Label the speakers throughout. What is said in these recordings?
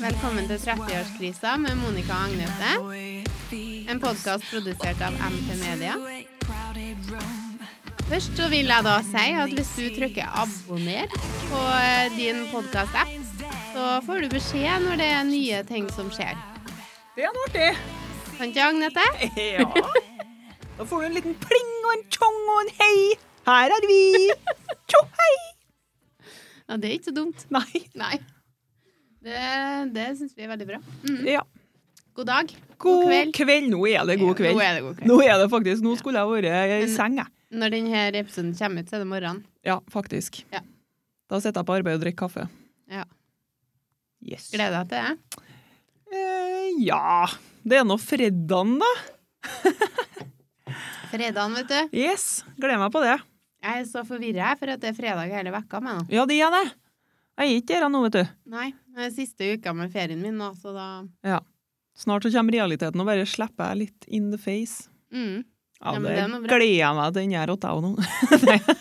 Speaker 1: Velkommen til 30-årskrisa med Monica og Agnete. En podkast produsert av MP Media. Først så vil jeg da si at hvis du trykker 'abonner' på eh, din podkast-app, så får du beskjed når det er nye ting som skjer.
Speaker 2: Det er noe artig.
Speaker 1: Sant det, Agnete?
Speaker 2: Ja. Da får du en liten pling og en tjong og en hei. Her er vi. Tjo hei.
Speaker 1: Ja, det er ikke så dumt.
Speaker 2: Nei.
Speaker 1: Nei. Det, det syns vi er veldig bra. Mm.
Speaker 2: Ja.
Speaker 1: God dag.
Speaker 2: God kveld. Nå er det god kveld.
Speaker 1: Nå er det Mm. god kveld.
Speaker 2: Nå er det faktisk. Nå skulle jeg vært i
Speaker 1: Men-
Speaker 2: seng, jeg.
Speaker 1: Når denne episoden kommer ut, så er det morgenen.
Speaker 2: Ja, faktisk.
Speaker 1: Ja.
Speaker 2: Da sitter jeg på arbeid og drikker kaffe.
Speaker 1: Ja.
Speaker 2: Yes.
Speaker 1: Gleder deg til det.
Speaker 2: Eh, ja. Det er nå fredagen, da.
Speaker 1: Fredagen, vet du.
Speaker 2: Yes. Gleder meg på det.
Speaker 1: Jeg er så forvirra for at det er fredag hele vekka med nå.
Speaker 2: Ja, det er det. Jeg er ikke der nå, vet du.
Speaker 1: Nei, det er siste uka med ferien min nå, så da
Speaker 2: Snart så kommer realiteten og bare slipper jeg litt in the face.
Speaker 1: mm.
Speaker 2: Ja,
Speaker 1: Ja, men
Speaker 2: det
Speaker 1: det er noe bra.
Speaker 2: gleder jeg meg til den gjør åt deg nå. Nei.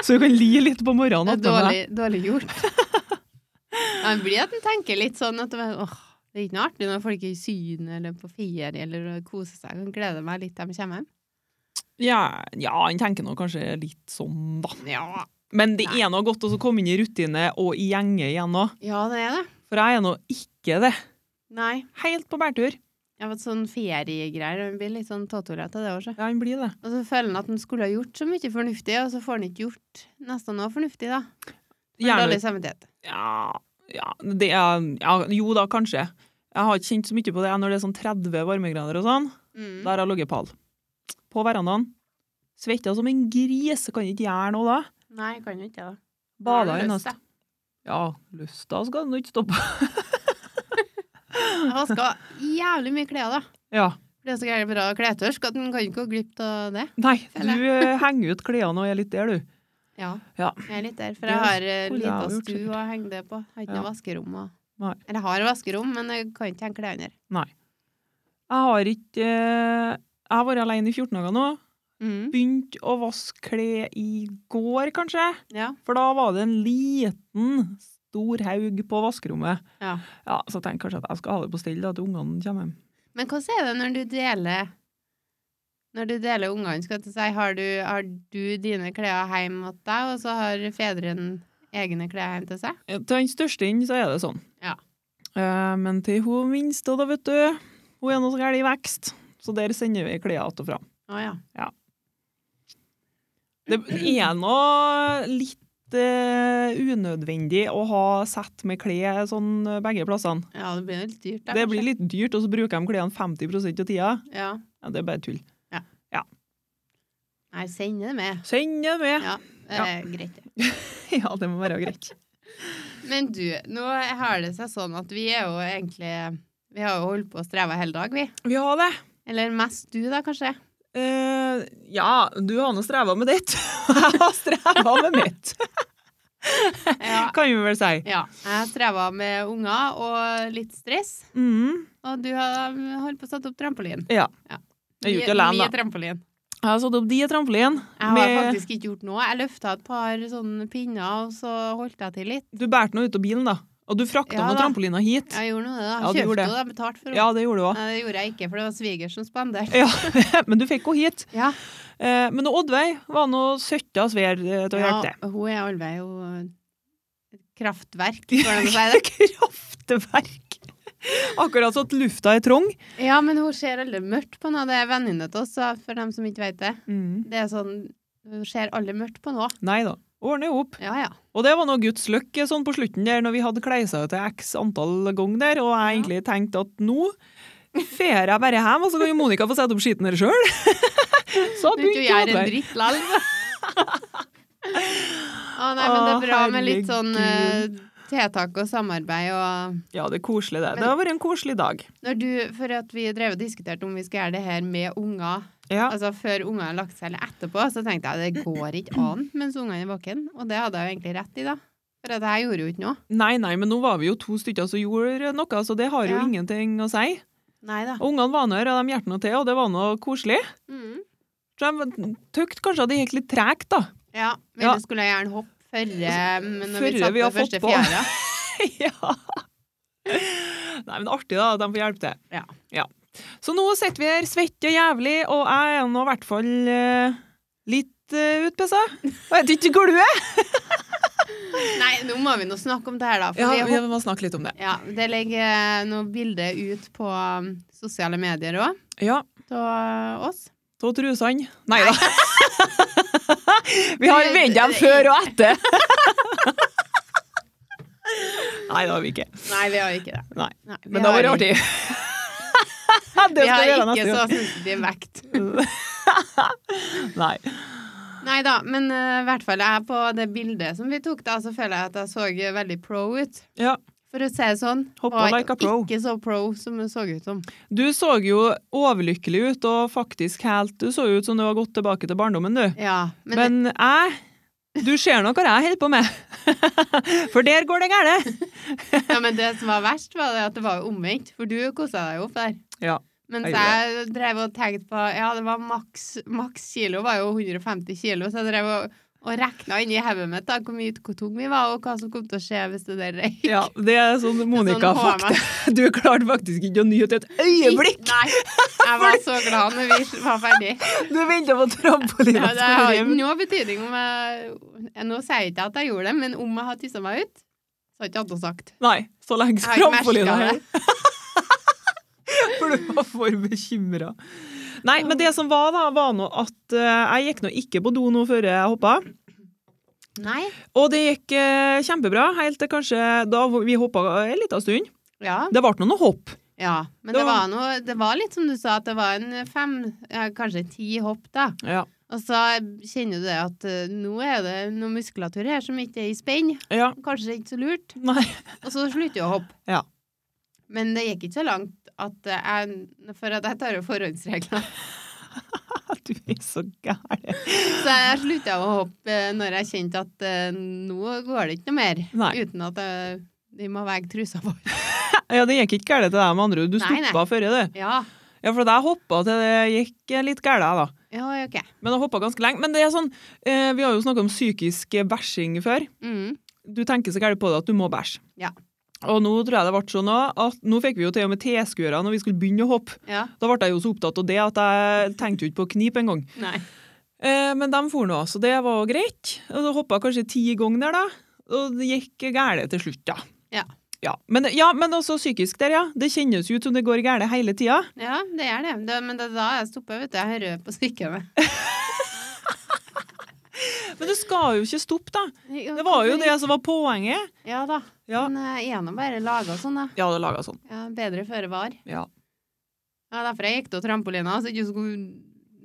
Speaker 2: Så du kan li litt på morgenen.
Speaker 1: Det er dårlig,
Speaker 2: at
Speaker 1: dårlig gjort. Ja, Det blir at en tenker litt sånn at det var- åh, det er ikke noe artig når folk er i Syden eller på ferie eller koser seg. Jeg kan glede meg litt til de kommer hjem.
Speaker 2: Ja, ja, han tenker nå kanskje litt sånn, da.
Speaker 1: Ja.
Speaker 2: Men det er nå godt å så komme inn i rutine og i gjenge igjen nå.
Speaker 1: ja, det er det.
Speaker 2: For jeg er nå ikke det.
Speaker 1: Nei.
Speaker 2: Helt på bærtur.
Speaker 1: Jeg har fått sånn feriegreier, og en blir litt sånn tåtolete, det også.
Speaker 2: Ja, han blir det.
Speaker 1: Og så føler en at en skulle ha gjort så mye fornuftig, og så får en ikke gjort nesten noe fornuftig, da. liksom- Med
Speaker 2: Gjerne-
Speaker 1: dårlig samvittighet.
Speaker 2: Ja, ja, det er, ja, jo da, kanskje. Jeg har ikke kjent så mye på det når det er sånn 30 varmegrader og sånn.
Speaker 1: Mm.
Speaker 2: Der har jeg ligget pall. På verandaen. Svetta som en gris. Kan ikke gjøre noe da.
Speaker 1: Nei, jeg kan jo ikke det.
Speaker 2: Bada
Speaker 1: Har
Speaker 2: i
Speaker 1: du lyst,
Speaker 2: nest.
Speaker 1: da?
Speaker 2: Ja, lysta skal den ikke stoppe.
Speaker 1: Jeg vaska jævlig mye klær, da.
Speaker 2: Ja.
Speaker 1: Det er så gærent bra kletørsk at en kan ikke gå glipp av det.
Speaker 2: Nei,
Speaker 1: Føler
Speaker 2: du eh, henger ut klærne og er litt der, du.
Speaker 1: Ja.
Speaker 2: Ja.
Speaker 1: Jeg er litt der, for
Speaker 2: Det
Speaker 1: jeg har eh,
Speaker 2: skulle jeg ha
Speaker 1: lita
Speaker 2: gjort,
Speaker 1: stue
Speaker 2: sikkert.
Speaker 1: å henge det på. Jeg har ikke
Speaker 2: Ja.
Speaker 1: noe vaskerom. Og...
Speaker 2: Nei.
Speaker 1: Eller jeg har vaskerom, men jeg kan ikke henge klærne der.
Speaker 2: Jeg har ikke eh, Jeg har vært alene i 14 dager nå.
Speaker 1: Mm.
Speaker 2: Begynt å vaske klær i går, kanskje.
Speaker 1: Ja.
Speaker 2: For da var det en liten, stor haug på vaskerommet.
Speaker 1: ja.
Speaker 2: Ja, Så jeg tenkte kanskje at jeg skal ha det på stell da, til ungene kommer hjem.
Speaker 1: Men hvordan er det når du deler når du deler ungene, skal jeg til å si, har du, har du dine klær hjemme til deg, og så har fedrene egne klær hjemme til seg?
Speaker 2: Eh, Til den største inn så er det sånn.
Speaker 1: Ja.
Speaker 2: Eh, men til hun minste, da, vet du. Hun er nå så gæren i vekst. Så der sender vi klær att og fram.
Speaker 1: Å ja.
Speaker 2: Det er nå litt eh, unødvendig å ha sett med klær sånn eh, begge plassene.
Speaker 1: Ja, det blir jo litt dyrt, da.
Speaker 2: Det blir
Speaker 1: kanskje.
Speaker 2: litt dyrt, og så bruker de klærne 50 av tida.
Speaker 1: Ja.
Speaker 2: Ja, det er bare tull.
Speaker 1: Nei, send det med.
Speaker 2: Send det med!
Speaker 1: Ja. Det
Speaker 2: Ja.
Speaker 1: er greit, det.
Speaker 2: Ja, det må være greit.
Speaker 1: Men du, nå har det seg sånn at vi er jo egentlig Vi har jo holdt på å streve hele dag, vi.
Speaker 2: Vi har det.
Speaker 1: Eller mest du, da, kanskje.
Speaker 2: Eh, ja, du har nå streva med ditt. Jeg har streva med mitt,
Speaker 1: Ja.
Speaker 2: kan vi vel si.
Speaker 1: ja. Jeg streva med unger og litt stress,
Speaker 2: Mm.
Speaker 1: og du har holdt på å sette opp trampolin.
Speaker 2: Ja.
Speaker 1: Ja.
Speaker 2: Jeg er jo
Speaker 1: Mye-
Speaker 2: ikke alene,
Speaker 1: Mye
Speaker 2: da.
Speaker 1: trampolin.
Speaker 2: Jeg har satt opp de trampolin.
Speaker 1: Jeg har
Speaker 2: med-
Speaker 1: faktisk ikke gjort noe. Jeg løfta et par sånne pinner, og så holdt jeg til litt.
Speaker 2: Du bærte noe ut av bilen, da. Og du frakta
Speaker 1: Ja,
Speaker 2: noen
Speaker 1: da.
Speaker 2: trampoliner hit.
Speaker 1: Jeg gjorde noe, da.
Speaker 2: Ja, du
Speaker 1: Kjøpte
Speaker 2: gjorde det.
Speaker 1: jo det, betalt for det.
Speaker 2: Ja, det gjorde du òg.
Speaker 1: Nei, det gjorde jeg ikke, for det var svigers som spanderte.
Speaker 2: Ja, men du fikk henne hit.
Speaker 1: Ja.
Speaker 2: Eh, men Oddveig var nå søtta svær eh, til å
Speaker 1: Ja,
Speaker 2: hjelpe til.
Speaker 1: hun er allvei jo et kraftverk, går det an å si det?
Speaker 2: Krafteverk! Akkurat så at lufta er trang.
Speaker 1: Ja, men hun ser aldri mørkt på noe. Det er venninne til oss, så for dem som ikke vet det. Det er sånn Hun ser aldri mørkt på noe.
Speaker 2: Nei da. Ordne opp.
Speaker 1: Ja, ja.
Speaker 2: Og det var nå Guds lykke sånn på slutten der, når vi hadde kleisa ut til x antall ganger der, og jeg egentlig tenkte at nå fer jeg bare hjem, og så kan jo Monica få sette opp skiten her sjøl. så
Speaker 1: Du ikke
Speaker 2: begynte
Speaker 1: gjør en
Speaker 2: Oddveig.
Speaker 1: dritt lall. Å nei, men det er
Speaker 2: Å,
Speaker 1: bra med litt sånn eh, tiltak og samarbeid og
Speaker 2: Ja, det er koselig, det.
Speaker 1: Men-
Speaker 2: Det har vært en koselig dag.
Speaker 1: Når du For at vi drev og diskuterte om vi skal gjøre det her med unger,
Speaker 2: Ja.
Speaker 1: altså før ungene har lagt seg eller etterpå, så tenkte jeg det går ikke an mens ungene er våken. Og det hadde jeg jo egentlig rett i, da. For at jeg gjorde jo ikke noe.
Speaker 2: Nei, nei, men nå var vi jo to stykker som gjorde noe, så det har jo
Speaker 1: Ja.
Speaker 2: ingenting å si.
Speaker 1: Nei da.
Speaker 2: Og Ungene var nå her, og de hjalp nå til, og det var nå koselig.
Speaker 1: Mm.
Speaker 2: Så de tykte kanskje at det gikk litt tregt, da.
Speaker 1: Ja, men
Speaker 2: Ja.
Speaker 1: det skulle jeg gjerne hoppe førre men når
Speaker 2: Førre
Speaker 1: vi satt
Speaker 2: vi
Speaker 1: på
Speaker 2: har fått
Speaker 1: første
Speaker 2: på.
Speaker 1: fjæra.
Speaker 2: ja. Nei, men artig da, at de får hjelpe til.
Speaker 1: Ja.
Speaker 2: Så nå sitter vi her svette og jævlig, og jeg er nå i hvert fall eh, litt uh, utpissa. Og jeg vet ikke hvor du er!
Speaker 1: Nei, nå må vi nå snakke om det her, da. For
Speaker 2: Ja,
Speaker 1: vi,
Speaker 2: vi må snakke litt om det.
Speaker 1: ja, det legger noe bilde ut på um, sosiale medier òg,
Speaker 2: Ja,
Speaker 1: av oss.
Speaker 2: av trusene. Nei da. vi har vendt dem før og etter. Nei, det har vi ikke.
Speaker 1: Nei, vi har ikke det.
Speaker 2: Nei.
Speaker 1: Nei, vi
Speaker 2: Men det har vært
Speaker 1: har
Speaker 2: artig.
Speaker 1: Vi
Speaker 2: det skal vi
Speaker 1: har
Speaker 2: gjøre
Speaker 1: ikke
Speaker 2: neste
Speaker 1: så
Speaker 2: gang.
Speaker 1: sensitiv vekt.
Speaker 2: Nei.
Speaker 1: Nei da, men eh, i hvert fall jeg på det bildet som vi tok da, så føler jeg at jeg så eh, veldig pro ut.
Speaker 2: Ja.
Speaker 1: For å si det sånn.
Speaker 2: Hoppa
Speaker 1: var
Speaker 2: like a pro.
Speaker 1: Ikke så pro som jeg så ut som.
Speaker 2: Du så jo overlykkelig ut, og faktisk helt Du så ut som du har gått tilbake til barndommen, du.
Speaker 1: Ja, men,
Speaker 2: Men, jeg Du ser nå hva jeg holder på med. For der går det gære.
Speaker 1: ja, men det som var verst, var det at det var jo omvendt. For du kosa deg jo opp der.
Speaker 2: Ja.
Speaker 1: Mens
Speaker 2: Jeg gjorde
Speaker 1: jeg drev og tenkte på Ja, det var maks, maks kilo var jo 150 kilo, så jeg drev og, og regna inni hodet mitt da, hvor mye hvor tung vi var, og hva som kom til å skje hvis det der røyk.
Speaker 2: ja det er sånn Monica-fakta. Du klarte faktisk ikke å nyte et øyeblikk!
Speaker 1: Nei. Jeg var så glad når vi var ferdig.
Speaker 2: Du venta på
Speaker 1: Ja,
Speaker 2: trampolina
Speaker 1: det har ikke noe betydning om jeg Nå sier jeg ikke at jeg gjorde det, men om jeg har tissa meg ut, så har ikke Adde sagt.
Speaker 2: Nei, så lenge
Speaker 1: Jeg har ikke
Speaker 2: trampolina
Speaker 1: merket
Speaker 2: her. For du var for bekymra. Nei, men det som var, da, var nå at eh, jeg gikk nå ikke på do nå før jeg hoppa.
Speaker 1: Nei.
Speaker 2: Og det gikk eh, kjempebra, helt til kanskje da vi hoppa en liten stund.
Speaker 1: Ja.
Speaker 2: Det ble nå noe hopp.
Speaker 1: ja. Men
Speaker 2: Det
Speaker 1: det
Speaker 2: var-
Speaker 1: var noe Det var litt som du sa, at det var en fem, ja, kanskje ti hopp, da.
Speaker 2: Ja.
Speaker 1: Og så kjenner du det at eh, nå er det noe muskulatur her som ikke er i spenn.
Speaker 2: ja.
Speaker 1: Kanskje ikke så lurt.
Speaker 2: Nei.
Speaker 1: Og så slutter jeg å hoppe.
Speaker 2: Ja.
Speaker 1: Men det gikk ikke så langt at jeg For at jeg tar jo forhåndsregler.
Speaker 2: Du er så gæren.
Speaker 1: Så jeg slutta å hoppe eh, når jeg kjente at eh, nå går det ikke noe mer.
Speaker 2: Nei.
Speaker 1: Uten at jeg, de må veie trusa vår.
Speaker 2: Ja, det gikk ikke gærent til deg, med andre ord. Du
Speaker 1: Nei, nei.
Speaker 2: stoppa før det.
Speaker 1: Ja.
Speaker 2: Ja, for jeg hoppa til det gikk eh, litt gærent, jeg, da.
Speaker 1: ja, OK.
Speaker 2: Men jeg hoppa ganske lenge. Men det er sånn, eh, vi har jo snakka om psykisk eh, bæsjing før.
Speaker 1: Mm.
Speaker 2: du tenker så gærent på det at du må bæsje.
Speaker 1: Ja.
Speaker 2: Og nå tror jeg det ble sånn også at nå fikk vi jo til og med tilskuere når vi skulle begynne å hoppe.
Speaker 1: Ja.
Speaker 2: Da ble jeg jo så opptatt av det at jeg tenkte jo ikke på å knipe engang.
Speaker 1: Nei.
Speaker 2: Eh, men de for nå, så det var greit. Og så hoppa jeg kanskje ti ganger der, da. Og det gikk gærent til slutt, da.
Speaker 1: Ja.
Speaker 2: Ja. Men, ja, men også psykisk der, ja. Det kjennes jo ut som det går gærent hele tida.
Speaker 1: Ja, det er det. det men det er da jeg stopper, vet du. Jeg hører på stykkene.
Speaker 2: Men det skal jo ikke stoppe, da.
Speaker 1: Det
Speaker 2: Det var jo det som var poenget.
Speaker 1: Ja da.
Speaker 2: Ja.
Speaker 1: Men eh, jeg er nå bare laga sånn, da.
Speaker 2: Ja, det laga sånn.
Speaker 1: Ja, bedre føre var.
Speaker 2: Ja.
Speaker 1: Ja, derfor jeg gikk til trampolina, så ikke skulle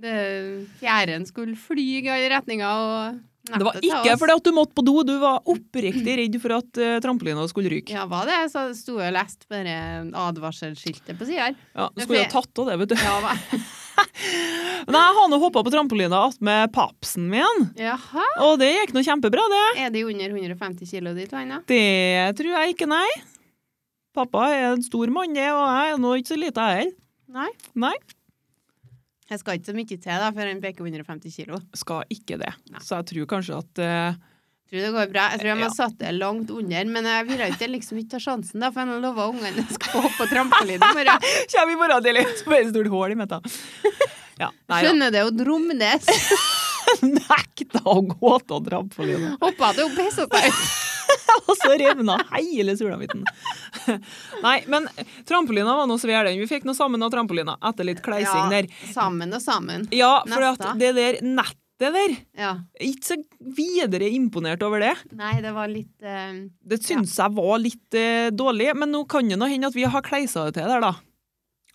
Speaker 1: det- fjæren skulle flyge i alle retninger og
Speaker 2: Det var ikke fordi at du måtte på do, du var oppriktig redd for at eh, trampolina skulle ryke.
Speaker 1: Ja, var det? Så sto jeg og leste bare advarselsskiltet på sida her.
Speaker 2: Ja, du
Speaker 1: Ja,
Speaker 2: skulle jo
Speaker 1: for
Speaker 2: ha tatt av det, vet du.
Speaker 1: Ja, hva?
Speaker 2: Men jeg har nå hoppa på trampolina attmed papsen min,
Speaker 1: Jaha.
Speaker 2: og det gikk nå kjempebra, det.
Speaker 1: Er de under 150 kilo, de to ennå?
Speaker 2: Det tror jeg ikke, nei. Pappa er en stor mann, det, og jeg er nå ikke så lita, jeg heller.
Speaker 1: Nei.
Speaker 2: Nei,
Speaker 1: Jeg skal ikke så mye til da, før han peker 150 kilo.
Speaker 2: skal ikke det.
Speaker 1: Nei.
Speaker 2: Så jeg tror kanskje at eh,
Speaker 1: Tror det går bra. Jeg tror jeg må
Speaker 2: Ja.
Speaker 1: satt det langt under, men jeg ville ikke liksom ikke ta sjansen, da, for jeg lova ungene at jeg skal hoppe på trampoline i morgen.
Speaker 2: Kommer i morgen tidlig, så blir det et stort hull i midten. Ja, nei da.
Speaker 1: Skjønner det jo dromnes.
Speaker 2: Nekta å gå til trampolina.
Speaker 1: Hoppa det opp, hissa seg ut.
Speaker 2: Og så revna hele sulamitten. Nei, men trampolina var nå svær, den. Vi fikk nå sammen av trampolina etter litt kleising der.
Speaker 1: Sammen og sammen.
Speaker 2: Ja, for
Speaker 1: Neste.
Speaker 2: at det der nettet der
Speaker 1: Ja.
Speaker 2: jeg er Ikke så videre imponert over det.
Speaker 1: Nei, det var litt eh,
Speaker 2: Det syns jeg var litt eh, dårlig, men nå kan det nå hende at vi har kleisa det til der, da.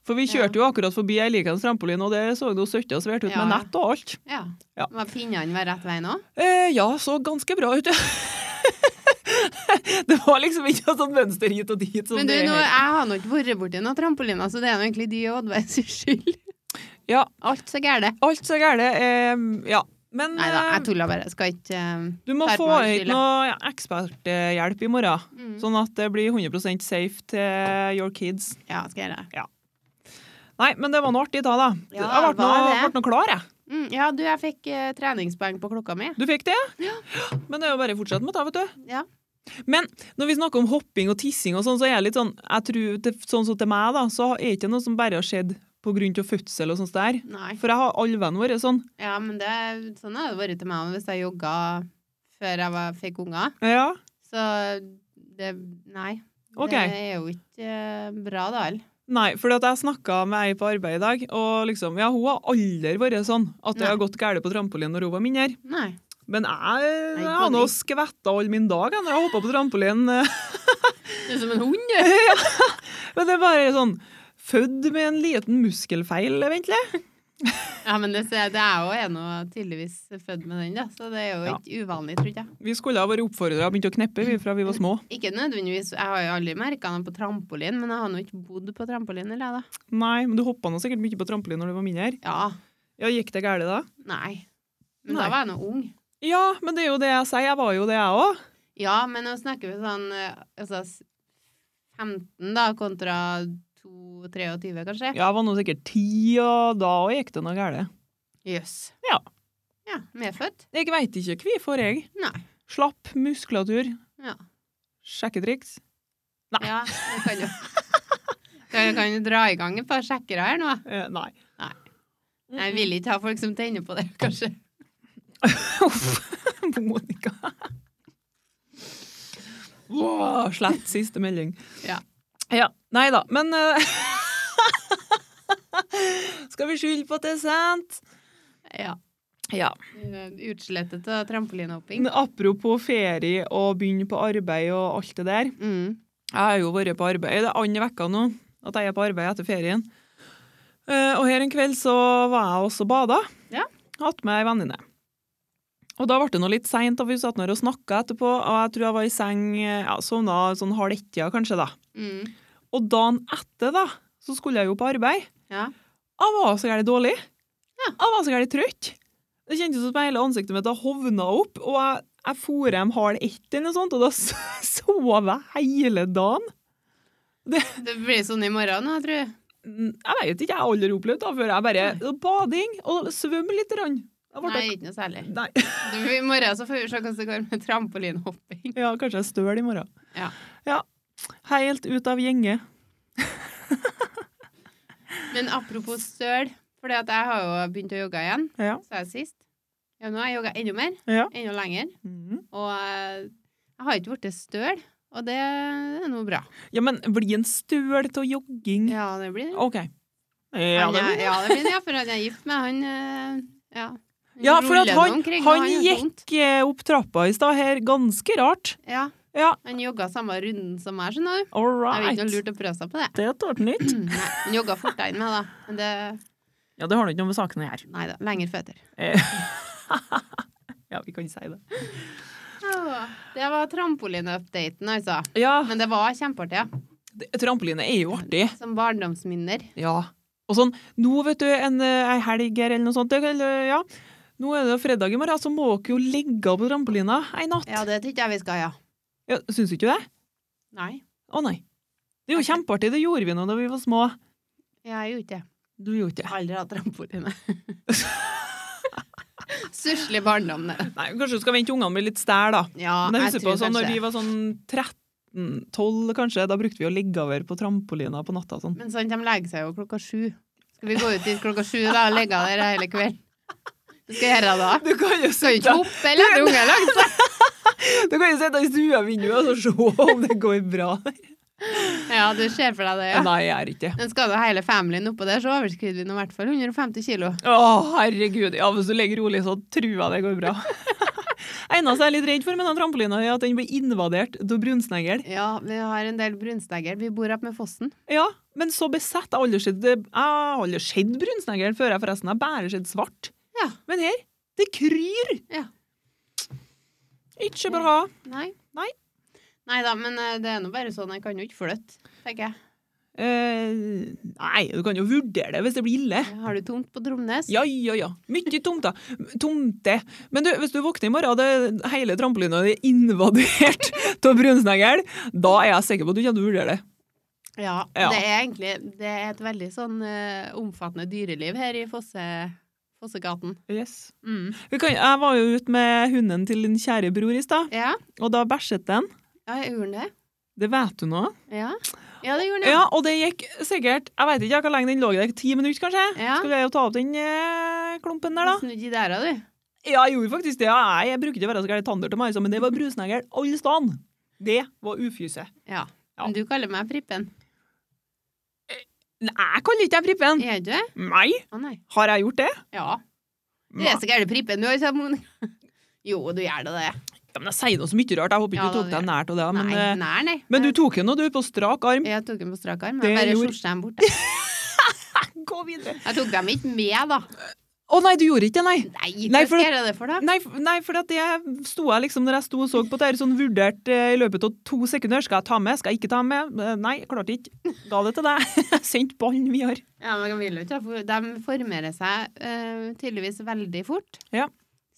Speaker 2: For vi
Speaker 1: Ja.
Speaker 2: kjørte jo akkurat forbi ei likende trampoline, og der så det jo søtt og svært ut
Speaker 1: Ja,
Speaker 2: med
Speaker 1: ja.
Speaker 2: nett og alt.
Speaker 1: Ja.
Speaker 2: Ja.
Speaker 1: Var pinnene var rett vei nå?
Speaker 2: Eh, ja, så ganske bra ut, ja. det var liksom ikke noe sånt mønster hit og dit. Som
Speaker 1: Men du,
Speaker 2: det er
Speaker 1: nå,
Speaker 2: her.
Speaker 1: jeg har nå ikke vært borti noen trampoliner, så det er nå egentlig de og Oddveig sin skyld.
Speaker 2: Ja.
Speaker 1: Alt så gærent.
Speaker 2: Alt så gærent. Eh, ja. Men
Speaker 1: Nei da, jeg
Speaker 2: eh,
Speaker 1: tulla bare. Jeg Skal ikke eh,
Speaker 2: du må
Speaker 1: tar på
Speaker 2: få
Speaker 1: meg
Speaker 2: ut noe eksperthjelp i morgen.
Speaker 1: mm.
Speaker 2: Sånn at det blir 100 safe til your kids.
Speaker 1: Ja, skal jeg gjøre det.
Speaker 2: Nei, men det var noe artig da, da.
Speaker 1: Ja,
Speaker 2: jeg ble
Speaker 1: var
Speaker 2: noe,
Speaker 1: det?
Speaker 2: ble noe klar, jeg.
Speaker 1: Mm, ja, du, jeg fikk eh, treningspoeng på klokka mi.
Speaker 2: Du fikk det? Ja. Men det er jo bare å fortsette med det, vet du.
Speaker 1: Ja.
Speaker 2: Men når vi snakker om hopping og tissing og sånn, så er jeg litt sånn jeg tror, til, Sånn som til meg, da, så er det ikke noe som bare har skjedd på grunn til fødsel og sånt der.
Speaker 1: Nei.
Speaker 2: For jeg har alle vennene våre sånn.
Speaker 1: Ja, men det, sånn har det vært til meg også, hvis jeg jogga før jeg var, fikk unger.
Speaker 2: Ja.
Speaker 1: Så det Nei.
Speaker 2: Ok.
Speaker 1: Det er jo ikke eh, bra, da. vel?
Speaker 2: Nei, for at jeg snakka med ei på arbeid i dag, og liksom, ja, hun har aldri vært sånn at
Speaker 1: Nei.
Speaker 2: det har gått galt på trampolinen når hun var mindre.
Speaker 1: Nei.
Speaker 2: Men jeg, jeg
Speaker 1: Nei,
Speaker 2: har nå
Speaker 1: panikk.
Speaker 2: skvetta all min dag jeg, når jeg hoppa på trampolinen.
Speaker 1: Du er som en hund, du.
Speaker 2: Men det er bare sånn Født med en liten muskelfeil, egentlig.
Speaker 1: Ja, men det, ser jeg- det er jo en og tydeligvis født med den, da. Så det er jo
Speaker 2: Ja.
Speaker 1: ikke uvanlig, tror jeg.
Speaker 2: Vi skulle ha vært oppfordra og begynt å kneppe vi fra vi var små.
Speaker 1: Ikke nødvendigvis. Jeg har jo aldri merka noe på trampolin, men jeg har nå ikke bodd på trampolin, eller jeg, da?
Speaker 2: Nei, men du hoppa nå sikkert mye på trampolin når du var mindre.
Speaker 1: Ja.
Speaker 2: Ja, Gikk det galt da?
Speaker 1: Nei. Men
Speaker 2: Nei.
Speaker 1: da var jeg nå ung.
Speaker 2: Ja, men det er jo det jeg sier. Jeg var jo det, jeg òg.
Speaker 1: Ja, men nå snakker vi sånn eh, altså, s- 15 da, kontra 2-23, kanskje.
Speaker 2: Jeg var nå sikkert ti, og da òg gikk det noe galt.
Speaker 1: Jøss.
Speaker 2: Ja.
Speaker 1: Ja, medfødt?
Speaker 2: Jeg veit ikke hvorfor, jeg.
Speaker 1: Nei.
Speaker 2: Slapp muskulatur.
Speaker 1: Ja.
Speaker 2: Sjekketriks. Nei.
Speaker 1: Ja, jeg kan jo kan, jeg kan jo dra i gang et par sjekkere her nå.
Speaker 2: Eh, nei.
Speaker 1: Nei. Jeg vil ikke ha folk som tenner på det, kanskje.
Speaker 2: Uff. Monica. Wow, slett siste melding.
Speaker 1: Ja.
Speaker 2: Ja, Nei da, men eh, Skal vi skylde på at det er sent?
Speaker 1: Ja.
Speaker 2: Ja.
Speaker 1: Utslettet av trampolinhopping.
Speaker 2: Men apropos ferie og begynne på arbeid og alt det der.
Speaker 1: Mm.
Speaker 2: Jeg har jo vært på arbeid. Det er andre vekka nå at jeg er på arbeid etter ferien. Eh, og her en kveld så var jeg også bada.
Speaker 1: Ja.
Speaker 2: Hatt med ei venninne. Og da ble det nå litt seint, og vi satt der og snakka etterpå. Og jeg tror jeg var i seng eh, ja, sovna sånn halv ett-tida, kanskje, da.
Speaker 1: Mm.
Speaker 2: Og dagen etter, da, så skulle jeg jo på arbeid.
Speaker 1: Ja.
Speaker 2: Jeg var så gærent dårlig.
Speaker 1: Ja.
Speaker 2: Jeg var så gærent trøtt. Det kjentes ut som hele ansiktet mitt hadde hovna opp, og jeg, jeg for hjem halv ett eller noe sånt, og da s- sov jeg hele dagen.
Speaker 1: Det blir sånn i morgen nå, tror jeg.
Speaker 2: Mm, Jeg vet ikke, jeg har aldri opplevd det før. Jeg bare bading og svømme litt. Rann. Jeg ble-
Speaker 1: Nei, ikke noe særlig.
Speaker 2: Nei.
Speaker 1: Du, I morgen så får vi se hvordan det går med trampolinhopping.
Speaker 2: Ja, kanskje jeg er støl i morgen.
Speaker 1: Ja.
Speaker 2: Ja. Helt ut av gjenge.
Speaker 1: Men apropos støl, for jeg har jo begynt å jogge igjen,
Speaker 2: Ja.
Speaker 1: sa jeg sist. Ja, nå har jeg jogga enda mer,
Speaker 2: Ja.
Speaker 1: enda lenger,
Speaker 2: Mhm.
Speaker 1: og eh, jeg har ikke blitt støl, og det er nå bra.
Speaker 2: ja, men blir en støl til jogging?
Speaker 1: Ja, det blir det.
Speaker 2: OK. Ja,
Speaker 1: Han
Speaker 2: det
Speaker 1: er-
Speaker 2: blir det.
Speaker 1: ja, det blir det, ja, for han er gift med han eh, Ja, Han
Speaker 2: Ja, for at
Speaker 1: ruller
Speaker 2: han-
Speaker 1: nå omkring, og
Speaker 2: han
Speaker 1: har
Speaker 2: gikk-
Speaker 1: vondt.
Speaker 2: Gikk opp trappa i stad her, ganske rart.
Speaker 1: Ja,
Speaker 2: Ja,
Speaker 1: han jogga samme runden som meg, skjønner du. Det er
Speaker 2: all
Speaker 1: jo
Speaker 2: right.
Speaker 1: ikke noe lurt å prøve seg på det.
Speaker 2: Det er tårt nytt.
Speaker 1: Mm, Nei, han jogga fortere enn meg, da. Men det
Speaker 2: Ja, det har nå ikke noe med saken å gjøre.
Speaker 1: Nei da, lengre føtter.
Speaker 2: Ja, vi kan si det.
Speaker 1: Åh, Det var trampoline-updaten, altså.
Speaker 2: Ja,
Speaker 1: Men det var kjempeartig, ja.
Speaker 2: det- trampoline er jo artig.
Speaker 1: Som barndomsminner.
Speaker 2: Ja. Og sånn, nå vet du, en, eh, ei helg her eller noe sånt, det- eller, ja. Nå er det jo fredag i morgen, så må dere jo ligge på trampolina ei natt.
Speaker 1: Ja, det tror ikke jeg vi skal, ja.
Speaker 2: Ja, syns du ikke det?
Speaker 1: Nei,
Speaker 2: Å nei. Det er jo kjempeartig, det gjorde vi nå da vi var små.
Speaker 1: jeg gjorde ikke det.
Speaker 2: Du gjorde ikke det.
Speaker 1: Jeg har Aldri hatt trampoline. Susselig barndom, det.
Speaker 2: Nei, kanskje du skal vente ungene blir litt stæl, da.
Speaker 1: Ja,
Speaker 2: Men jeg husker på sånn, når vi
Speaker 1: det.
Speaker 2: var sånn 13-12 kanskje, da brukte vi å ligge over på trampolina på natta sånn.
Speaker 1: Men sånn, de legger seg jo klokka sju. Skal vi gå ut dit klokka sju da og ligge der hele kvelden? Hva skal jeg gjøre da?
Speaker 2: Du kan jo
Speaker 1: Skal vi ikke
Speaker 2: sitte,
Speaker 1: hoppe eller lade unger langs?
Speaker 2: du kan jo sitte i stuevinduet og så se om det går bra.
Speaker 1: Ja, du ser for deg det, ja.
Speaker 2: Nei, jeg er ikke det.
Speaker 1: Men skal du ha hele familien oppå der, så overskrider vi nå i hvert fall 150 kilo.
Speaker 2: Å, herregud. Ja, hvis du ligger rolig, så tror jeg det går bra. Eneste jeg er litt redd for med den trampolina, er at den blir invadert av brunsnegl.
Speaker 1: Ja, vi har en del brunstegger. Vi bor oppe med fossen.
Speaker 2: Ja, men så besett. Jeg har aldri sett- jeg har aldri sett brunsnegl før, jeg forresten. Jeg har bare sett svart.
Speaker 1: Ja.
Speaker 2: Men her, det kryr.
Speaker 1: Ja.
Speaker 2: Ikke bra.
Speaker 1: Nei.
Speaker 2: Nei.
Speaker 1: Nei da, men eh, det er nå bare sånn. Jeg kan jo ikke flytte, tenker jeg.
Speaker 2: Eh, nei, du kan jo vurdere det hvis det blir ille.
Speaker 1: Har du tungt på Tromnes?
Speaker 2: Ja, ja, ja. Mye tomter. Tomte. Men du, hvis du våkner i morgen og det- hele trampolina er invadert av brunsnegl, da er jeg sikker på at du kommer til å vurdere det.
Speaker 1: Ja,
Speaker 2: Ja.
Speaker 1: Det er egentlig det er et veldig sånn eh, omfattende dyreliv her i Fosse, Fossegaten.
Speaker 2: Yes.
Speaker 1: Mm.
Speaker 2: Jeg var jo ute med hunden til din kjære bror i stad,
Speaker 1: Ja.
Speaker 2: og da bæsjet den.
Speaker 1: Ja, jeg gjorde det.
Speaker 2: Det vet du nå.
Speaker 1: Ja, ja det gjorde den.
Speaker 2: Ja, og det gikk sikkert Jeg vet ikke hvor lenge den lå der. Ti minutter, kanskje?
Speaker 1: Ja.
Speaker 2: Skal vi jo ta opp den eh, klumpen der,
Speaker 1: Du
Speaker 2: da?
Speaker 1: snudde i døra, du.
Speaker 2: Ja, jeg gjorde faktisk det. Ja, jeg, jeg bruker ikke å være så gæren i tanndør til meg, altså, men det var brusnegl alle steder. Det var ufjuse.
Speaker 1: Ja.
Speaker 2: Ja.
Speaker 1: Men du kaller meg Prippen.
Speaker 2: Nei, jeg kaller ikke jeg Prippen.
Speaker 1: Gjør du det?
Speaker 2: Nei,
Speaker 1: Å nei.
Speaker 2: har jeg gjort det?
Speaker 1: Ja. Du
Speaker 2: Nei.
Speaker 1: er så gæren Prippen, du har sagt Monica. Jo, du gjør da det.
Speaker 2: Ja, men jeg sier noe så mye rart. Jeg håper ikke
Speaker 1: Ja,
Speaker 2: du
Speaker 1: da,
Speaker 2: tok
Speaker 1: det-
Speaker 2: deg nært av det.
Speaker 1: Nei,
Speaker 2: Men, eh,
Speaker 1: nei, nei.
Speaker 2: men du tok henne, du, på strak arm.
Speaker 1: Jeg tok dem på strak arm.
Speaker 2: Det
Speaker 1: Jeg bare
Speaker 2: gjorde-
Speaker 1: skjorta dem bort. jeg.
Speaker 2: Gå videre.
Speaker 1: Jeg tok dem ikke med, da.
Speaker 2: Å nei, du gjorde ikke det, nei.
Speaker 1: Nei,
Speaker 2: Nei,
Speaker 1: hva skal
Speaker 2: for-
Speaker 1: jeg gjøre det for, da?
Speaker 2: Nei, f- nei for at det sto jeg liksom når jeg sto og så på det her, sånn vurdert eh, i løpet av to sekunder. Skal jeg ta med, skal jeg ikke ta med? Eh, Nei, jeg klarte ikke. Ga det til deg. Jeg sendte ballen videre.
Speaker 1: Ja, men jeg vil jo ikke ha for- De formerer seg eh, tydeligvis veldig fort.
Speaker 2: Ja.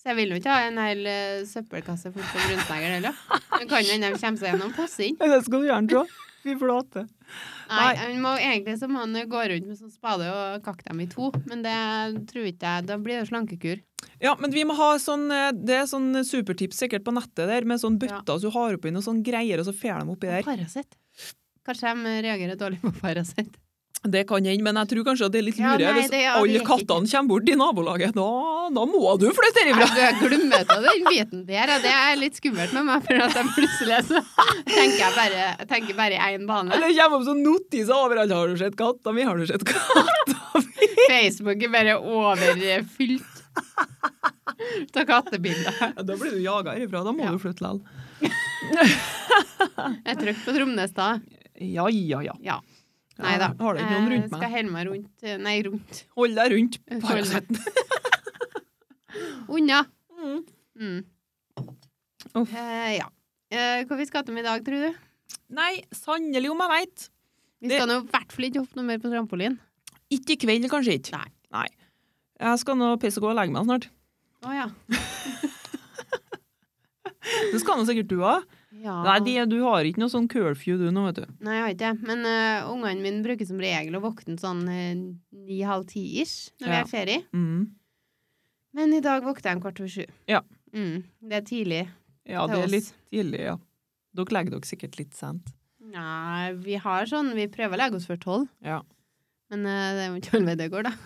Speaker 1: Så jeg vil jo ikke ha en hel eh, søppelkasse full av brunsnegler heller. Det kan hende de kommer seg gjennom posten.
Speaker 2: Det skal du gjerne se. Fy flate.
Speaker 1: Nei,
Speaker 2: Nei.
Speaker 1: han må, egentlig så må han gå rundt med sånn spade og kakke dem i to, men det tror ikke jeg. Da blir det slankekur.
Speaker 2: Ja, men vi må ha sånn eh, Det er sånn supertips sikkert på nettet der, med sånn
Speaker 1: Ja.
Speaker 2: bøtter så du har oppi noe sånn greier, og så fjerner de oppi der.
Speaker 1: Paracet. Kanskje de reagerer dårlig på Paracet.
Speaker 2: Det kan hende, men jeg tror kanskje at det er litt
Speaker 1: Ja,
Speaker 2: lure
Speaker 1: nei,
Speaker 2: hvis
Speaker 1: det- ja, det
Speaker 2: alle
Speaker 1: gikk ikke.
Speaker 2: kattene kommer bort i nabolaget. Da, da må du flytte herifra!
Speaker 1: Jeg glemmer av den biten der, og det er litt skummelt med meg, for at jeg plutselig så tenker jeg bare, jeg tenker bare i én bane.
Speaker 2: Eller det kommer opp sånn notiser overalt. Har du sett katta mi? Har du sett katta mi?
Speaker 1: Facebook er bare overfylt av kattebilder.
Speaker 2: Ja, Da blir du jaga herifra. Da må
Speaker 1: Ja.
Speaker 2: du flytte likevel.
Speaker 1: Jeg trykte på Tromnes da.
Speaker 2: Ja, ja, ja.
Speaker 1: Ja. Nei da.
Speaker 2: Ja, Har du ikke noen rundt
Speaker 1: Jeg
Speaker 2: meg?
Speaker 1: Eh, Skal holde meg rundt eh, Nei, rundt.
Speaker 2: Eh, Hold deg rundt
Speaker 1: Jeg skal holde
Speaker 2: Paraceten.
Speaker 1: Unna.
Speaker 2: Mm.
Speaker 1: Mm.
Speaker 2: Uff.
Speaker 1: Eh, ja. Eh, hva vi skal til med i dag, tror du?
Speaker 2: Nei, sannelig om jeg veit.
Speaker 1: Vi
Speaker 2: Det-
Speaker 1: skal nå i hvert fall ikke hoppe noe mer på trampolin.
Speaker 2: Ikke i kveld, kanskje ikke.
Speaker 1: Nei.
Speaker 2: Nei. Jeg skal nå pisse og gå og legge meg snart.
Speaker 1: Å ja.
Speaker 2: Det skal nå sikkert du òg.
Speaker 1: ja.
Speaker 2: Nei, de- du har ikke noe sånn curfew du nå, vet du.
Speaker 1: Nei, jeg har ikke det. Men eh, ungene mine bruker som regel å våkne sånn ni-halv ti-ish når vi
Speaker 2: Ja.
Speaker 1: er ferie.
Speaker 2: Mm.
Speaker 1: Men i dag våkner de kvart over sju.
Speaker 2: Ja.
Speaker 1: Mm. Det er tidlig.
Speaker 2: Ja,
Speaker 1: Til
Speaker 2: det er
Speaker 1: oss.
Speaker 2: litt tidlig, ja. Dere legger dere sikkert litt sent.
Speaker 1: Nei, vi har sånn Vi prøver å legge oss før tolv.
Speaker 2: Ja.
Speaker 1: Men eh, det er jo ikke all vei det går, da.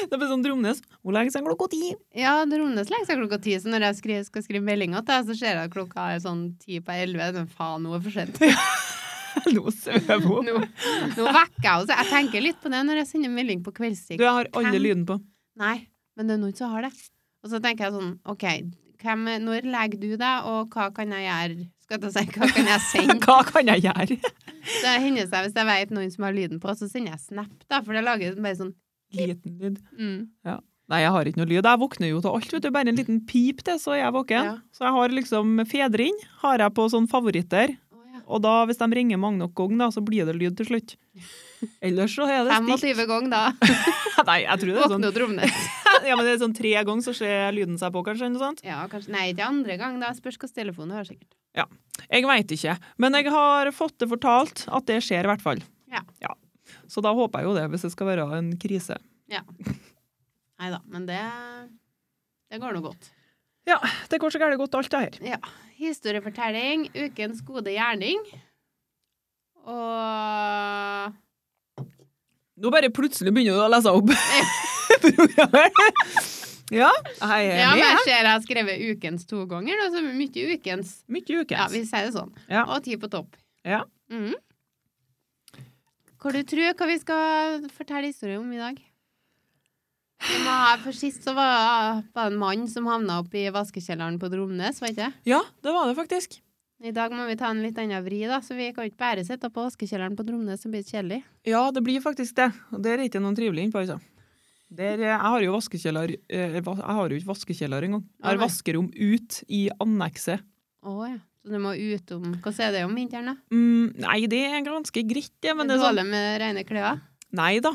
Speaker 2: Det blir sånn Dromnes. Hun legger seg klokka ti.
Speaker 1: Ja, det Romnes legger seg klokka ti, så når jeg skri- skal skrive melding til deg, så ser jeg at klokka er sånn ti på elleve. Men faen, nå er det for sent.
Speaker 2: Nå sover hun.
Speaker 1: Nå, nå vekker jeg henne. Jeg tenker litt på det når jeg sender melding på kveldstid.
Speaker 2: Du, jeg har alle
Speaker 1: Hvem?
Speaker 2: lyden på.
Speaker 1: Nei, men det er noen som har det. Og så tenker jeg sånn, OK, hvem, når legger du deg, og hva kan jeg gjøre? Skal jeg ta si, hva kan jeg sende?
Speaker 2: Hva kan jeg gjøre?
Speaker 1: Det hender seg hvis jeg vet noen som har lyden på, så sender jeg snap, da, for det lager bare sånn
Speaker 2: Liten lyd.
Speaker 1: mm.
Speaker 2: Nei, jeg har ikke noe lyd. Jeg våkner jo til alt, vet du. Bare en liten pip til, så er jeg våken.
Speaker 1: Ja.
Speaker 2: Så jeg har liksom Fedring har jeg på sånn favoritter.
Speaker 1: Å ja.
Speaker 2: Og da, hvis de ringer mange nok ganger, da, så blir det lyd til slutt. Ellers så er det stilt.
Speaker 1: 25 ganger da.
Speaker 2: Nei, jeg tror det er sånn,
Speaker 1: Våkne opp Romnes.
Speaker 2: ja, men det er sånn tre ganger så ser lyden seg på, kanskje, eller noe sånt.
Speaker 1: Ja, kanskje. Nei, ikke andre gang, da. Spørs hvilken telefon du har, sikkert.
Speaker 2: Jeg veit ikke. Men jeg har fått det fortalt at det skjer, i hvert fall.
Speaker 1: Ja.
Speaker 2: Så da håper jeg jo det, hvis det skal være en krise.
Speaker 1: Nei da, men det, det går nå godt.
Speaker 2: Det går så gærent godt, alt det her.
Speaker 1: Historiefortelling, ukens gode gjerning. Og
Speaker 2: Nå bare plutselig begynner du å lese opp programmet. ja, jeg er
Speaker 1: Ja, men
Speaker 2: med.
Speaker 1: jeg ser jeg har skrevet ukens to ganger, da, så mye ukens.
Speaker 2: Mye ukens.
Speaker 1: Ja, vi sier det sånn.
Speaker 2: Ja.
Speaker 1: Og ti på topp.
Speaker 2: Ja.
Speaker 1: Mhm. Hvor du tror hva vi skal fortelle historie om i dag? Vi må ha, for Sist så var var det en mann som havna opp i vaskekjelleren på Dromnes, var ikke det?
Speaker 2: Ja, det var det faktisk.
Speaker 1: I dag må vi ta en litt annen vri, da, så vi kan ikke bare sitte på vaskekjelleren på Dromnes og bli kjedelig.
Speaker 2: Ja, det blir faktisk det. Og der er ikke noen trivelig innpå, altså. Der, eh, jeg har jo vaskekjeller eh, va- Jeg har jo ikke vaskekjeller engang. Jeg har
Speaker 1: Nei.
Speaker 2: vaskerom ut i annekset.
Speaker 1: Å ja. Så du må utom Hvordan er det om vinteren, da?
Speaker 2: Mm, nei, det er ganske greit, det, men det er sånn
Speaker 1: Dårlig med rene klær?
Speaker 2: Nei da.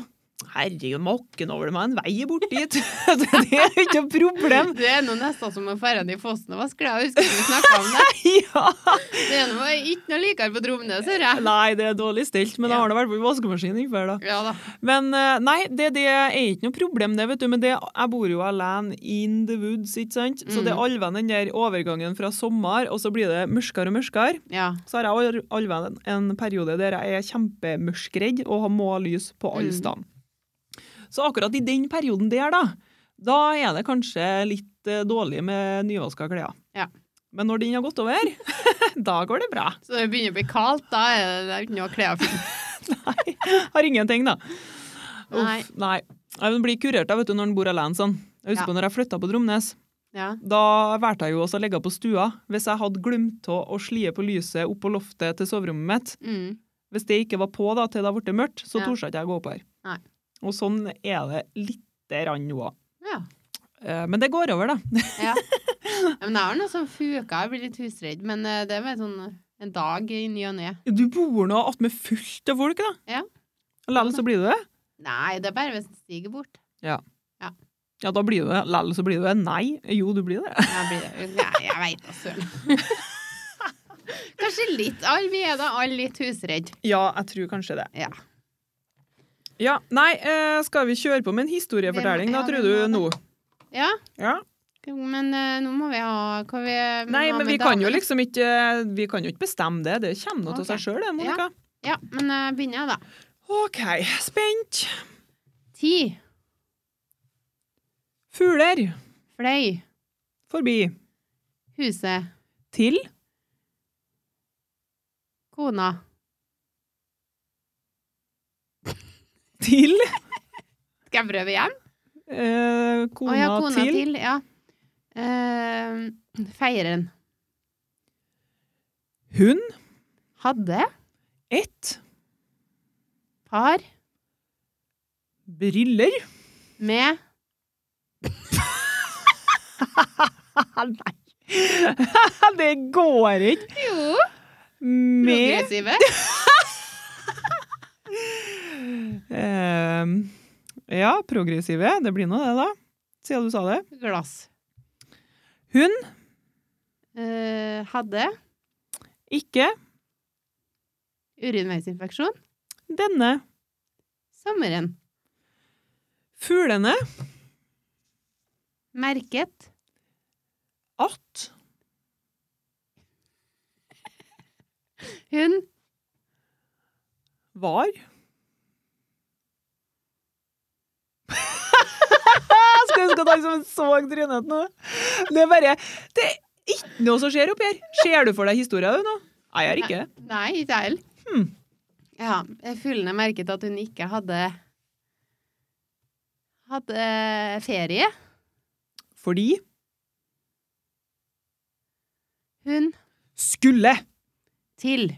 Speaker 2: Herregud, makken over det meg en vei bort dit! det er ikke noe problem!
Speaker 1: Det er nå nesten som å ferde i fossen og vaske klær. Jeg husker vi snakka om det.
Speaker 2: Ja.
Speaker 1: Det er noe, ikke noe likere på Dromnes, hører jeg.
Speaker 2: Nei, det er dårlig stelt, men jeg
Speaker 1: Ja.
Speaker 2: har nå i hvert fall vaskemaskin innenfor, da.
Speaker 1: Ja da.
Speaker 2: Men eh, nei, det, det er ikke noe problem, det, vet du. Men det, jeg bor jo alene in the woods, ikke sant? Så det er alven den der overgangen fra sommer, og så blir det mørkere og mørkere.
Speaker 1: Ja.
Speaker 2: Så har jeg al- alven en- en periode der jeg er kjempemørkredd og må ha lys på alle
Speaker 1: Mm.
Speaker 2: steder. Så akkurat i den perioden der, da, da er det kanskje litt eh, dårlig med nyvaska klær.
Speaker 1: Ja.
Speaker 2: Men når den har gått over, da går det bra.
Speaker 1: Så når det begynner å bli kaldt, da er det- det er ikke noe klær å finne.
Speaker 2: Nei, har ingenting, da.
Speaker 1: Nei.
Speaker 2: Uff, nei. Nei, men blir kurert da, vet du, når en bor alene sånn. Jeg
Speaker 1: Ja.
Speaker 2: husker når jeg flytta på Dromnes,
Speaker 1: Ja.
Speaker 2: da valgte jeg jo også å ligge på stua. Hvis jeg hadde glemt å å slie på lyset opp på loftet til soverommet mitt,
Speaker 1: Mm.
Speaker 2: hvis det ikke var på da, til det ble mørkt, så
Speaker 1: Ja.
Speaker 2: torde jeg ikke jeg gå opp her.
Speaker 1: Nei.
Speaker 2: Og sånn er det lite grann nå òg.
Speaker 1: ja.
Speaker 2: Men det går over, da.
Speaker 1: Ja. ja men jeg har noe sånn fuka, jeg blir litt husredd, men eh, det er bare sånn eh, en dag i ny og ne.
Speaker 2: Du bor nå attmed fullt av folk, da.
Speaker 1: Ja.
Speaker 2: Lell så blir du det.
Speaker 1: Nei, det er bare hvis den stiger bort.
Speaker 2: Ja, da blir du det. Lell så blir du det. Nei. Jo, du blir det.
Speaker 1: Jeg, blir, nei, jeg veit da søren. Kanskje litt. Alle vi er da alle litt husredd.
Speaker 2: Ja, jeg tror kanskje det.
Speaker 1: Ja.
Speaker 2: Ja, nei, eh, skal vi kjøre på med en historiefortelling da,
Speaker 1: Ja,
Speaker 2: tror
Speaker 1: vi
Speaker 2: du
Speaker 1: må det.
Speaker 2: nå?
Speaker 1: Ja,
Speaker 2: Ja.
Speaker 1: men eh, nå må vi ha hva vi
Speaker 2: Nei,
Speaker 1: hva med
Speaker 2: men vi kan jo
Speaker 1: damer?
Speaker 2: liksom ikke eh, Vi kan jo ikke bestemme det. Det kommer noe til
Speaker 1: Ok.
Speaker 2: seg sjøl, det, Monica.
Speaker 1: Ja, men eh, begynner jeg, da.
Speaker 2: OK, spent.
Speaker 1: Ti.
Speaker 2: Fugler
Speaker 1: Fløy.
Speaker 2: forbi.
Speaker 1: Huset.
Speaker 2: Til
Speaker 1: Kona.
Speaker 2: Til
Speaker 1: Skal jeg prøve igjen?
Speaker 2: eh, kona,
Speaker 1: Å ja, kona til.
Speaker 2: til.
Speaker 1: ja. Eh, feiren.
Speaker 2: Hun
Speaker 1: Hadde.
Speaker 2: ett
Speaker 1: Par.
Speaker 2: briller.
Speaker 1: Med.
Speaker 2: Nei! det går ikke.
Speaker 1: Jo.
Speaker 2: Med
Speaker 1: Progressive.
Speaker 2: eh, Ja, progressive. Det blir nå det, da. Siden du sa det.
Speaker 1: Glass.
Speaker 2: Hun
Speaker 1: Eh, hadde.
Speaker 2: ikke
Speaker 1: Urinveisinfeksjon.
Speaker 2: denne.
Speaker 1: Sommeren.
Speaker 2: Fuglene
Speaker 1: Merket.
Speaker 2: at
Speaker 1: Hun.
Speaker 2: var Jeg skulle ønske at han som så liksom trynet nå. Det er bare Det er ikke noe som skjer oppi her. Ser du for deg historien du nå? Nei, jeg gjør ikke det.
Speaker 1: Nei, ikke jeg heller.
Speaker 2: Hmm.
Speaker 1: Ja, fuglene merket at hun ikke hadde Hadde ferie.
Speaker 2: Fordi
Speaker 1: Hun
Speaker 2: skulle
Speaker 1: til.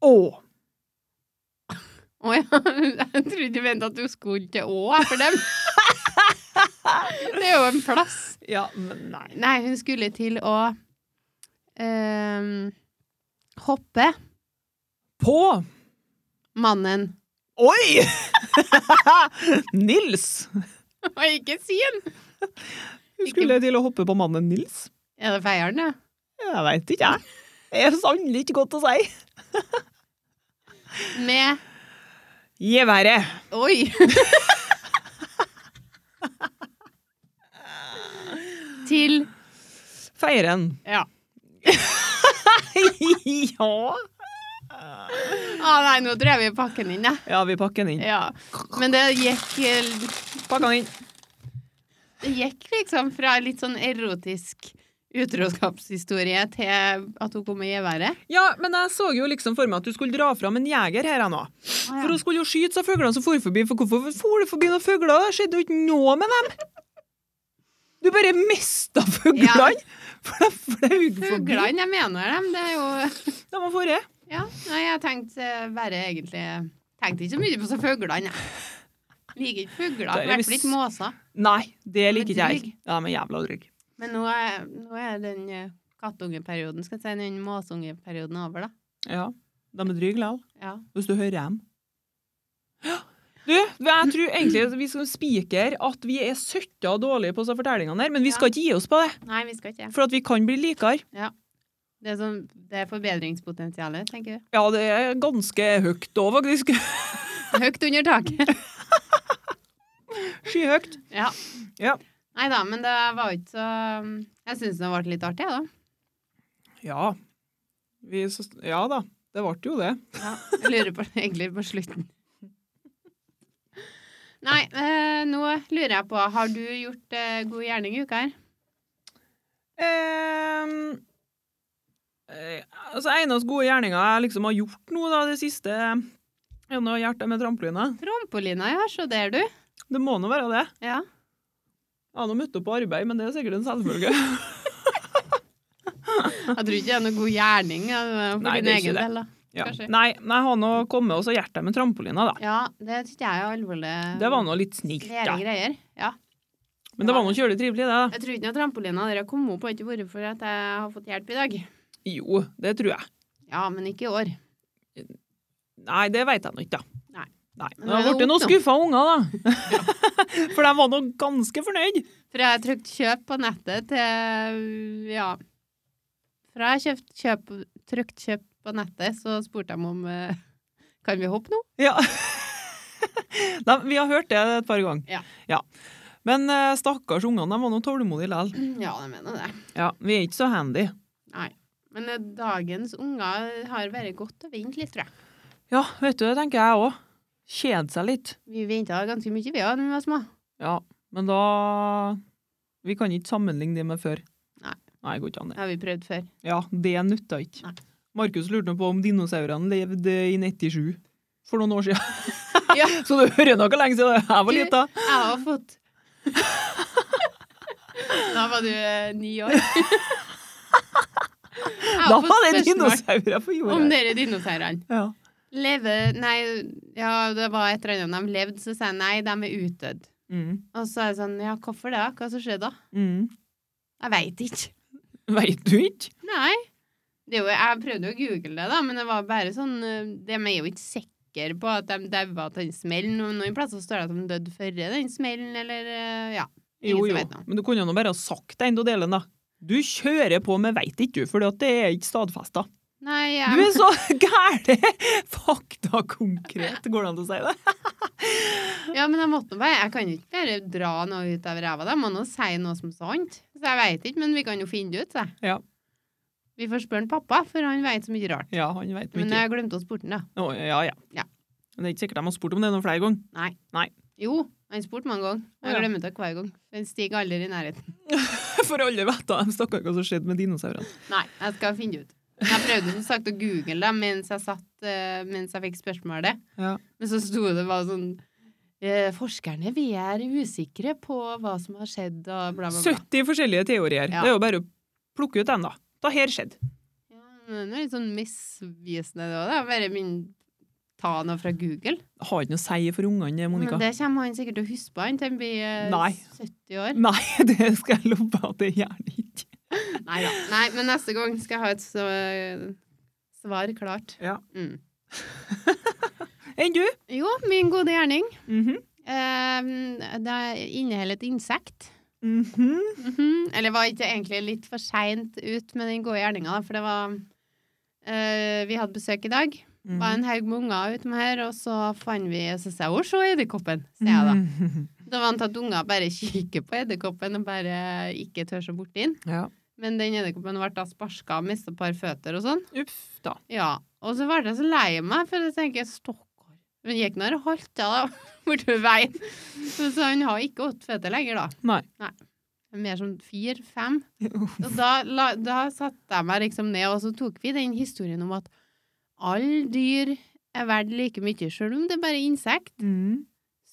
Speaker 2: å
Speaker 1: Å ja, jeg trodde du mente at du skulle til Å, jeg, for dem. Det er jo en plass.
Speaker 2: Ja, men nei.
Speaker 1: Nei, hun skulle til å ehm, hoppe.
Speaker 2: På
Speaker 1: Mannen.
Speaker 2: Oi! Nils.
Speaker 1: Og ikke sin!
Speaker 2: Hun skulle til å hoppe på mannen Nils.
Speaker 1: Er det feieren, ja?
Speaker 2: Jeg veit ikke, jeg. Det er sannelig ikke godt å si.
Speaker 1: Med
Speaker 2: Geværet.
Speaker 1: Oi! til
Speaker 2: Feiren.
Speaker 1: Ja.
Speaker 2: ja.
Speaker 1: ah, Nei, nå tror jeg vi pakker den inn, jeg.
Speaker 2: Ja, vi pakker den inn.
Speaker 1: Ja. Men det gikk eh,
Speaker 2: Pakker den inn.
Speaker 1: Det gikk liksom fra litt sånn erotisk utroskapshistorie til at hun kom med geværet.
Speaker 2: Ja, men jeg så jo liksom for meg at du skulle dra fram en jeger her jeg nå. For hun skulle jo skyte seg fuglene som for forbi, for hvorfor for det forbi noen fugler? Det skjedde jo ikke noe med dem! Du bare mista fuglene! For de fløy forbi.
Speaker 1: Fuglene, jeg mener dem. Det er jo
Speaker 2: De var forrige.
Speaker 1: Ja, nei, jeg tenkte eh, bare egentlig Tenkte ikke så mye på så fuglene, jeg. Liker ikke fugler.
Speaker 2: Da
Speaker 1: I
Speaker 2: er det
Speaker 1: hvert fall
Speaker 2: s-
Speaker 1: ikke måser.
Speaker 2: Nei, det liker
Speaker 1: Men
Speaker 2: ikke jeg.
Speaker 1: dryg.
Speaker 2: Ja, men jævla drygg.
Speaker 1: Men nå er, nå er den eh, kattungeperioden, skal jeg si, den måsungeperioden over, da.
Speaker 2: Ja, de er drygge likevel.
Speaker 1: Ja.
Speaker 2: Hvis du hører dem. Du, jeg tror egentlig at vi skal spikre at vi er søtta dårlige på disse fortellingene her, men vi skal ikke gi oss på det,
Speaker 1: Nei, vi skal ikke.
Speaker 2: for at vi kan bli likere.
Speaker 1: Det er, sånn, det er forbedringspotensialet, tenker du.
Speaker 2: Ja, det er ganske høyt òg, faktisk.
Speaker 1: Høyt under taket.
Speaker 2: Skyhøyt.
Speaker 1: ja.
Speaker 2: Ja.
Speaker 1: Nei da, men det var jo ikke så Jeg syns det ble litt artig, jeg, da.
Speaker 2: Ja. Vi, s- ja da, det ble jo det.
Speaker 1: Ja. Jeg lurer på, egentlig på slutten. Nei, eh, nå lurer jeg på Har du gjort eh, god gjerning i uka her?
Speaker 2: Ehm, eh, altså, eneste gode gjerninga jeg liksom har gjort nå da, det siste, er nå hjertet med trampoline.
Speaker 1: Trampolina, ja. Se der, du.
Speaker 2: Det må nå være det.
Speaker 1: Ja.
Speaker 2: Jeg har nå møtt opp på arbeid, men det er sikkert en selvfølge.
Speaker 1: Jeg tror ikke det er noe god gjerning ja, det er for
Speaker 2: Nei,
Speaker 1: din
Speaker 2: det er ikke
Speaker 1: egen
Speaker 2: det.
Speaker 1: del. da.
Speaker 2: Ja.
Speaker 1: Kanskje.
Speaker 2: Nei, men jeg har nå kommet også hjertet med trampolina, da.
Speaker 1: Ja, det syns jeg er alvorlig.
Speaker 2: Det var nå litt snilt,
Speaker 1: Rare
Speaker 2: da.
Speaker 1: greier. Ja.
Speaker 2: Men det var nå kjølig trivelig, det. da.
Speaker 1: Jeg tror ikke noe trampolina dere har kommet opp, har ikke vært for at jeg har fått hjelp i dag.
Speaker 2: Jo, det tror jeg.
Speaker 1: Ja, men ikke i år.
Speaker 2: Nei, det veit jeg nå ikke, da.
Speaker 1: Nei.
Speaker 2: Nei.
Speaker 1: Men
Speaker 2: Men jeg
Speaker 1: nå er
Speaker 2: har
Speaker 1: det
Speaker 2: blitt noen
Speaker 1: opp,
Speaker 2: skuffa unger, da. For de var nå ganske fornøyd.
Speaker 1: For jeg har trykt kjøp på nettet til Ja. Fra jeg kjøpt kjøp, trykt kjøp på nettet, så spurte de om eh, Kan vi hoppe nå?
Speaker 2: Ja. Nei, vi har hørt det et par ganger.
Speaker 1: Ja.
Speaker 2: Men eh, stakkars ungene, de var nå tålmodige likevel.
Speaker 1: Ja, de mener det.
Speaker 2: Ja, vi er ikke så handy.
Speaker 1: Men eh, dagens unger har bare godt å vente litt, tror jeg.
Speaker 2: Ja, vet du, det tenker jeg òg. Kjede seg litt.
Speaker 1: Vi venta ganske mye, vi òg, da vi var små.
Speaker 2: Ja, men da Vi kan ikke sammenligne det med før.
Speaker 1: Nei.
Speaker 2: Nei, går ikke an, det.
Speaker 1: Det har vi prøvd før.
Speaker 2: Ja, det nytta ikke.
Speaker 1: Nei.
Speaker 2: Markus lurte nå på om dinosaurene levde i 97 for noen år siden.
Speaker 1: Ja.
Speaker 2: Så du hører noe lenge siden jeg var
Speaker 1: Du-
Speaker 2: lita.
Speaker 1: Jeg har fått Da var du eh, ni år. Jeg har
Speaker 2: Da
Speaker 1: fått
Speaker 2: var det
Speaker 1: spørsmål
Speaker 2: dinosaurer på
Speaker 1: Om
Speaker 2: jorda.
Speaker 1: dere dinosaurene.
Speaker 2: Ja.
Speaker 1: Leve Nei, ja, det var et eller annet de levde, så sa jeg nei, de er utdødd.
Speaker 2: Mm.
Speaker 1: Og så er det sånn, ja, hvorfor det? Hva som skjedde da?
Speaker 2: Mm.
Speaker 1: Jeg veit ikke.
Speaker 2: Veit du ikke?
Speaker 1: Nei. Det er jo, jeg prøvde jo å google det, da, men det var bare sånn eh, De er jo ikke sikre på at de daua av den smellen. Noen- Noen plasser står det at de døde før den smellen, eller eh, Ja. Ingen
Speaker 2: Jo,
Speaker 1: som
Speaker 2: jo.
Speaker 1: vet noe.
Speaker 2: Men du kunne jo nå bare ha sagt det enda delen, da. Du kjører på med veit ikke, du, for det er ikke stadfesta.
Speaker 1: Nei, jeg
Speaker 2: Du er så gæren! Faktakonkret, går det an å si det?
Speaker 1: Ja, men jeg måtte nå bare Jeg kan jo ikke bare dra noe ut av ræva. da. Jeg må nå si noe som er sant. Så jeg veit ikke, men vi kan jo finne det ut, sa jeg.
Speaker 2: Ja.
Speaker 1: Vi får spørre en pappa, for han veit så mye rart.
Speaker 2: Ja, han veit
Speaker 1: Men
Speaker 2: mye.
Speaker 1: jeg glemte å spørre han, da.
Speaker 2: Å, Ja, ja.
Speaker 1: Ja.
Speaker 2: Men Det er ikke sikkert de har spurt om det noen flere ganger.
Speaker 1: Jo, han spurte mange ganger.
Speaker 2: Ja.
Speaker 1: Jeg glemmer det hver gang. Den stiger aldri i nærheten.
Speaker 2: For alle vet da, de stakkar hva som skjedde med dinosaurene.
Speaker 1: Nei, jeg skal finne det ut. Men Jeg prøvde som sagt å google det mens jeg satt, eh, mens jeg fikk spørsmålet.
Speaker 2: Ja.
Speaker 1: Men så sto det bare sånn eh, Forskerne, vi er usikre på hva som har skjedd, og bla, bla, bla.
Speaker 2: 70 forskjellige teorier.
Speaker 1: Ja.
Speaker 2: Det er jo bare å plukke ut dem, da. Da her skjedde.
Speaker 1: Ja, men det er litt sånn misvisende det òg, da. Bare min ta noe fra Google.
Speaker 2: Har ikke noe å si for ungene, Monica.
Speaker 1: Men det kommer han sikkert til å huske på han til han blir eh,
Speaker 2: Nei.
Speaker 1: 70 år.
Speaker 2: Nei, det skal jeg love at det gjerne ikke.
Speaker 1: Nei, da. Nei, men neste gang skal jeg ha et så, svar klart.
Speaker 2: Ja.
Speaker 1: Mm.
Speaker 2: Enn du?
Speaker 1: Jo, min gode gjerning.
Speaker 2: Mhm.
Speaker 1: Eh, det inneholder et insekt.
Speaker 2: Mhm.
Speaker 1: Mhm. Eller var ikke egentlig litt for seint ut med den gode gjerninga, da, for det var eh, Vi hadde besøk i dag. Det
Speaker 2: Mhm.
Speaker 1: var en haug med unger utom her, og så fant vi Så sa jeg 'Å, se edderkoppen', sier jeg da.
Speaker 2: Mhm.
Speaker 1: Da var han tatt unger bare kikker på edderkoppen og bare ikke tør seg borti den.
Speaker 2: Ja.
Speaker 1: Men den edderkoppen ble da sparka og mista et par føtter og sånn.
Speaker 2: Uff, da.
Speaker 1: Ja. Og så ble jeg så lei meg, for jeg tenker Stokkar. Men gikk nå og halta da, bortover veien. Så, så han har ikke åtte føtter lenger, da.
Speaker 2: Nei.
Speaker 1: Mer som fire-fem. Og da, la, da satte jeg meg liksom ned, og så tok vi den historien om at alle dyr er verdt like mye, sjøl om det er bare er insekt
Speaker 2: Mm.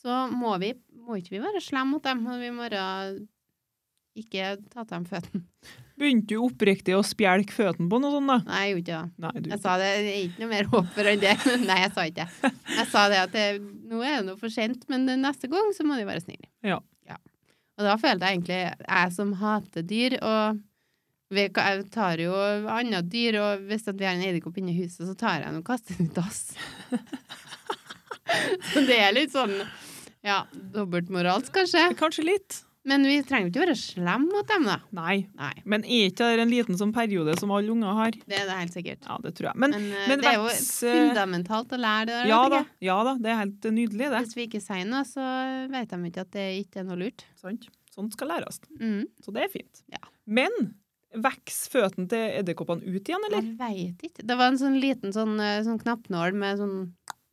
Speaker 1: så må vi må ikke vi være slemme mot dem, og vi må da ikke ta til dem føttene.
Speaker 2: Begynte du oppriktig å spjelke føttene på noe sånt, da?
Speaker 1: Nei, jeg gjorde ikke det.
Speaker 2: Nei, du.
Speaker 1: Jeg sa det, det er ikke noe mer håp for enn det. Men Nei, jeg sa ikke det. Jeg sa det at det, nå er det noe for sent, men neste gang så må de være snille.
Speaker 2: Ja.
Speaker 1: Og da følte jeg egentlig, jeg som hater dyr, og vi, jeg tar jo andre dyr, og hvis at vi har en edderkopp inne i huset, så tar jeg den og kaster den i dass. Så det er litt sånn ja, dobbeltmoralsk, kanskje.
Speaker 2: Kanskje litt.
Speaker 1: Men vi trenger ikke være slemme mot dem, da.
Speaker 2: Nei.
Speaker 1: Nei,
Speaker 2: Men er ikke det en liten sånn periode som alle unger har?
Speaker 1: det er det helt sikkert.
Speaker 2: Ja, det tror jeg. Men,
Speaker 1: Men, eh,
Speaker 2: men
Speaker 1: det er jo
Speaker 2: veks, eh,
Speaker 1: fundamentalt å lære det der.
Speaker 2: ja
Speaker 1: vet
Speaker 2: da,
Speaker 1: ikke.
Speaker 2: ja da, det er helt nydelig, det.
Speaker 1: Hvis vi ikke sier noe, så vet de ikke at det ikke er noe lurt.
Speaker 2: Sant? Sånt skal læres.
Speaker 1: Mm.
Speaker 2: Så det er fint.
Speaker 1: Ja.
Speaker 2: Men vokser føttene til edderkoppene ut igjen, eller?
Speaker 1: Jeg veit ikke. Det var en sånn liten sånn, eh, sånn knappnål med sånn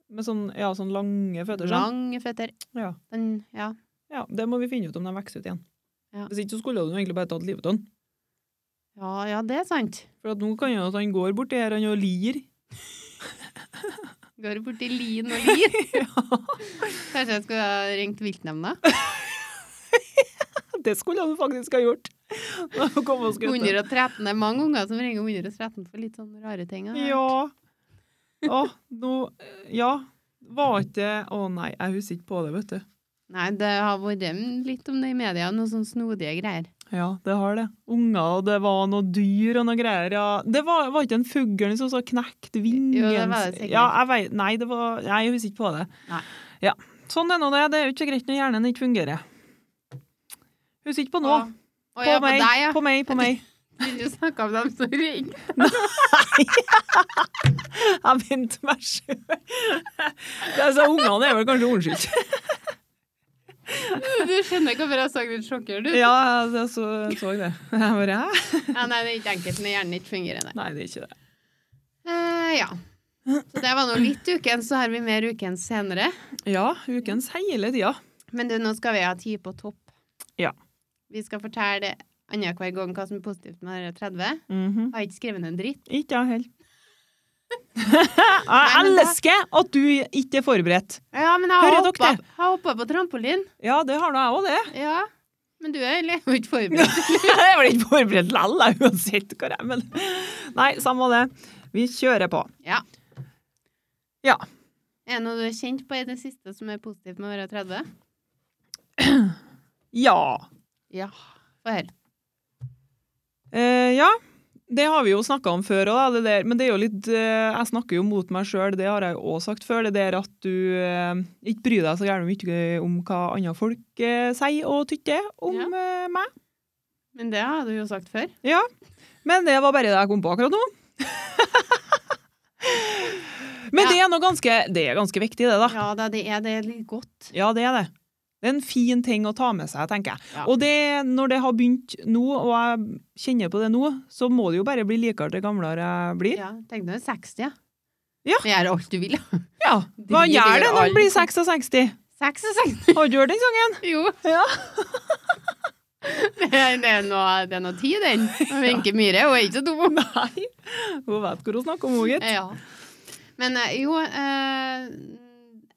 Speaker 2: Med sånn, ja, sånn lange føtter? Sånn.
Speaker 1: lange føtter.
Speaker 2: Ja.
Speaker 1: Den, ja.
Speaker 2: ja, Det må vi finne ut om de vokser ut igjen.
Speaker 1: Ja.
Speaker 2: Hvis ikke så skulle du egentlig bare tatt livet av den.
Speaker 1: Ja, ja, det er sant.
Speaker 2: For at nå kan jo at han går borti her han og lir.
Speaker 1: Går borti lin og lir.
Speaker 2: Ja.
Speaker 1: Kanskje jeg skulle ha ringt viltnemnda?
Speaker 2: Det skulle han faktisk ha gjort! Når han kom og skulle-
Speaker 1: 113. Det er mange unger som ringer 113 for litt sånne rare ting. har jeg hørt.
Speaker 2: Ja. Å, nå Ja. Var ikke Å nei, jeg husker ikke på det, vet du.
Speaker 1: Nei, det har vært litt om det i media, noen sånne snodige greier.
Speaker 2: Ja, det har det. Unger, og det var noe dyr og noe greier. Ja. Det var, var ikke en fugl liksom, som så knekt vingen
Speaker 1: Jo, det var det sikkert.
Speaker 2: Ja, jeg vet, nei, det var, nei, jeg husker ikke på det.
Speaker 1: Nei.
Speaker 2: Ja. Sånn er nå det. Det er jo ikke greit når hjernen ikke fungerer. Husker ikke på nå.
Speaker 1: Å ja, på
Speaker 2: meg,
Speaker 1: deg, ja.
Speaker 2: på meg, på meg.
Speaker 1: Vil du snakke om dem som ringer?
Speaker 2: Jeg begynte meg sjøl. Altså, ungene er vel kanskje ondskyldt.
Speaker 1: Du skjønner hvorfor jeg så litt sjokkert ut?
Speaker 2: Ja, jeg så, så det. Jeg bare, hæ?
Speaker 1: Ja, nei, det er ikke enkelt når hjernen ikke fungerer. Nei.
Speaker 2: Nei, det er ikke det.
Speaker 1: Eh, ja. Så det var nå litt ukens, så har vi mer ukens senere.
Speaker 2: Ja, ukens hele tida.
Speaker 1: Men du, nå skal vi ha tid på topp.
Speaker 2: Ja.
Speaker 1: Vi skal fortelle annenhver gang hva som er positivt med dere 30.
Speaker 2: Mhm.
Speaker 1: Har ikke skrevet en dritt.
Speaker 2: Ikke jeg heller.
Speaker 1: Nei,
Speaker 2: jeg
Speaker 1: men da-
Speaker 2: elsker at du ikke er forberedt.
Speaker 1: Ja, men
Speaker 2: har
Speaker 1: jeg har
Speaker 2: hoppet-
Speaker 1: hoppet, på trampolin.
Speaker 2: Ja, det har nå jeg òg, det.
Speaker 1: Ja. Men du er jo ikke forberedt.
Speaker 2: Jeg blir ikke forberedt likevel, jeg, uansett hva det er. Men nei, samme det. Vi kjører på.
Speaker 1: Ja.
Speaker 2: Ja.
Speaker 1: Er det noe du er kjent på i det siste som er positivt med å være 30?
Speaker 2: Ja.
Speaker 1: Ja. Få høre.
Speaker 2: Eh, ja. Det har vi jo snakka om før òg, det der. Men det er jo litt eh, Jeg snakker jo mot meg sjøl, det har jeg jo òg sagt før. Det der at du eh, ikke bryr deg så gjerne mye om hva andre folk eh, sier og tykker om
Speaker 1: Ja.
Speaker 2: eh, meg.
Speaker 1: Men det har du jo sagt før.
Speaker 2: Ja, men det var bare det jeg kom på akkurat nå. men det er noe ganske, det er ganske viktig, det da.
Speaker 1: Ja da, det er det er litt godt.
Speaker 2: Ja, det er det. Det er en fin ting å ta med seg, tenker jeg.
Speaker 1: Ja.
Speaker 2: Og det, når det har begynt nå, og jeg kjenner på det nå, så må det jo bare bli likere til gamlere jeg blir.
Speaker 1: Ja, Tenk deg 60, ja.
Speaker 2: Ja.
Speaker 1: Men gjør alt du vil, da.
Speaker 2: Ja, hva
Speaker 1: Det gjør
Speaker 2: gjør det når
Speaker 1: alt.
Speaker 2: en blir 66?
Speaker 1: 66.
Speaker 2: Har du hørt den sangen?
Speaker 1: Jo.
Speaker 2: Ja.
Speaker 1: Det er, det er noe, det er noe tid, den. Og Wenche Myhre hun er ikke så dum.
Speaker 2: Nei. Hun vet hvor hun snakker om, hun, gitt.
Speaker 1: Ja. Men eh, jo eh,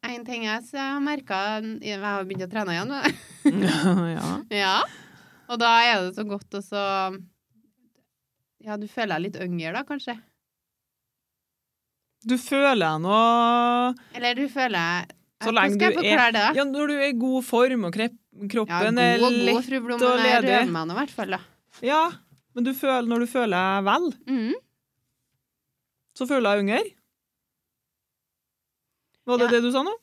Speaker 1: En ting jeg s- har merka Jeg har begynt å trene igjen. da.
Speaker 2: ja.
Speaker 1: Ja. Og da er det så godt å så Ja, du føler deg litt yngre da, kanskje?
Speaker 2: Du føler noe
Speaker 1: Eller du føler deg
Speaker 2: Så
Speaker 1: Hvordan
Speaker 2: lenge
Speaker 1: skal jeg
Speaker 2: du er-
Speaker 1: forklare det? da?
Speaker 2: Ja, når du er i god form, og krep,
Speaker 1: Ja,
Speaker 2: kroppen
Speaker 1: god
Speaker 2: er
Speaker 1: og god,
Speaker 2: lett
Speaker 1: fru Blom.
Speaker 2: og
Speaker 1: Jeg
Speaker 2: ledig.
Speaker 1: røver meg nå, i hvert fall. da.
Speaker 2: Ja, men du føler, når du føler deg vel,
Speaker 1: Mm.
Speaker 2: så føler jeg unger. Var det
Speaker 1: Ja.
Speaker 2: det du sa nå?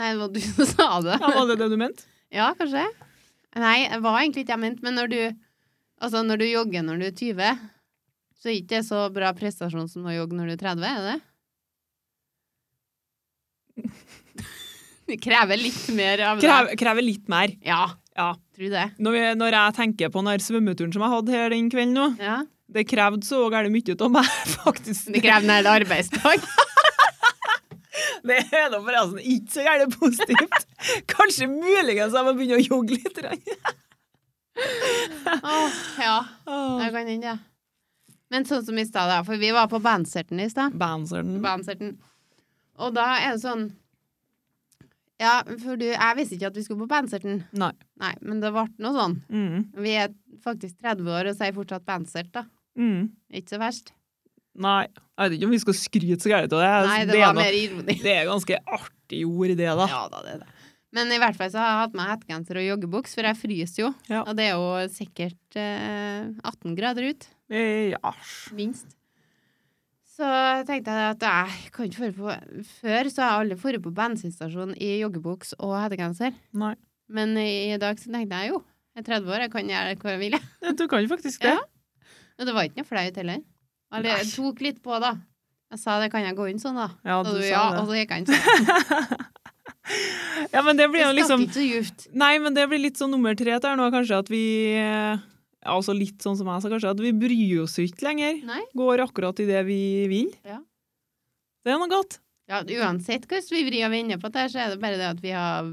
Speaker 1: Nei, det var du som sa det.
Speaker 2: Ja, var det det du mente?
Speaker 1: Ja, kanskje. Nei, det var egentlig ikke jeg mente, men når du, altså når du jogger når du er 20, så er ikke det så bra prestasjon som å jogge når du er 30, er det? Det krever litt mer av
Speaker 2: Krever, krever litt mer.
Speaker 1: deg. Ja,
Speaker 2: Ja.
Speaker 1: tror det.
Speaker 2: Når jeg, når jeg tenker på den her svømmeturen som jeg hadde her den kvelden nå,
Speaker 1: Ja.
Speaker 2: det krevde så gærent mye av meg, faktisk.
Speaker 1: Det krever en hel arbeidsdag.
Speaker 2: Det er da forresten ikke så gærent positivt. Kanskje muligens jeg må begynne å jogge litt. grann.
Speaker 1: Åh, ja,
Speaker 2: Åh.
Speaker 1: det kan hende, ja. Men sånn som i stad, da, for vi var på bandserten i stad.
Speaker 2: Banserten.
Speaker 1: Bandserten. Og da er det sånn Ja, for du, jeg visste ikke at vi skulle på bandserten.
Speaker 2: Nei.
Speaker 1: Nei, men det ble noe sånn.
Speaker 2: Mm.
Speaker 1: Vi er faktisk 30 år og sier fortsatt Bansert, da.
Speaker 2: Mm.
Speaker 1: Ikke så verst.
Speaker 2: Nei. Jeg vet ikke om vi skal skryte så gærent av det.
Speaker 1: Nei, det
Speaker 2: er
Speaker 1: var
Speaker 2: noe-
Speaker 1: mer ironi.
Speaker 2: Det er ganske artig ord, det, da.
Speaker 1: Ja da, det er det. Men i hvert fall så har jeg hatt meg hettegenser og joggebuks, for jeg fryser jo.
Speaker 2: Ja.
Speaker 1: Og det er jo sikkert eh, 18 grader ut.
Speaker 2: Eh, Ja.
Speaker 1: Minst. Så Så tenkte jeg at jeg kan ikke føre på Før så har jeg aldri vært på bensinstasjon i joggebuks og hettegenser.
Speaker 2: Nei.
Speaker 1: Men i dag så tenkte jeg jo, jeg er 30 år, jeg kan gjøre hva jeg vil. jeg.
Speaker 2: Eh, Du kan jo faktisk det.
Speaker 1: Ja. Og det var ikke noe flaut heller. Eller jeg
Speaker 2: Nei.
Speaker 1: tok litt på, da. Jeg sa det, kan jeg gå inn sånn, da?
Speaker 2: Ja,
Speaker 1: Og
Speaker 2: du
Speaker 1: du,
Speaker 2: sa
Speaker 1: ja,
Speaker 2: det.
Speaker 1: og så gikk jeg inn sånn.
Speaker 2: Ja, men det
Speaker 1: Det
Speaker 2: blir jo
Speaker 1: stakk
Speaker 2: liksom
Speaker 1: ikke så djupt.
Speaker 2: Nei, men det blir litt sånn nummer tre der nå, kanskje, at vi eh, Altså litt sånn som jeg sa, kanskje, at vi bryr oss ikke lenger.
Speaker 1: Nei.
Speaker 2: Går akkurat i det vi vil.
Speaker 1: Ja.
Speaker 2: Det er noe godt.
Speaker 1: Ja, uansett hvordan vi vrir og vender på det, her, så er det bare det at vi har,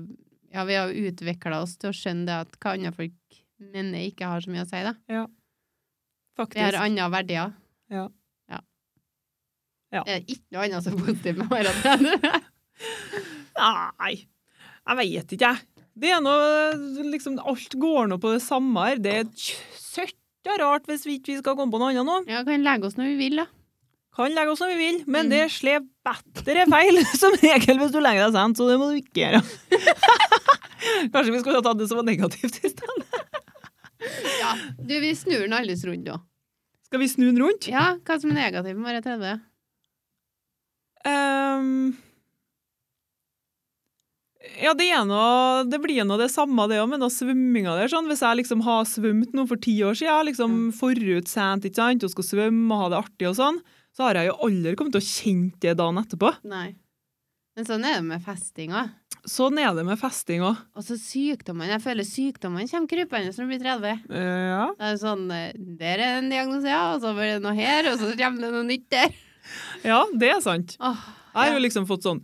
Speaker 1: ja, vi har utvikla oss til å skjønne det at hva andre folk mener, ikke har så mye å si, da. Vi har
Speaker 2: Faktisk.
Speaker 1: andre verdier.
Speaker 2: Ja.
Speaker 1: Ja.
Speaker 2: Ja.
Speaker 1: Det er ikke noe annet som er positivt med å være trener.
Speaker 2: Nei, jeg vet ikke, jeg. Det er noe liksom Alt går nå på det samme her. Det er tj- søtt og rart hvis vi ikke skal komme på noe annet nå.
Speaker 1: Ja, kan legge oss når vi vil, da.
Speaker 2: Kan legge oss når vi vil, men
Speaker 1: Mm.
Speaker 2: det slår bedre feil som regel hvis du legger deg sent, så det må du ikke gjøre. Kanskje vi skulle ha tatt det som var negativt i stedet.
Speaker 1: Ja. Du, vi snur den alles rundt nå.
Speaker 2: Skal vi snu den rundt?
Speaker 1: Ja, hva som er negativt med å være 30?
Speaker 2: Ehm, ja, det, er noe, det blir nå det samme det òg, med noe svømminga der. Sånn. Hvis jeg liksom har svømt nå for ti år siden, liksom forut sent, ikke sant, og skal svømme og ha det artig og sånn, så har jeg jo aldri kommet til å kjenne det dagen etterpå.
Speaker 1: Nei. Men sånn er det med festinga.
Speaker 2: Sånn er det med festing òg.
Speaker 1: Og så sykdommene. Jeg føler sykdommene kommer krypende når du blir 30.
Speaker 2: Eh, ja.
Speaker 1: Det er sånn, eh, Der er en diagnose, ja, og så blir det noe her, og så kommer det noe nytt der.
Speaker 2: ja, det er sant.
Speaker 1: Åh,
Speaker 2: Jeg har jo
Speaker 1: ja.
Speaker 2: liksom fått sånn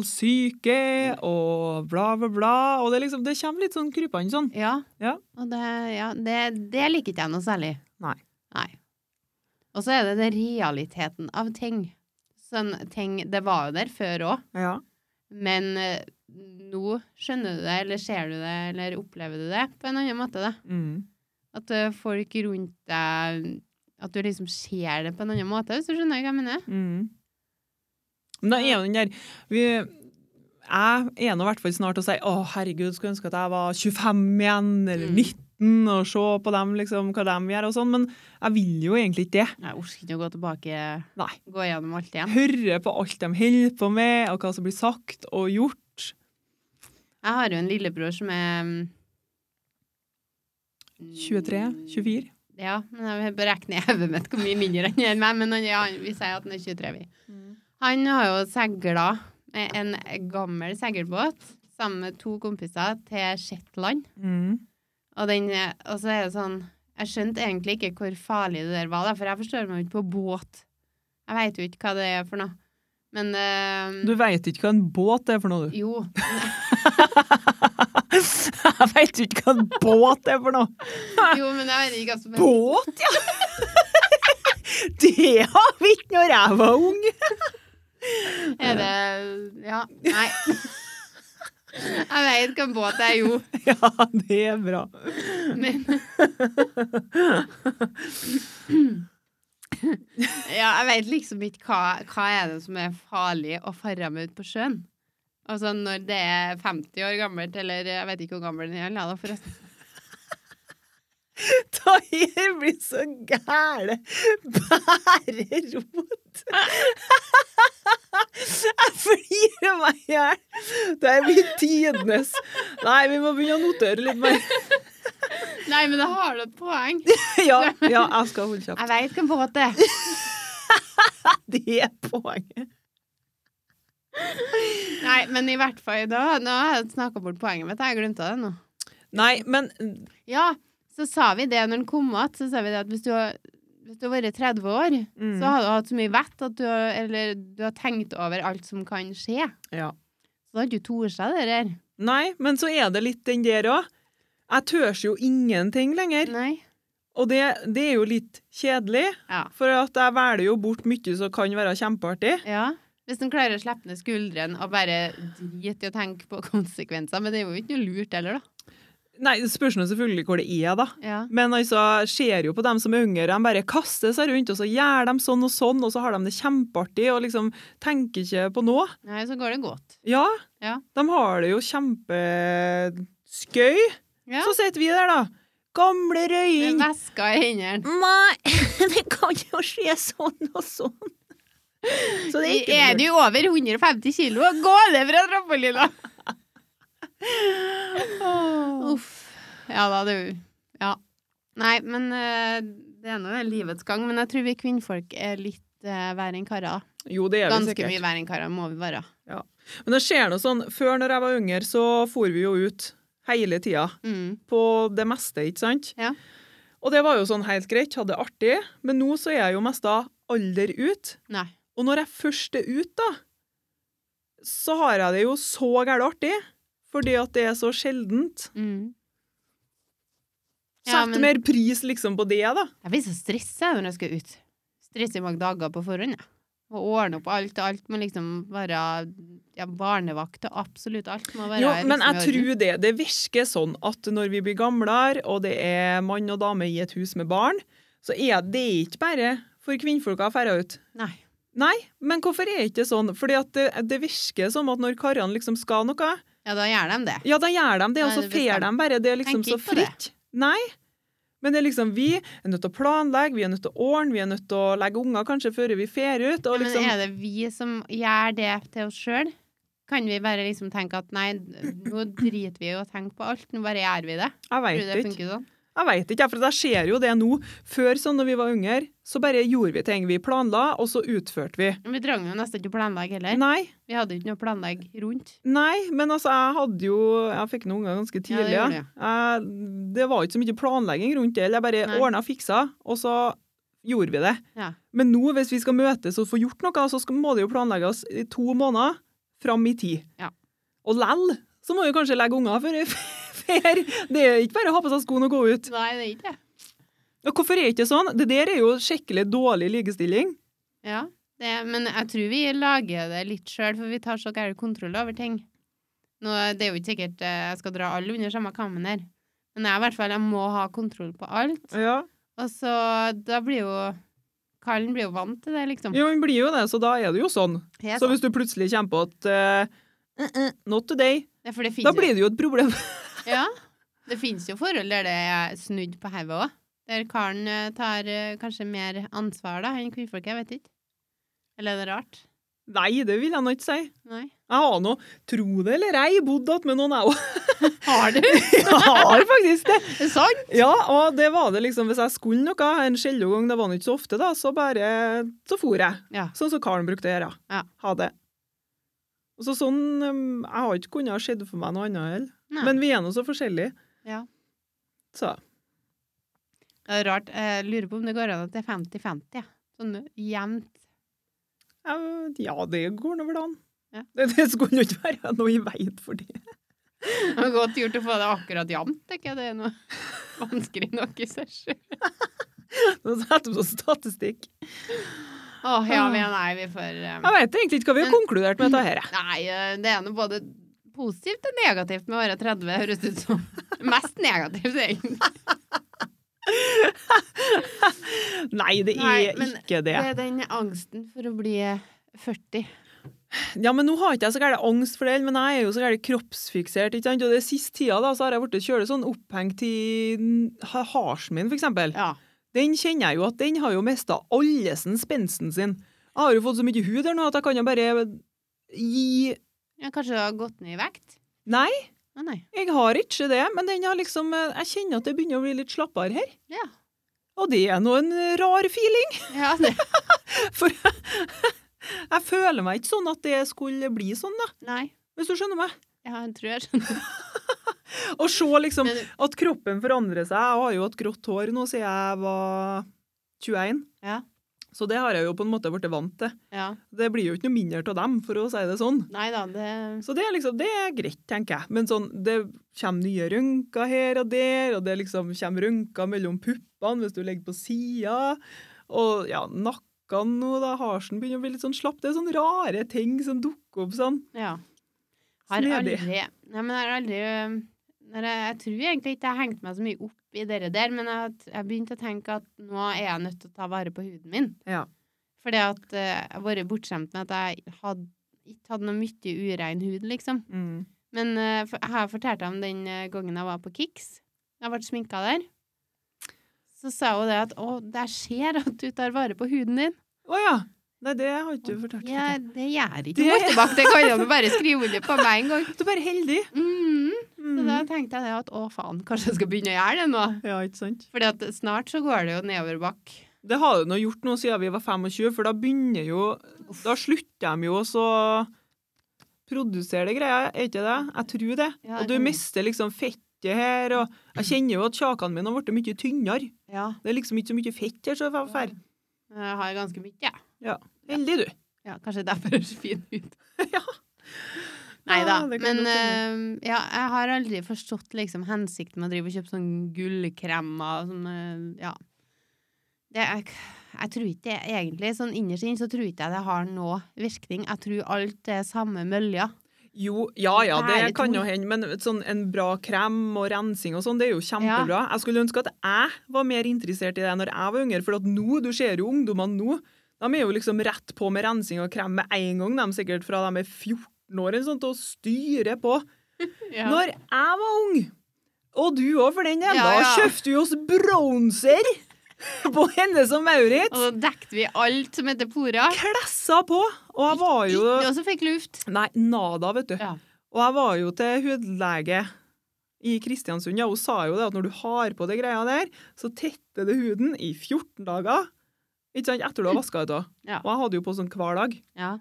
Speaker 2: krystallsyke og bla, bla, bla. Og det, liksom, det kommer litt sånn krypende sånn.
Speaker 1: Ja.
Speaker 2: Ja.
Speaker 1: Og det, ja, det, det liker ikke jeg noe særlig.
Speaker 2: Nei.
Speaker 1: Nei. Og så er det den realiteten av ting. Sånn ting Det var jo der før òg,
Speaker 2: Ja.
Speaker 1: men eh, nå skjønner du det, eller ser du det, eller opplever du det på en annen måte, da.
Speaker 2: Mm.
Speaker 1: At eh, folk rundt deg At du liksom ser det på en annen måte, hvis du skjønner hva jeg mener?
Speaker 2: Mm. Men da er jo den der vi, Jeg er nå i hvert fall snart og sier å herregud, skulle ønske at jeg var 25 igjen, eller
Speaker 1: Mm.
Speaker 2: 19, og se på dem, liksom, hva de gjør og sånn. Men jeg vil jo egentlig ikke det.
Speaker 1: Jeg orker ikke å gå tilbake,
Speaker 2: Nei.
Speaker 1: gå gjennom alt igjen.
Speaker 2: Høre på alt de holder på med, og hva som blir sagt og gjort.
Speaker 1: Jeg har jo en lillebror som er mm,
Speaker 2: 23? 24?
Speaker 1: Ja, men jeg beregner i hodet mitt hvor mye mindre han gjør meg, men han, ja, vi sier at han er 23, vi. Han har jo seila med en gammel seilbåt sammen med to kompiser til Shetland.
Speaker 2: Mm.
Speaker 1: Og, den, og så er det sånn Jeg skjønte egentlig ikke hvor farlig det der var, da, for jeg forstår meg jo ikke på båt. Jeg veit jo ikke hva det er for noe. Men eh,
Speaker 2: Du veit ikke hva en båt er for noe, du.
Speaker 1: jo.
Speaker 2: Jeg veit jo ikke hva en båt er for noe.
Speaker 1: Jo, men jeg vet ikke hva som
Speaker 2: Båt, ja! Det har vi ikke når jeg var ung.
Speaker 1: Er det Ja. Nei. Jeg veit hva en båt er, jo.
Speaker 2: Ja, det er bra.
Speaker 1: Men Ja, jeg veit liksom ikke hva, hva er det som er farlig å fare med ut på sjøen. Altså når det er 50 år gammelt, eller jeg vet ikke hvor gammel den er, la da forresten.
Speaker 2: Tair blir så gæle. Bære rot. Jeg flirer meg i hjel. Det her blir tidenes Nei, vi må begynne å notere litt mer.
Speaker 1: Nei, men da har du et poeng.
Speaker 2: Ja, ja jeg skal holde kjeft.
Speaker 1: Jeg veit hva en båt er.
Speaker 2: Det er poenget.
Speaker 1: Nei, men i hvert fall da Nå har jeg snakka bort poenget mitt, jeg glemte det nå.
Speaker 2: Nei, men
Speaker 1: Ja, så sa vi det når den kom igjen, så sa vi det at hvis du har hvis du har vært 30 år,
Speaker 2: Mm.
Speaker 1: så har du hatt så mye vett at du har, eller, du har tenkt over alt som kan skje.
Speaker 2: Ja.
Speaker 1: Så da har du tort seg det der.
Speaker 2: Nei, men så er det litt den der òg. Jeg tørs jo ingenting lenger.
Speaker 1: Nei.
Speaker 2: Og det, det er jo litt kjedelig,
Speaker 1: Ja.
Speaker 2: for at jeg velger jo bort mye som kan være kjempeartig.
Speaker 1: Ja. Hvis den klarer å slippe ned skuldrene og bare drite i å tenke på konsekvenser. Men det er jo ikke noe lurt heller, da.
Speaker 2: Nei, det spørs nå selvfølgelig hvor det er, da.
Speaker 1: Ja.
Speaker 2: Men altså, jeg ser jo på dem som er yngre, de bare kaster seg rundt, og så gjør de sånn og sånn, og så har de det kjempeartig og liksom tenker ikke på noe.
Speaker 1: Nei, så går det godt.
Speaker 2: Ja,
Speaker 1: Ja.
Speaker 2: de har det jo kjempeskøy.
Speaker 1: Ja.
Speaker 2: Så sitter vi der, da. Gamle
Speaker 1: Med
Speaker 2: røying.
Speaker 1: Mm. væska i hendene.
Speaker 2: Nei, det kan jo skje sånn og sånn. Så det er ikke
Speaker 1: Er
Speaker 2: lurt.
Speaker 1: du over 150 kilo, gå ned fra trampolina!
Speaker 2: Åh.
Speaker 1: Uff. Ja da, du. Ja. Nei, men eh, det er nå livets gang. Men jeg tror vi kvinnfolk er litt uh, verre enn karer.
Speaker 2: Jo, det er vi
Speaker 1: Ganske
Speaker 2: sikkert.
Speaker 1: mye verre enn karer må vi være.
Speaker 2: Men det skjer noe sånn, før når jeg var yngre, så for vi jo ut hele tida
Speaker 1: Mm.
Speaker 2: på det meste, ikke sant?
Speaker 1: Ja.
Speaker 2: Og det var jo sånn helt greit, hadde det artig, men nå så er jeg jo mest da alder ut.
Speaker 1: Nei.
Speaker 2: Og når jeg først er ut da, så har jeg det jo så gærent artig, fordi at det er så sjeldent.
Speaker 1: Mm.
Speaker 2: Sett mer pris liksom på det da.
Speaker 1: Jeg blir så stressa når jeg skal ut. Stresser i mange dager på forhånd. jeg. Og ordne opp alt og alt. Må liksom være ja, barnevakt og absolutt alt. Må være
Speaker 2: Jo, men jeg
Speaker 1: liksom i orden.
Speaker 2: tror det. Det virker sånn at når vi blir gamlere, og det er mann og dame i et hus med barn, så er det ikke bare for kvinnfolka å ferde ut.
Speaker 1: Nei.
Speaker 2: Nei, men hvorfor er ikke det sånn? Fordi at det, det virker som at når karene liksom skal noe,
Speaker 1: Ja, da gjør de det.
Speaker 2: ja, da gjør de det,
Speaker 1: Nei,
Speaker 2: og så
Speaker 1: det
Speaker 2: fer de
Speaker 1: bestemmer.
Speaker 2: bare. Det er liksom
Speaker 1: Tenker
Speaker 2: så
Speaker 1: ikke på det.
Speaker 2: fritt. Nei. Men det er liksom, vi er nødt til å planlegge, vi er nødt til å ordne, vi er nødt til å legge unger kanskje før vi fer ut. Og liksom,
Speaker 1: Men er det vi som gjør det til oss sjøl? Kan vi bare liksom tenke at nei, nå driter vi i å tenke på alt, nå bare gjør vi det?
Speaker 2: jeg
Speaker 1: Tror du
Speaker 2: vet
Speaker 1: det
Speaker 2: ikke.
Speaker 1: funker sånn?
Speaker 2: Jeg vet ikke, jeg, for jeg ser jo det nå. Før, sånn når vi var yngre, så bare gjorde vi ting. Vi planla, og så utførte vi.
Speaker 1: Men vi trang jo nesten ikke å planlegge heller.
Speaker 2: Nei,
Speaker 1: Vi hadde jo ikke noe å planlegge rundt.
Speaker 2: nei, men altså, jeg hadde jo Jeg fikk noen unger ganske
Speaker 1: Ja, det
Speaker 2: tidlig. Ja,
Speaker 1: gjorde
Speaker 2: det, det var ikke så mye planlegging rundt det. Jeg bare
Speaker 1: Nei.
Speaker 2: ordna og fiksa, og så gjorde vi det.
Speaker 1: Ja.
Speaker 2: Men nå, hvis vi skal møtes og få gjort noe, så skal, må det jo planlegges i to måneder fram i tid.
Speaker 1: Ja.
Speaker 2: Og lell så må vi kanskje legge unger før før. Det er ikke bare å ha på seg skoene og gå ut.
Speaker 1: Nei, det er ikke det.
Speaker 2: Og hvorfor er det ikke sånn? Det der er jo skikkelig dårlig likestilling.
Speaker 1: Ja, det, men jeg tror vi lager det litt sjøl, for vi tar så gæren kontroll over ting. Nå, det er jo ikke sikkert eh, jeg skal dra alle under samme kammen her, men jeg, i hvert fall, jeg må ha kontroll på alt.
Speaker 2: Ja.
Speaker 1: Og så da blir jo Karlen blir jo vant til det, liksom.
Speaker 2: Jo, men blir jo det, så da er det jo sånn.
Speaker 1: Helt
Speaker 2: Så
Speaker 1: sant.
Speaker 2: hvis du plutselig kommer på at eh, eh, eh, not today,
Speaker 1: Ja, for det
Speaker 2: da
Speaker 1: finnes jo-
Speaker 2: blir det jo et problem.
Speaker 1: Ja. Det fins jo forhold der det er snudd på hodet òg. Der karen eh, tar eh, kanskje mer ansvar da, enn kvinnfolk. Jeg vet ikke. Eller er det rart?
Speaker 2: Nei, det vil jeg nå ikke si.
Speaker 1: Nei.
Speaker 2: Jeg har nå, tro det eller ei, bodd att med noen jeg òg.
Speaker 1: Har du?
Speaker 2: Jeg har faktisk det.
Speaker 1: sånn?
Speaker 2: Ja, og det var det liksom, hvis jeg skulle noe, en sjelden gang, det var nå ikke så ofte, da, så bare Så for jeg.
Speaker 1: Ja.
Speaker 2: Sånn som Karen brukte å gjøre.
Speaker 1: Ja.
Speaker 2: Ha det. Og så sånn eh, Jeg har ikke kunnet ha skjedd for meg noe annet heller.
Speaker 1: Nei.
Speaker 2: Men vi er nå så forskjellige.
Speaker 1: Ja.
Speaker 2: Så.
Speaker 1: Det er rart. Jeg lurer på om det går an at det er 50-50. ja. Sånn jevnt.
Speaker 2: Ja, Ja, det går nå vel an.
Speaker 1: Ja.
Speaker 2: Det, det skulle jo ikke være noe i veien for det.
Speaker 1: Det er Godt gjort å få det akkurat jevnt, tenker jeg. Det er noe vanskelig nok i seg sjøl.
Speaker 2: Nå setter vi oss statistikk.
Speaker 1: Åh, ja, men nei, vi får eh,
Speaker 2: Jeg vet egentlig ikke hva vi har
Speaker 1: Men-
Speaker 2: konkludert med dette her. jeg.
Speaker 1: Nei, eh, det er nå både positivt og negativt med åra 30, høres det ut som. Mest negativt, egentlig.
Speaker 2: Nei, det er
Speaker 1: Nei, men
Speaker 2: ikke det.
Speaker 1: Det er den angsten for å bli 40.
Speaker 2: Ja, men nå har ikke jeg så gæren angst for det, men jeg er jo så gæren kroppsfiksert, ikke sant? Og det siste tida da, så har jeg blitt kjølig sånn opphengt i ha- harsen min, for eksempel.
Speaker 1: Ja.
Speaker 2: Den kjenner jeg jo at den har jo mista allesen spensten sin. Jeg har jo fått så mye hud her nå at jeg kan jo bare gi
Speaker 1: kanskje du har gått ned i vekt?
Speaker 2: Nei.
Speaker 1: Å nei.
Speaker 2: Jeg har ikke det, men den har liksom, jeg kjenner at det begynner å bli litt slappere her.
Speaker 1: Ja.
Speaker 2: Og det er nå en rar feeling,
Speaker 1: Ja, det.
Speaker 2: for jeg føler meg ikke sånn at det skulle bli sånn, da,
Speaker 1: Nei.
Speaker 2: hvis du skjønner meg.
Speaker 1: Ja, jeg tror jeg skjønner.
Speaker 2: Å se liksom
Speaker 1: Men
Speaker 2: at kroppen forandrer seg. Jeg har jo hatt grått hår nå siden jeg var 21,
Speaker 1: Ja.
Speaker 2: så det har jeg jo på en måte blitt vant til.
Speaker 1: ja.
Speaker 2: Det blir jo ikke noe mindre av dem, for å si det sånn.
Speaker 1: Nei da, det
Speaker 2: Så det er liksom, det er greit, tenker jeg. Men sånn, det kommer nye rynker her og der, og det liksom kommer rynker mellom puppene hvis du ligger på sida. Og ja, nakken nå, da, harsen begynner å bli litt sånn slapp. Det er sånne rare ting som dukker opp sånn.
Speaker 1: Ja. Har aldri
Speaker 2: Snedig.
Speaker 1: Nei, men jeg har aldri eh, når jeg, jeg tror egentlig ikke jeg har hengt meg så mye opp i det der, men jeg, jeg begynte å tenke at nå er jeg nødt til å ta vare på huden min.
Speaker 2: Ja.
Speaker 1: Fordi at eh, jeg har vært bortskjemt med at jeg hadde, ikke hadde noe mye urein hud, liksom.
Speaker 2: Mm.
Speaker 1: Men eh, for, jeg har fortalt om den eh, gangen jeg var på Kix. Jeg ble sminka der. Så sa hun det at 'Å, jeg ser at du tar vare på huden din'.
Speaker 2: Å ja. Nei, det har ikke du fortalt.
Speaker 1: Ja, det gjør ikke
Speaker 2: Det-
Speaker 1: noe tilbake. Det kan du bare skrive under på med en gang.
Speaker 2: Du er bare heldig.
Speaker 1: Mm. Så
Speaker 2: Mm.
Speaker 1: da tenkte jeg det at å faen, kanskje jeg skal begynne å gjøre det nå.
Speaker 2: Ja, ikke sant.
Speaker 1: Fordi at snart så går det jo nedover bakk.
Speaker 2: Det har du nå gjort nå siden vi var 25, for da begynner jo Da slutter de jo også å produsere det greia, er ikke det? Jeg tror det.
Speaker 1: Ja,
Speaker 2: Og du
Speaker 1: jeg-
Speaker 2: mister liksom fettet her, og jeg kjenner jo at kjakene mine har blitt mye tynnere.
Speaker 1: Ja,
Speaker 2: Det er liksom ikke så mye fett her, så jeg får færre.
Speaker 1: jeg har ganske mye, ja.
Speaker 2: Heldig, du.
Speaker 1: ja kanskje derfor jeg ser fin ut.
Speaker 2: Ja.
Speaker 1: Nei da.
Speaker 2: Ja, det kan
Speaker 1: men
Speaker 2: godt hende.
Speaker 1: eh, ja, jeg har aldri forstått liksom hensikten med å drive og kjøpe sånn gullkremer og sånn eh, Ja. Det er, jeg tror ikke det egentlig, sånn innerst inne så tror ikke jeg det har noe virkning. Jeg tror alt er samme mølja.
Speaker 2: Jo, ja ja,
Speaker 1: Herlig
Speaker 2: det kan jo
Speaker 1: tung.
Speaker 2: hende, men sånn en bra krem og rensing og sånn, det er jo kjempebra. Jeg skulle ønske at jeg var mer interessert i det når jeg var yngre, for at nå, du ser jo ungdommene nå, de er jo liksom rett på med rensing og krem med en gang, de sikkert fra de er 14 år eller sånt, og styrer på. Når jeg var ung, og du òg for den del,
Speaker 1: Ja, ja.
Speaker 2: da kjøpte vi oss bronser på Hennes og Maurits.
Speaker 1: Og da dekket vi alt som heter porer.
Speaker 2: Klessa på! Og jeg var jo
Speaker 1: Ikke noe som fikk luft.
Speaker 2: Nei, nada, vet du.
Speaker 1: Ja.
Speaker 2: Og jeg var jo til hudlege i Kristiansund, ja, hun sa jo det at når du har på det greia der, så tetter det huden i 14 dager. Ikke sant? Etter du har vaska ut. da.
Speaker 1: Ja.
Speaker 2: Og jeg hadde jo på sånn hver dag.
Speaker 1: Ja.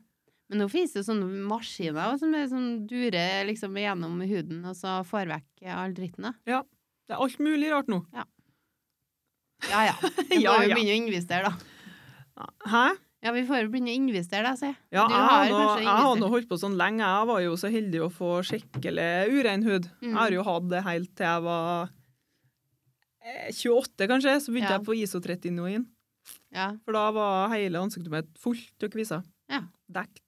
Speaker 1: Men nå finnes det jo sånne maskiner som er sånn durer liksom gjennom huden og så får vekk all dritten. da.
Speaker 2: Det er alt mulig rart nå.
Speaker 1: Ja ja. Vi
Speaker 2: Ja,
Speaker 1: får jo
Speaker 2: ja.
Speaker 1: begynne å investere, da.
Speaker 2: Hæ?
Speaker 1: Ja, vi får jo begynne å investere, da, sier jeg.
Speaker 2: Ja,
Speaker 1: Du
Speaker 2: jeg
Speaker 1: har
Speaker 2: har, nå,
Speaker 1: kanskje
Speaker 2: jeg har
Speaker 1: investert.
Speaker 2: nå holdt på sånn lenge. Jeg var jo så heldig å få skikkelig urein hud.
Speaker 1: Mm.
Speaker 2: Jeg har jo hatt det helt til jeg var eh, 28, kanskje. Så begynte
Speaker 1: Ja.
Speaker 2: jeg på isotretinoin.
Speaker 1: Ja.
Speaker 2: For da var hele ansiktet mitt fullt av kviser.
Speaker 1: Ja.
Speaker 2: Dekt.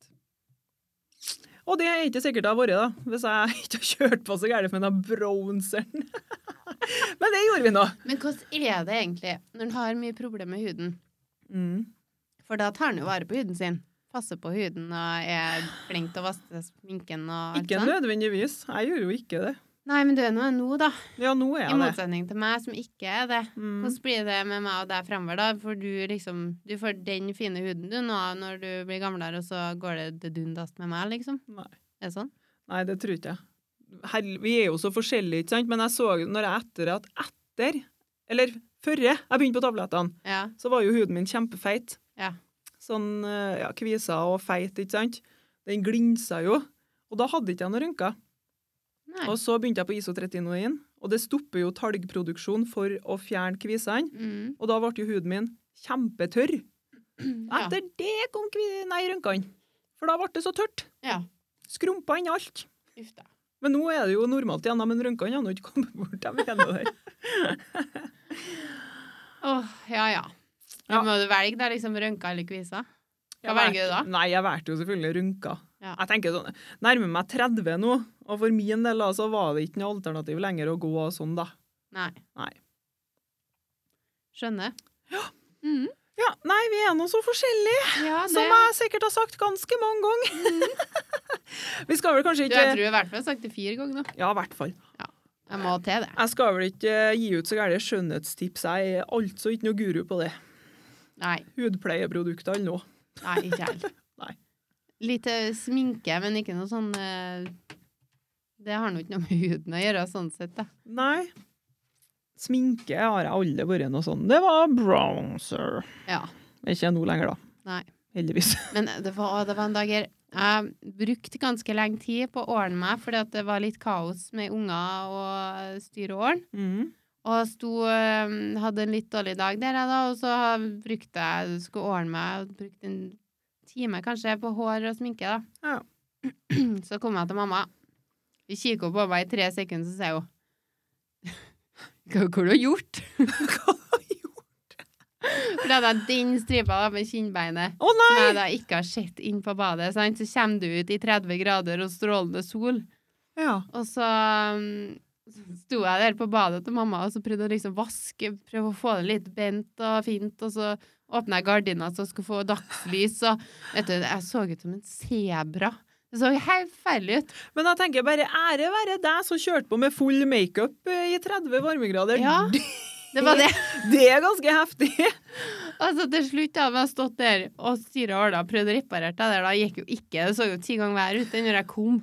Speaker 2: Og det er ikke sikkert det har vært, da, hvis jeg ikke har kjørt på så gærent med den bronseren. Men det gjorde vi nå.
Speaker 1: Men hvordan er det egentlig når en har mye problemer med huden?
Speaker 2: Mm.
Speaker 1: For da tar en jo vare på huden sin. Passer på huden og er flink til å vaske sminken og alt
Speaker 2: Ikke
Speaker 1: sånt.
Speaker 2: nødvendigvis. Jeg gjorde jo ikke det.
Speaker 1: Nei, men du er nå en nå, da.
Speaker 2: Ja, nå
Speaker 1: I
Speaker 2: er jeg det.
Speaker 1: motsetning til meg, som ikke er det.
Speaker 2: Mm.
Speaker 1: Hvordan blir det med meg og deg fremover, da? For du liksom Du får den fine huden du nå når du blir gamlere, og så går det det dundast med meg, liksom?
Speaker 2: Nei.
Speaker 1: Er det sånn?
Speaker 2: Nei, det tror ikke jeg. Her, vi er jo så forskjellige, ikke sant? Men jeg så når jeg etter at etter, eller førre jeg begynte på tablettene,
Speaker 1: Ja.
Speaker 2: så var jo huden min kjempefeit.
Speaker 1: Ja.
Speaker 2: Sånn eh, ja, kviser og feit, ikke sant? Den glinsa jo. Og da hadde ikke jeg noen rynker.
Speaker 1: Nei.
Speaker 2: Og så begynte jeg på isotretinoin, og det stopper jo talgproduksjon for å fjerne kvisene.
Speaker 1: Mm.
Speaker 2: Og da ble jo huden min kjempetørr.
Speaker 1: Ja.
Speaker 2: Etter det kom kvi- nei, rynkene. For da ble det så tørt.
Speaker 1: ja.
Speaker 2: Skrumpa inn alt.
Speaker 1: Uff da.
Speaker 2: Men nå er det jo normalt igjen, da, men rynkene har nå ikke kommet bort. Jeg mener det.
Speaker 1: Åh, ja ja. Du
Speaker 2: Ja.
Speaker 1: må du velge da, liksom rønka eller kvisa. Hva
Speaker 2: Jeg
Speaker 1: velger du da?
Speaker 2: valgte- Nei, jeg valgte jo selvfølgelig rynker.
Speaker 1: Ja.
Speaker 2: Jeg tenker sånn, nærmer meg 30 nå, og for min del da, så var det ikke noe alternativ lenger å gå sånn da.
Speaker 1: Nei.
Speaker 2: Nei.
Speaker 1: Skjønner. Mm.
Speaker 2: Ja, nei, vi er nå så forskjellige,
Speaker 1: Ja, det
Speaker 2: som jeg sikkert har sagt ganske mange ganger. vi skal vel kanskje
Speaker 1: Mhm. du, Jeg
Speaker 2: ikke...
Speaker 1: tror i hvert fall jeg har sagt det fire ganger nå.
Speaker 2: Ja, i hvert fall.
Speaker 1: Jeg må til det.
Speaker 2: Jeg skal vel ikke eh, gi ut så gærne skjønnhetstips. Jeg er altså ikke noe guru på det.
Speaker 1: Nei.
Speaker 2: Hudpleieprodukter eller noe.
Speaker 1: Nei, ikke heller.
Speaker 2: Nei.
Speaker 1: Litt eh, sminke, men ikke noe sånn eh, Det har nå ikke noe med huden å gjøre, sånn sett, da.
Speaker 2: Nei. Sminke har jeg aldri vært noe sånn. Det var bronzer.
Speaker 1: Ja.
Speaker 2: Ikke nå lenger, da.
Speaker 1: Nei.
Speaker 2: Heldigvis.
Speaker 1: Men det var, det var en dag her Jeg brukte ganske lenge tid på å ordne meg, fordi at det var litt kaos med unger og styre og ordne.
Speaker 2: Mm.
Speaker 1: Og jeg sto, eh, hadde en litt dårlig dag der, jeg, da, og så brukte jeg Skulle ordne meg og brukte en time kanskje på hår og sminke, da.
Speaker 2: Ja.
Speaker 1: Så kom jeg til mamma. Hun kikker på meg i tre sekunder, så sier hun Hva hva har du gjort?
Speaker 2: Hva har jeg gjort?
Speaker 1: For da hadde jeg den stripa da, med kinnbeinet.
Speaker 2: Å
Speaker 1: Som
Speaker 2: nei!
Speaker 1: jeg da ikke har sett inn på badet. Sant? Så kommer du ut i 30 grader og strålende sol.
Speaker 2: Ja.
Speaker 1: Og så um, sto jeg der på badet til mamma og så prøvde å liksom vaske, prøve å få det litt bent og fint. Og så åpna jeg gardina så jeg skulle få dagslys. Og vet du, jeg så ut som en sebra. Det så helt forferdelig ut.
Speaker 2: Men jeg tenker bare ære være deg som kjørte på med full makeup eh, i 30 varmegrader.
Speaker 1: Ja.
Speaker 2: Det
Speaker 1: Det var det.
Speaker 2: Det er ganske heftig.
Speaker 1: Altså, til slutt da, jeg stått der og styra åla, prøvd å reparere det der, da gikk jo ikke. Det så jo ti ganger hver ute når jeg kom.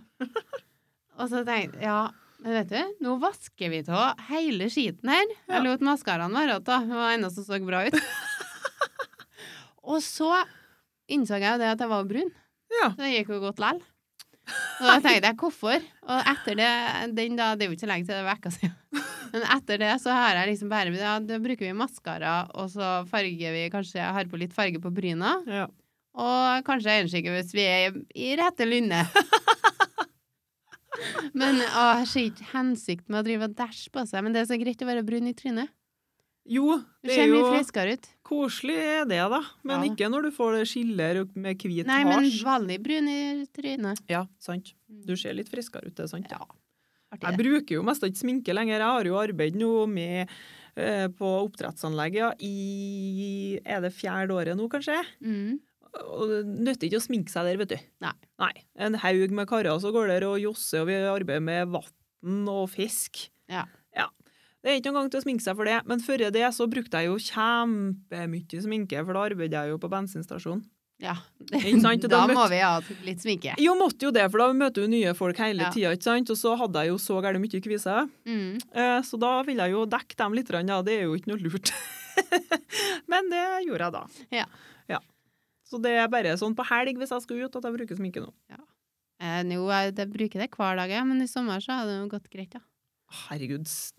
Speaker 1: Og så tenkte jeg ja, men vet du, nå vasker vi av hele skiten her.
Speaker 2: Ja.
Speaker 1: Jeg lot maskaraen være da, det var det eneste som så bra ut. og så innså jeg jo det at jeg var brun.
Speaker 2: Ja.
Speaker 1: Så det gikk jo godt lell. Og da tenkte jeg hvorfor. Og etter det, den da, det er jo ikke så lenge til det er vekka siden. Men etter det så har jeg liksom bare ja, Da bruker vi maskara, og så farger vi kanskje Jeg har på litt farge på bryna,
Speaker 2: ja.
Speaker 1: og kanskje øyenskygge hvis vi er i rette lynne. Men å, jeg ser ikke hensikt med å drive og dæsje på seg, men det er så greit å være brun i trynet.
Speaker 2: Jo,
Speaker 1: Du
Speaker 2: det
Speaker 1: ser
Speaker 2: er
Speaker 1: mye
Speaker 2: jo
Speaker 1: friskere ut.
Speaker 2: koselig er det, da. Men
Speaker 1: Ja.
Speaker 2: ikke når du får det skillet med hvit
Speaker 1: Nei, men
Speaker 2: hasj.
Speaker 1: vanlig brun i trynet.
Speaker 2: Ja, sant. Mm. Du ser litt friskere ut, det er sant. Ja.
Speaker 1: Artig,
Speaker 2: Jeg
Speaker 1: det.
Speaker 2: bruker jo mest ikke sminke lenger. Jeg har jo arbeid nå med eh, på oppdrettsanlegget ja, i Er det fjerde året nå, kanskje?
Speaker 1: Mm.
Speaker 2: Og det nytter ikke å sminke seg der, vet du.
Speaker 1: Nei.
Speaker 2: En haug med karer som går der og josser, og vi arbeider med vann og fisk.
Speaker 1: Ja.
Speaker 2: Det er ikke noen gang til å sminke seg for det, men før det så brukte jeg jo kjempemye sminke, for da arbeidet jeg jo på bensinstasjonen.
Speaker 1: Ja.
Speaker 2: Ikke sant?
Speaker 1: Da
Speaker 2: Da
Speaker 1: må
Speaker 2: møtte-
Speaker 1: vi ha litt sminke.
Speaker 2: Jo, måtte jo det, for da møter du nye folk hele
Speaker 1: Ja.
Speaker 2: tida, ikke sant? Og så hadde jeg jo så gærent mye kviser.
Speaker 1: Mm.
Speaker 2: Eh, Så da ville jeg jo dekke dem litt, grann, ja. det er jo ikke noe lurt. Men det gjorde jeg da.
Speaker 1: Ja.
Speaker 2: Ja. Så det er bare sånn på helg hvis jeg skal ut, at jeg bruker sminke nå.
Speaker 1: Eh, jo, jeg, jeg bruker det hver dag, jeg, men i sommer så har det jo gått greit, ja.
Speaker 2: Herregud, s-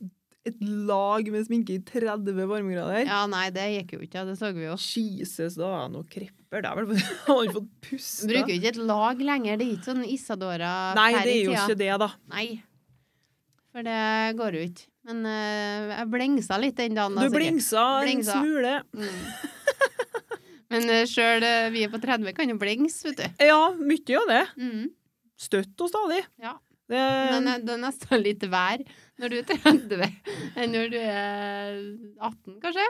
Speaker 2: et lag med sminke i 30 varmegrader.
Speaker 1: Ja, nei, det gikk jo ikke, ja, det så vi jo.
Speaker 2: Jesus, da er jeg noe krepper. Det er vel jeg har ikke fått puste.
Speaker 1: Bruker jo ikke et lag lenger, det er ikke sånn Isadora
Speaker 2: Nei,
Speaker 1: her
Speaker 2: det
Speaker 1: i
Speaker 2: er jo
Speaker 1: tida.
Speaker 2: ikke det, da.
Speaker 1: Nei. For det går jo ikke. Men eh, jeg blingsa litt den dagen, da.
Speaker 2: Du
Speaker 1: sikkert.
Speaker 2: blingsa en
Speaker 1: Blingsa.
Speaker 2: smule.
Speaker 1: Mm. Men uh, sjøl vi på 30 kan jo blings, vet du.
Speaker 2: Ja, mye av det.
Speaker 1: Mm.
Speaker 2: Støtt og stadig.
Speaker 1: Ja.
Speaker 2: Det,
Speaker 1: Men eh, Det er, det er nesten litt vær når du er 30 enn når du er 18, kanskje?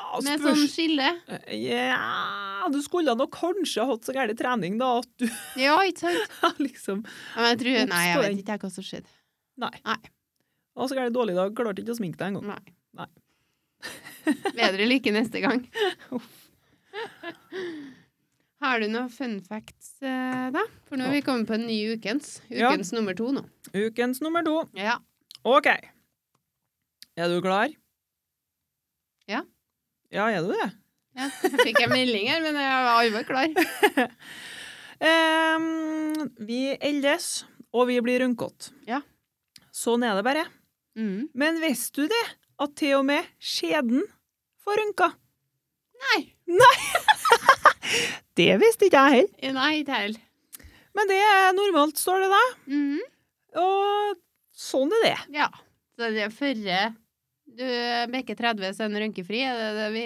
Speaker 2: Ah,
Speaker 1: Med
Speaker 2: spørs-
Speaker 1: sånn skille.
Speaker 2: Ja, du skulle nok kanskje hatt så gæren trening da at du
Speaker 1: Ja, ikke sant?
Speaker 2: liksom
Speaker 1: Ja, Men jeg tror, nei, jeg
Speaker 2: Oppstår.
Speaker 1: vet ikke jeg hva som skjedde.
Speaker 2: var så gæren dårlig i dag, klarte ikke å sminke deg engang.
Speaker 1: Nei.
Speaker 2: Nei.
Speaker 1: Bedre lykke neste gang. Har du noen fun facts, eh, da? For nå er vi kommet på en ny ukens.
Speaker 2: Ja.
Speaker 1: Ukens nummer to nå.
Speaker 2: Ukens nummer to.
Speaker 1: Ja.
Speaker 2: OK. Er du klar?
Speaker 1: Ja.
Speaker 2: Ja, er du det?
Speaker 1: ja. Fikk jeg melding her, men jeg var alvor klar.
Speaker 2: Ehm, vi eldes, og vi blir rønkete.
Speaker 1: Ja.
Speaker 2: Sånn er det bare.
Speaker 1: Mm.
Speaker 2: Men visste du det? At til og med skjeden får rønka.
Speaker 1: Nei.
Speaker 2: Det visste ikke jeg heller.
Speaker 1: Eh, Nei, ikke heller.
Speaker 2: Men det er normalt, står det da.
Speaker 1: Mhm.
Speaker 2: Og sånn er det.
Speaker 1: Ja. Så det er førre du bikker 30, så er den rønkefri. Er det det vi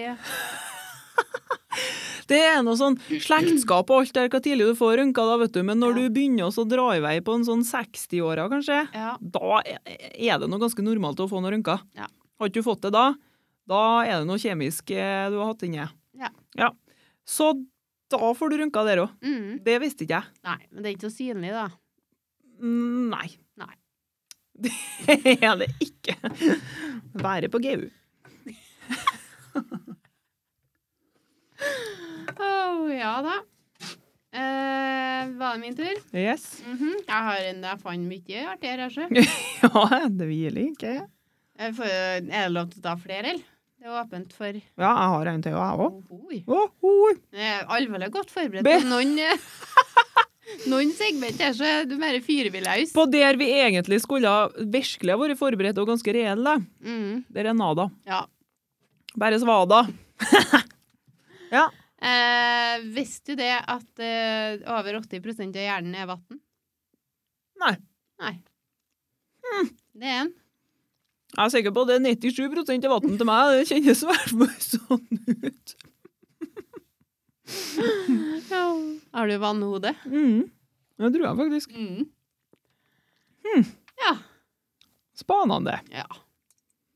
Speaker 2: Det er noe sånn slektskap og alt der hva tidlig du får rønka, da, vet du. Men når
Speaker 1: Ja.
Speaker 2: du begynner også å dra i vei på en sånn 60-åra, kanskje,
Speaker 1: Ja.
Speaker 2: da er det noe ganske normalt å få noen rønker.
Speaker 1: Ja.
Speaker 2: Har ikke du fått det da, da er det noe kjemisk eh, du har hatt inni.
Speaker 1: Ja.
Speaker 2: ja. Så da får du rønka der òg.
Speaker 1: Mhm.
Speaker 2: Det visste ikke jeg.
Speaker 1: Nei, men det er ikke så synlig, da.
Speaker 2: Mm, Nei.
Speaker 1: Nei.
Speaker 2: Det er det ikke. Være på GU.
Speaker 1: Åh, ja da. Eh, var det min tur?
Speaker 2: Yes.
Speaker 1: Mhm. Jeg har en jeg fant mye artigere, altså.
Speaker 2: Ja, det hviler ikke.
Speaker 1: Jeg får- Eh, Er det lov til å ta flere, eller? Det er åpent for
Speaker 2: Ja, jeg har en til, jeg òg.
Speaker 1: Ohoi.
Speaker 2: Oho.
Speaker 1: Jeg er alvorlig godt forberedt.
Speaker 2: Be-
Speaker 1: på Noen, eh, noen segment her, så er du bare fyrer vi løs.
Speaker 2: På der vi egentlig skulle ha virkelig ha vært forberedt og ganske reelle,
Speaker 1: Mhm.
Speaker 2: der er Nada.
Speaker 1: Ja.
Speaker 2: Bare svada.
Speaker 1: Eh, visste du det at eh, over 80 av hjernen er vann?
Speaker 2: Nei.
Speaker 1: Nei. Hm, Det er en.
Speaker 2: Jeg er sikker på at det er 97 av vann til meg. Det kjennes i hvert fall sånn ut.
Speaker 1: Har du vannhode?
Speaker 2: Mm. Det tror jeg faktisk.
Speaker 1: Mm.
Speaker 2: Spanende.
Speaker 1: Ja.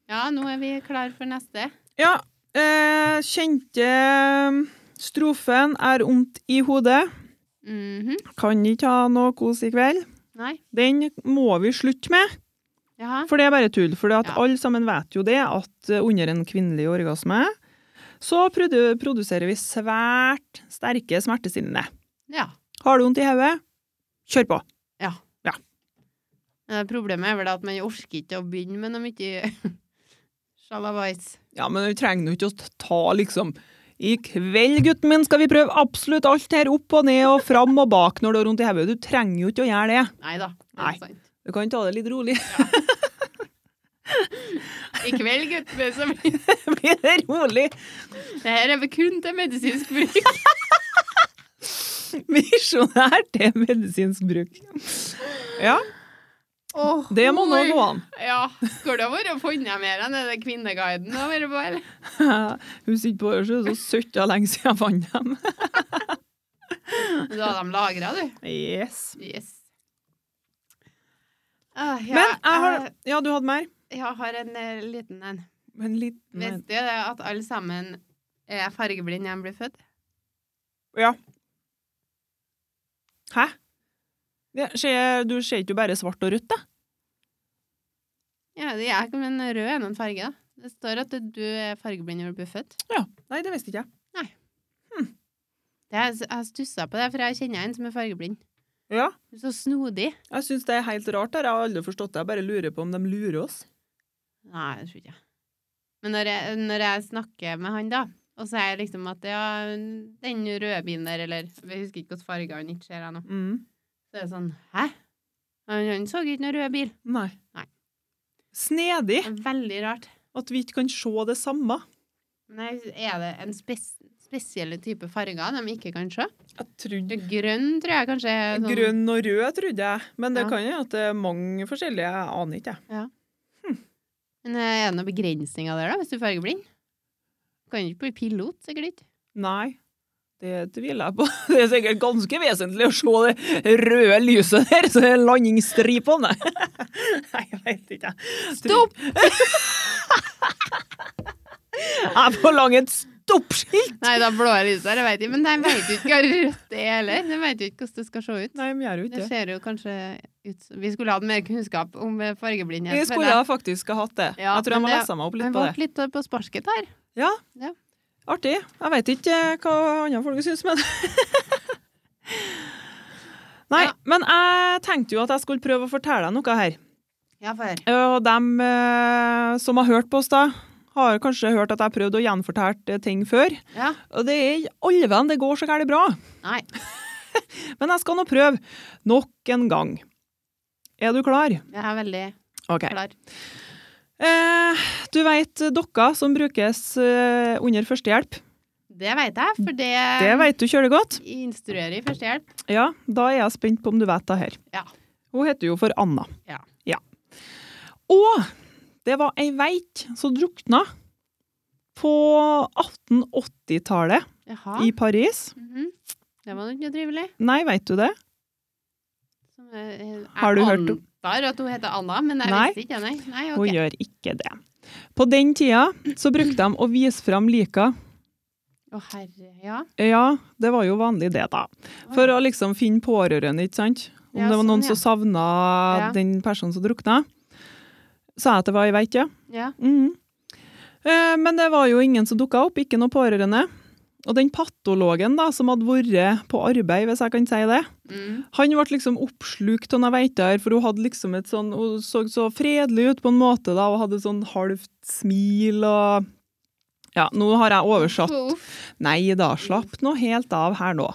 Speaker 1: Ja, nå er vi klar for neste.
Speaker 2: Ja, eh, kjente eh, strofen er ondt i hodet.
Speaker 1: Mhm.
Speaker 2: Kan ikke ha noe kos i kveld.
Speaker 1: Nei.
Speaker 2: Den må vi slutte med.
Speaker 1: Ja.
Speaker 2: For det er bare tull. For at
Speaker 1: Ja.
Speaker 2: alle sammen vet jo det, at eh, under en kvinnelig orgasme så produ- produserer vi svært sterke smertestillende.
Speaker 1: ja.
Speaker 2: Har du vondt i hodet? Kjør på!
Speaker 1: Eh, Problemet er vel at man orker ikke å begynne med noe mye sjalabais.
Speaker 2: Ja, men vi trenger jo ikke å ta liksom I kveld, gutten min, skal vi prøve absolutt alt her. Opp og ned og fram og bak når du har vondt i hodet. Du trenger jo ikke å gjøre det.
Speaker 1: Nei da.
Speaker 2: Nei. Du kan ta det litt rolig.
Speaker 1: I kveld, gutter, så blir
Speaker 2: Blir det rolig?
Speaker 1: det her er vel kun til medisinsk bruk.
Speaker 2: Misjonær til medisinsk bruk. Ja,
Speaker 1: Oh,
Speaker 2: det må nå gå an.
Speaker 1: Ja. Skulle det vært funnet mer enn det der Kvinneguiden har vært på, eller?
Speaker 2: Hun sitter på Ørsjø, så søtta lenge siden jeg fant dem.
Speaker 1: Da har de lagra, du.
Speaker 2: Yes.
Speaker 1: Yes. Ah, ja,
Speaker 2: Men jeg har
Speaker 1: eh,
Speaker 2: Ja, du hadde mer?
Speaker 1: Jeg har en eh, liten en.
Speaker 2: En liten en.
Speaker 1: Visste du det at alle sammen er fargeblind når de blir født?
Speaker 2: Ja. Hæ? Det skjer- du ser ikke jo bare svart og rødt, da?
Speaker 1: Ja, det er ikke men rød er nå en farge, da. Det står at du er fargeblind når du blir født.
Speaker 2: Ja. Nei, det visste ikke jeg.
Speaker 1: Det er, jeg stussa på det, for jeg kjenner en som er fargeblind.
Speaker 2: Ja.
Speaker 1: Hun er Så snodig.
Speaker 2: Jeg syns det er helt rart. Der. Jeg har aldri forstått det. Jeg bare lurer på om de lurer oss.
Speaker 1: Nei, det tror ikke jeg. Men når jeg, når jeg snakker med han, da, og så er jeg liksom at ja, den røde bilen der, eller Jeg husker ikke hvilken farge han ikke ser ennå.
Speaker 2: Mm.
Speaker 1: Så er det sånn Hæ? Han, han så ikke noen rød bil.
Speaker 2: Nei.
Speaker 1: Nei.
Speaker 2: Snedig
Speaker 1: Det er Veldig rart.
Speaker 2: at vi ikke kan se det samme.
Speaker 1: Nei, er det en spes spesielle type farger de ikke kan se?
Speaker 2: Jeg trodde
Speaker 1: Det er Grønn tror jeg kanskje er sånn
Speaker 2: Grønn og rød, trodde jeg. Men det
Speaker 1: Ja.
Speaker 2: kan jo at det er mange forskjellige. Jeg aner ikke, jeg.
Speaker 1: Men eh, er det noen begrensninger der, da, hvis du er fargeblind? Du kan jo ikke bli pilot, sikkert ikke.
Speaker 2: Nei. Det tviler jeg på. Det er sikkert ganske vesentlig å se det røde lyset der, så det er landingsstripene. Nei, jeg vet ikke. jeg.
Speaker 1: Stopp!
Speaker 2: Jeg forlanger et stoppskilt!
Speaker 1: Nei, da blå lyset her, jeg vet ikke. Men de vet jo ikke hva rødt er heller. De vet jo ikke hvordan det skal se ut.
Speaker 2: Nei, vi gjør jo
Speaker 1: Det
Speaker 2: ikke det.
Speaker 1: ser jo kanskje ut som Vi skulle hatt mer kunnskap om eh, fargeblindhet.
Speaker 2: Vi skulle
Speaker 1: føler jeg.
Speaker 2: ha faktisk ha hatt det.
Speaker 1: Ja,
Speaker 2: jeg tror jeg
Speaker 1: men
Speaker 2: må
Speaker 1: det-
Speaker 2: lese meg opp
Speaker 1: Men
Speaker 2: litt på
Speaker 1: ble
Speaker 2: det.
Speaker 1: litt på sparket her.
Speaker 2: Ja,
Speaker 1: Ja.
Speaker 2: artig. Jeg vet ikke eh, hva andre folk syns, men Nei,
Speaker 1: Ja.
Speaker 2: men jeg tenkte jo at jeg skulle prøve å fortelle deg noe her.
Speaker 1: Ja, for
Speaker 2: Og dem eh, som har hørt på oss da, har kanskje hørt at jeg prøvde å gjenfortelle eh, ting før.
Speaker 1: Ja.
Speaker 2: Og det er ikke alle venn det går så gærent bra.
Speaker 1: Nei.
Speaker 2: Men jeg skal nå prøve nok en gang. Er du klar?
Speaker 1: Jeg er veldig
Speaker 2: Ok.
Speaker 1: klar.
Speaker 2: Eh, du vet dokka som brukes eh, under førstehjelp.
Speaker 1: Det vet jeg, for det,
Speaker 2: Det vet du kjølig godt.
Speaker 1: instruerer i førstehjelp.
Speaker 2: Ja, da er jeg spent på om du vet det her.
Speaker 1: Ja.
Speaker 2: Hun heter jo for Anna.
Speaker 1: Ja.
Speaker 2: Og det var ei veit som drukna på 1880-tallet
Speaker 1: Jaha.
Speaker 2: i Paris.
Speaker 1: Mhm. Det var nå ikke noe trivelig.
Speaker 2: Nei, veit du det?
Speaker 1: Som jeg, jeg
Speaker 2: Har du hørt om-
Speaker 1: antar at hun heter Anna, men jeg
Speaker 2: Nei.
Speaker 1: visste ikke. Nei, nei
Speaker 2: Hun
Speaker 1: ok.
Speaker 2: gjør ikke det. På den tida så brukte de å vise fram lika.
Speaker 1: Å herre, ja.
Speaker 2: Ja, det var jo vanlig det, da. For
Speaker 1: Å,
Speaker 2: å liksom finne pårørende, ikke sant? Om
Speaker 1: Ja,
Speaker 2: det var noen
Speaker 1: sånn, ja.
Speaker 2: som savna
Speaker 1: Ja.
Speaker 2: den personen som drukna. Sa jeg at det var ei veit, ja.
Speaker 1: ja.
Speaker 2: Mhm. Eh, Men det var jo ingen som dukka opp, ikke noen pårørende. Og den patologen da, som hadde vært på arbeid, hvis jeg kan si det,
Speaker 1: Mm.
Speaker 2: han ble liksom oppslukt av noen veiter, for hun hadde liksom et sånn, hun så så fredelig ut på en måte da, og hadde sånn halvt smil og Ja, nå har jeg oversatt
Speaker 1: Uff,
Speaker 2: Nei da, slapp nå helt av her nå.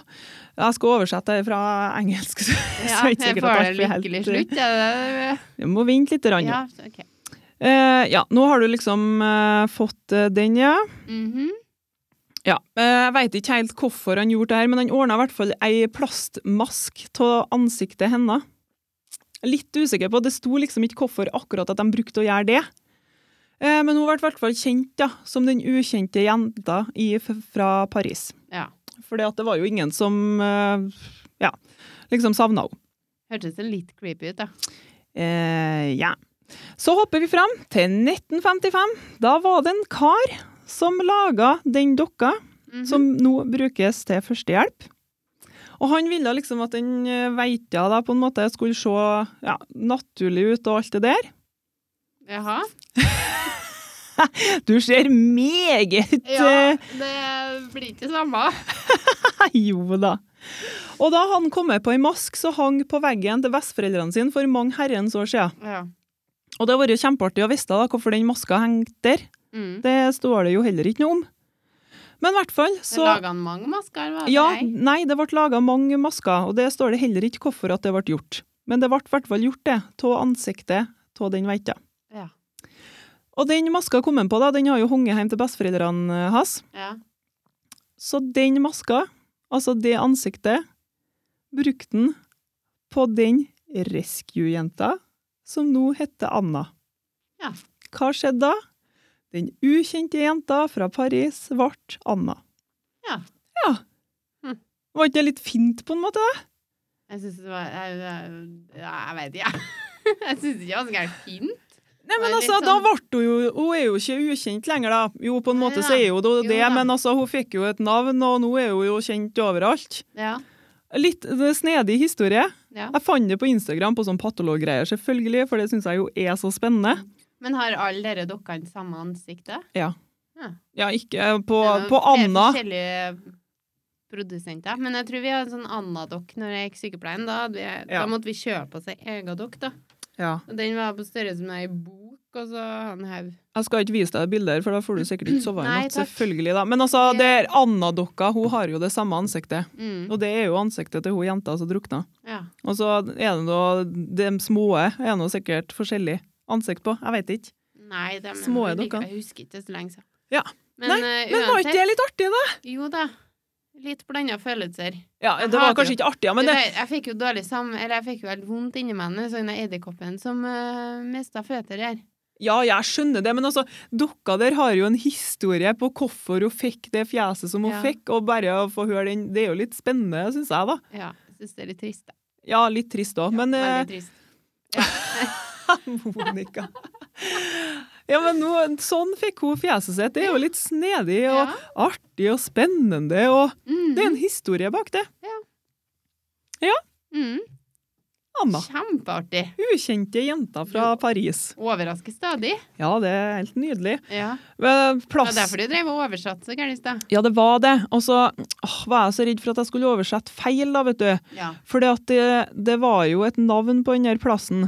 Speaker 2: Jeg skal oversette det fra engelsk. så
Speaker 1: Ja,
Speaker 2: jeg er ikke
Speaker 1: jeg
Speaker 2: sikker
Speaker 1: får
Speaker 2: at
Speaker 1: det
Speaker 2: alt blir helt-
Speaker 1: lykkelig slutt. Ja, det,
Speaker 2: Jeg må vente litt.
Speaker 1: det,
Speaker 2: Rann,
Speaker 1: ja, ok.
Speaker 2: Eh, ja, nå har du liksom eh, fått eh, den, ja.
Speaker 1: Mhm.
Speaker 2: Ja, eh, jeg veit ikke helt hvorfor han gjorde det her, men han ordna i hvert fall ei plastmask av ansiktet hennes. Litt usikker på, det sto liksom ikke hvorfor akkurat at de brukte å gjøre det. Eh, Men hun ble i hvert fall kjent da, som den ukjente jenta i, f- fra Paris.
Speaker 1: Ja.
Speaker 2: For det var jo ingen som eh, ja, liksom savna henne.
Speaker 1: Hørtes det litt creepy ut, da.
Speaker 2: Eh, ja. Så hopper vi fram til 1955. Da var det en kar som laga den dokka
Speaker 1: Mhm.
Speaker 2: som nå brukes til førstehjelp. Og han ville liksom at den eh, veita da på en måte skulle se ja, naturlig ut og alt det der.
Speaker 1: Jaha.
Speaker 2: Du ser meget
Speaker 1: Ja,
Speaker 2: eh,
Speaker 1: det blir ikke samme.
Speaker 2: Jo da. Og da han kom med på ei mask som hang på veggen til besteforeldrene sine for mange herrens år siden.
Speaker 1: Ja.
Speaker 2: Og det har vært kjempeartig å vite da, hvorfor den maska hengte der.
Speaker 1: Mm.
Speaker 2: Det står det jo heller ikke noe om. Men i hvert fall
Speaker 1: Så
Speaker 2: så
Speaker 1: laga han mange masker? Var det
Speaker 2: Ja,
Speaker 1: ei?
Speaker 2: nei, det ble laga mange masker, og det står det heller ikke hvorfor at det ble gjort. Men det ble i hvert fall gjort, det. Av ansiktet av den veita.
Speaker 1: Ja.
Speaker 2: Og den maska kom han på, da, den har jo hunget hjem til besteforeldrene eh, hans.
Speaker 1: ja.
Speaker 2: Så den maska, altså det ansiktet, brukte han på den rescue-jenta som nå heter Anna.
Speaker 1: Ja.
Speaker 2: Hva skjedde da? Den ukjente jenta fra Paris ble Anna.
Speaker 1: Ja.
Speaker 2: Ja.
Speaker 1: Hm.
Speaker 2: Var ikke det litt fint, på en måte? da?
Speaker 1: Jeg syns det var Jeg, jeg, jeg vet ikke, jeg. Jeg syns ikke han skal være fin.
Speaker 2: Nei, men
Speaker 1: Nei, litt
Speaker 2: altså, da
Speaker 1: sånn-
Speaker 2: ble hun jo Hun er jo ikke ukjent lenger, da. Jo, på en måte så er hun da
Speaker 1: Jo
Speaker 2: det,
Speaker 1: da.
Speaker 2: men altså, hun fikk jo et navn, og nå er hun jo kjent overalt.
Speaker 1: Ja.
Speaker 2: Litt eh, snedig historie.
Speaker 1: ja.
Speaker 2: Jeg fant det på Instagram på sånn patologgreier, selvfølgelig, for det syns jeg jo er så spennende.
Speaker 1: Men har alle dere dokkene samme ansiktet?
Speaker 2: Ja, ikke Eh, på,
Speaker 1: Det er jo
Speaker 2: på
Speaker 1: tre
Speaker 2: Anna.
Speaker 1: forskjellige produsenter. Men jeg tror vi hadde en sånn Anna-dokk når jeg gikk sykepleien. Da, hadde vi,
Speaker 2: Ja.
Speaker 1: da måtte vi kjøpe oss ei egen dokk, da.
Speaker 2: Ja.
Speaker 1: Og den var på størrelse med ei bok, og så en haug.
Speaker 2: Jeg skal ikke vise deg bilder, for da får du sikkert ikke sove i
Speaker 1: Nei,
Speaker 2: natt.
Speaker 1: takk.
Speaker 2: Selvfølgelig, da. Men
Speaker 1: Ja.
Speaker 2: altså, det er Anna-dokka, hun har jo det samme ansiktet.
Speaker 1: Mm.
Speaker 2: Og det er jo ansiktet til hun jenta som drukna.
Speaker 1: Ja.
Speaker 2: Og så er det noe, de små er noe sikkert forskjellig ansikt på. Jeg vet ikke.
Speaker 1: Nei, det, men
Speaker 2: Små
Speaker 1: jeg liker-
Speaker 2: dokker.
Speaker 1: Jeg husker ikke så lenge siden.
Speaker 2: Ja.
Speaker 1: Men,
Speaker 2: Nei,
Speaker 1: eh,
Speaker 2: Men var ikke
Speaker 1: uansett,
Speaker 2: det litt artig, da?
Speaker 1: Jo da. Litt blanda følelser.
Speaker 2: Ja,
Speaker 1: Jeg
Speaker 2: det var
Speaker 1: hater jo-
Speaker 2: kanskje ikke artig, ja, men
Speaker 1: Du vet,
Speaker 2: det
Speaker 1: jeg fikk jo dårlig sam... Eller jeg fikk jo helt vondt inni meg når jeg så den edderkoppen som uh, mista føtter her.
Speaker 2: Ja, jeg skjønner det, men altså, dere der har jo en historie på hvorfor hun fikk det fjeset som hun
Speaker 1: Ja.
Speaker 2: fikk, og bare å få høre den, det er jo litt spennende, syns jeg, da.
Speaker 1: Ja, jeg syns det er litt trist, da.
Speaker 2: Ja, litt trist òg, men
Speaker 1: Veldig
Speaker 2: eh,
Speaker 1: trist.
Speaker 2: Monica. Ja, men nå, sånn fikk hun fjeset sitt. Det er jo litt snedig og
Speaker 1: Ja.
Speaker 2: artig og spennende, og
Speaker 1: Mm.
Speaker 2: det er en historie bak det.
Speaker 1: Mm.
Speaker 2: Anna.
Speaker 1: Kjempeartig.
Speaker 2: Ukjente jenta fra Paris.
Speaker 1: Overrasker stadig.
Speaker 2: Ja, det er helt nydelig.
Speaker 1: Ja.
Speaker 2: Men
Speaker 1: Det var
Speaker 2: Plass
Speaker 1: derfor du drev og oversatte så gærent i stad.
Speaker 2: Ja, det var det. Og så åh, var jeg så redd for at jeg skulle oversette feil, da, vet du.
Speaker 1: Ja.
Speaker 2: For det, det var jo et navn på den der plassen.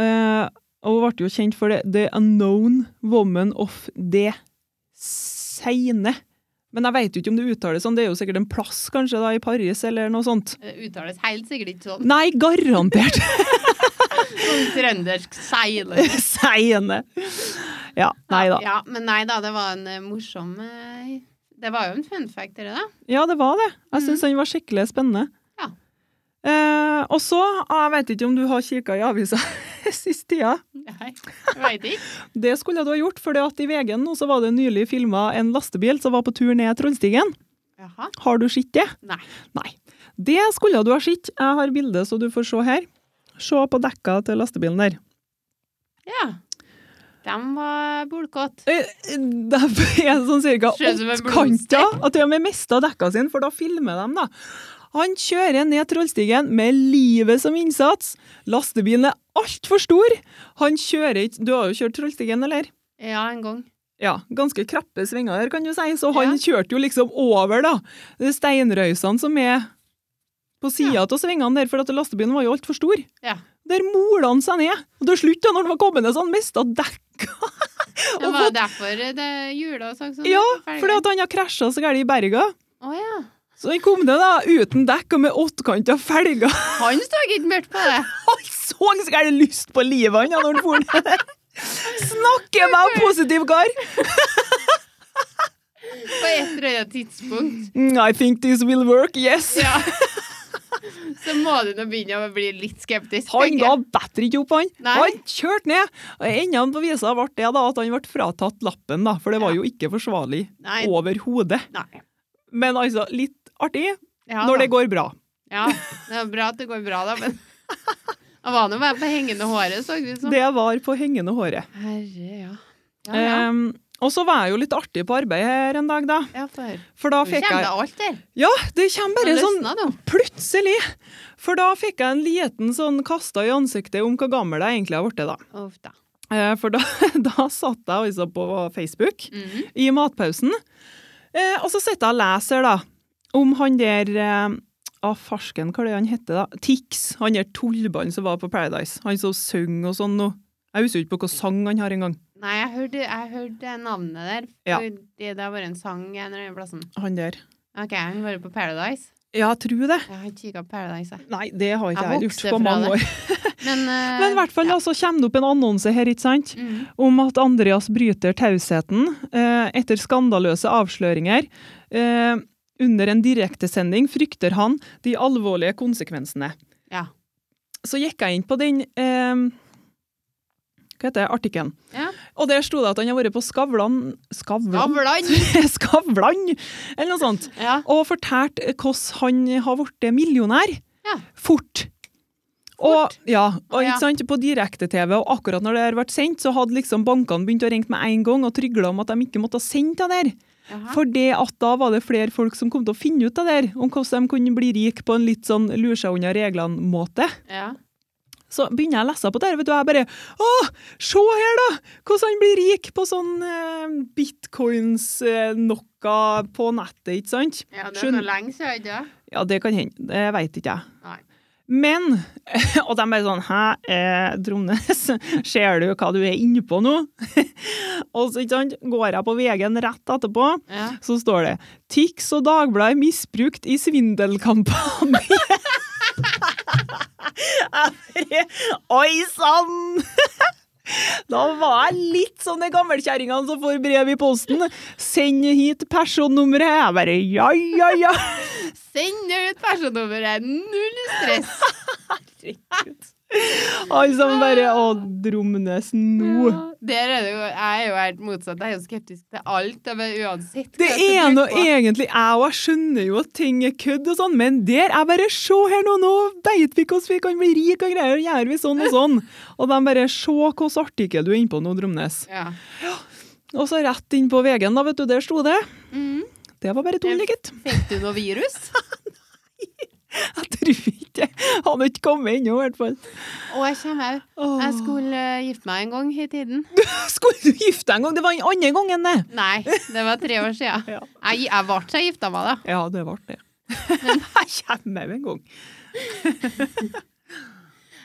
Speaker 2: Eh, og hun ble jo kjent for det The Unknown Woman of the Seine. Men jeg veit jo ikke om det uttales sånn. Det er jo sikkert en plass, kanskje, da, i Paris, eller noe sånt.
Speaker 1: Det uttales helt sikkert ikke sånn.
Speaker 2: Nei, garantert!
Speaker 1: Sånn Trøndersk seiler.
Speaker 2: Seine. Ja, nei da.
Speaker 1: Ja, men nei da, det var en eh, morsom eh, Det var jo en fun fact, det da.
Speaker 2: Ja, det var det. Jeg syns den var skikkelig spennende.
Speaker 1: Mhm. Ja.
Speaker 2: Eh, og så, ah, jeg vet ikke om du har kikka i avisa sist tida.
Speaker 1: Nei, jeg vet ikke.
Speaker 2: Det skulle du ha gjort, for i VG nå så var det nylig filma en lastebil som var på tur ned Trollstigen.
Speaker 1: Jaha.
Speaker 2: Har du sett det?
Speaker 1: Nei.
Speaker 2: Nei. Det skulle du ha sett. Jeg har bildet, så du får se her. Se på dekka til lastebilen der.
Speaker 1: Ja. De var bolkott.
Speaker 2: Eh, Det er sånn cirka
Speaker 1: Ser ut som en
Speaker 2: åttkanta. At de har mista dekka sine, for da filmer de, da. Han kjører ned Trollstigen med livet som innsats. Lastebilen er altfor stor. Han kjører ikke Du har jo kjørt Trollstigen, eller?
Speaker 1: Ja, en gang.
Speaker 2: Ja, ganske krappe svinger der, kan du si. Så han
Speaker 1: Ja.
Speaker 2: kjørte jo liksom over, da. Det er steinrøysene som er på sida
Speaker 1: Ja.
Speaker 2: av svingene der, for at lastebilen var jo altfor stor.
Speaker 1: Ja.
Speaker 2: Der mola han seg ned. Og til slutt, da, når han var kommet ned, så han mista dekka.
Speaker 1: Det
Speaker 2: Og
Speaker 1: var
Speaker 2: fått-
Speaker 1: derfor det jula og sånn. sånn
Speaker 2: Ja,
Speaker 1: på fergen.
Speaker 2: fordi at han har krasja så gærent i berga.
Speaker 1: Å ja.
Speaker 2: Så den kom ned da, uten dekk og med åttkanta felger.
Speaker 1: Han så ikke mørkt på det.
Speaker 2: Han så så gæren lyst på livet han ja, når han for ned. Snakker meg om positiv kar!
Speaker 1: På et eller annet tidspunkt.
Speaker 2: Mm, I think this will work, yes.
Speaker 1: Ja. Så må du nå begynne å bli litt skeptisk.
Speaker 2: Han
Speaker 1: tenker
Speaker 2: ga
Speaker 1: jeg.
Speaker 2: bedre ikke opp, han.
Speaker 1: Nei.
Speaker 2: Han kjørte ned. Og Enden på visa ble det da, at han ble fratatt lappen, da, for det var
Speaker 1: Ja.
Speaker 2: jo ikke forsvarlig
Speaker 1: Nei.
Speaker 2: overhodet.
Speaker 1: Nei.
Speaker 2: Men altså, litt artig
Speaker 1: Ja,
Speaker 2: når
Speaker 1: da.
Speaker 2: det går bra.
Speaker 1: Ja, det er bra at det går bra, da, men Han var nå bare på hengende håret, så det ut som.
Speaker 2: Det var på hengende håret.
Speaker 1: Herre, ja. Ja, ja.
Speaker 2: Ehm, Og så var jeg jo litt artig på arbeid her en dag, da.
Speaker 1: Ja, for
Speaker 2: For da
Speaker 1: Nå
Speaker 2: fikk
Speaker 1: kommer
Speaker 2: jeg
Speaker 1: det alt der.
Speaker 2: Ja, det kommer
Speaker 1: Nå
Speaker 2: bare sånn
Speaker 1: løsner det.
Speaker 2: plutselig! For da fikk jeg en liten sånn kasta i ansiktet om hvor gammel jeg egentlig har blitt, da.
Speaker 1: Uff da.
Speaker 2: Eh, For da, da satt jeg altså på Facebook
Speaker 1: Mhm.
Speaker 2: i matpausen, eh, og så sitter jeg og leser, da, om han der eh, Å, farsken, hva er det han heter, da? Tix. Han der tullballen som var på Paradise. Han som sang og sånn nå. Jeg husker ikke på hvilken sang han har engang.
Speaker 1: Nei, jeg hørte, jeg hørte navnet der.
Speaker 2: Ja.
Speaker 1: Fordi det har vært en sang en eller annen plass.
Speaker 2: Han der.
Speaker 1: OK, han var på Paradise.
Speaker 2: Ja, jeg tror det.
Speaker 1: Jeg har ikke kikket på Paradise, jeg.
Speaker 2: Nei, det har ikke
Speaker 1: Jeg
Speaker 2: jeg,
Speaker 1: vokste
Speaker 2: gjort på
Speaker 1: fra
Speaker 2: mange
Speaker 1: det.
Speaker 2: år.
Speaker 1: Men, eh,
Speaker 2: Men i hvert fall, da, så kommer det opp en annonse her, ikke sant?
Speaker 1: mm.
Speaker 2: om at Andreas bryter tausheten eh, etter skandaløse avsløringer. Eh, under en direktesending frykter han de alvorlige konsekvensene.
Speaker 1: Ja.
Speaker 2: Så gikk jeg inn på den eh, hva heter det, artikkelen.
Speaker 1: Ja.
Speaker 2: Og der sto det at han har vært på Skavlan Skavlan?
Speaker 1: Skavlan!
Speaker 2: Skavlan! Eller noe sånt.
Speaker 1: Ja.
Speaker 2: Og fortalt hvordan han har blitt millionær.
Speaker 1: Ja.
Speaker 2: Fort. Og, ja, og
Speaker 1: Å, ja.
Speaker 2: ikke sant, På direkte-TV, og akkurat når det har vært sendt, så hadde liksom bankene begynt å ringe med en gang og trygla om at de ikke måtte sende det der.
Speaker 1: Jaha.
Speaker 2: For det at da var det flere folk som kom til å finne ut det der, om hvordan de kunne bli rik på en litt sånn lure seg unna reglene-måte.
Speaker 1: Ja.
Speaker 2: Så begynner jeg å lese på det her, vet du, og jeg bare Å, se her, da! Hvordan han blir rik på sånn eh, bitcoins, eh, noe på nettet, ikke sant?
Speaker 1: ja, det er
Speaker 2: Skjønn-
Speaker 1: så lenge siden, ikke sant?
Speaker 2: Ja, det kan hende. Det veit ikke jeg.
Speaker 1: Nei.
Speaker 2: Men Og de bare sånn Hæ, eh, Dromnes, ser du hva du er inne på nå? og så ikke sant, går jeg på VG-en rett etterpå,
Speaker 1: Ja.
Speaker 2: så står det Tix og Dagbladet misbrukt i svindelkampanje. Jeg bare, Oi sann! Da var jeg litt sånn den gammelkjerringa som får brev i posten. Send hit personnummeret. Jeg bare ja, ja, ja.
Speaker 1: Send ut personnummeret! Null stress!
Speaker 2: Alle sammen bare Å, Dromnes, nå!
Speaker 1: Ja, Der er det jo, jeg er jo helt motsatt. Jeg er jo skeptisk til alt. Jeg bare, uansett hva
Speaker 2: Det
Speaker 1: jeg skal
Speaker 2: er nå
Speaker 1: bruke på.
Speaker 2: egentlig jeg og jeg skjønner jo at ting er kødd og sånn, men der er bare Se her nå, nå veit vi hvordan vi kan bli rike og greier, og gjør vi sånn og sånn? Og de bare Se hvilken artikkel du er inne på nå, Dromnes.
Speaker 1: Ja.
Speaker 2: Og så rett inn på VG-en, da, vet du. Der sto det.
Speaker 1: Mm.
Speaker 2: Det var bare tull,
Speaker 1: Ja.
Speaker 2: gitt.
Speaker 1: Fikk du noe virus?
Speaker 2: Jeg tror ikke det. Han har ikke kommet ennå, i hvert fall.
Speaker 1: Og jeg kommer
Speaker 2: Åh.
Speaker 1: Jeg skulle eh, gifte meg en gang i tiden.
Speaker 2: Skulle du gifte deg en gang? Det var den andre gangen, det.
Speaker 1: Nei, det var tre år siden.
Speaker 2: Ja.
Speaker 1: Jeg, jeg ble så gifta meg, da.
Speaker 2: Ja, det ble det. Jeg kommer jo en gang.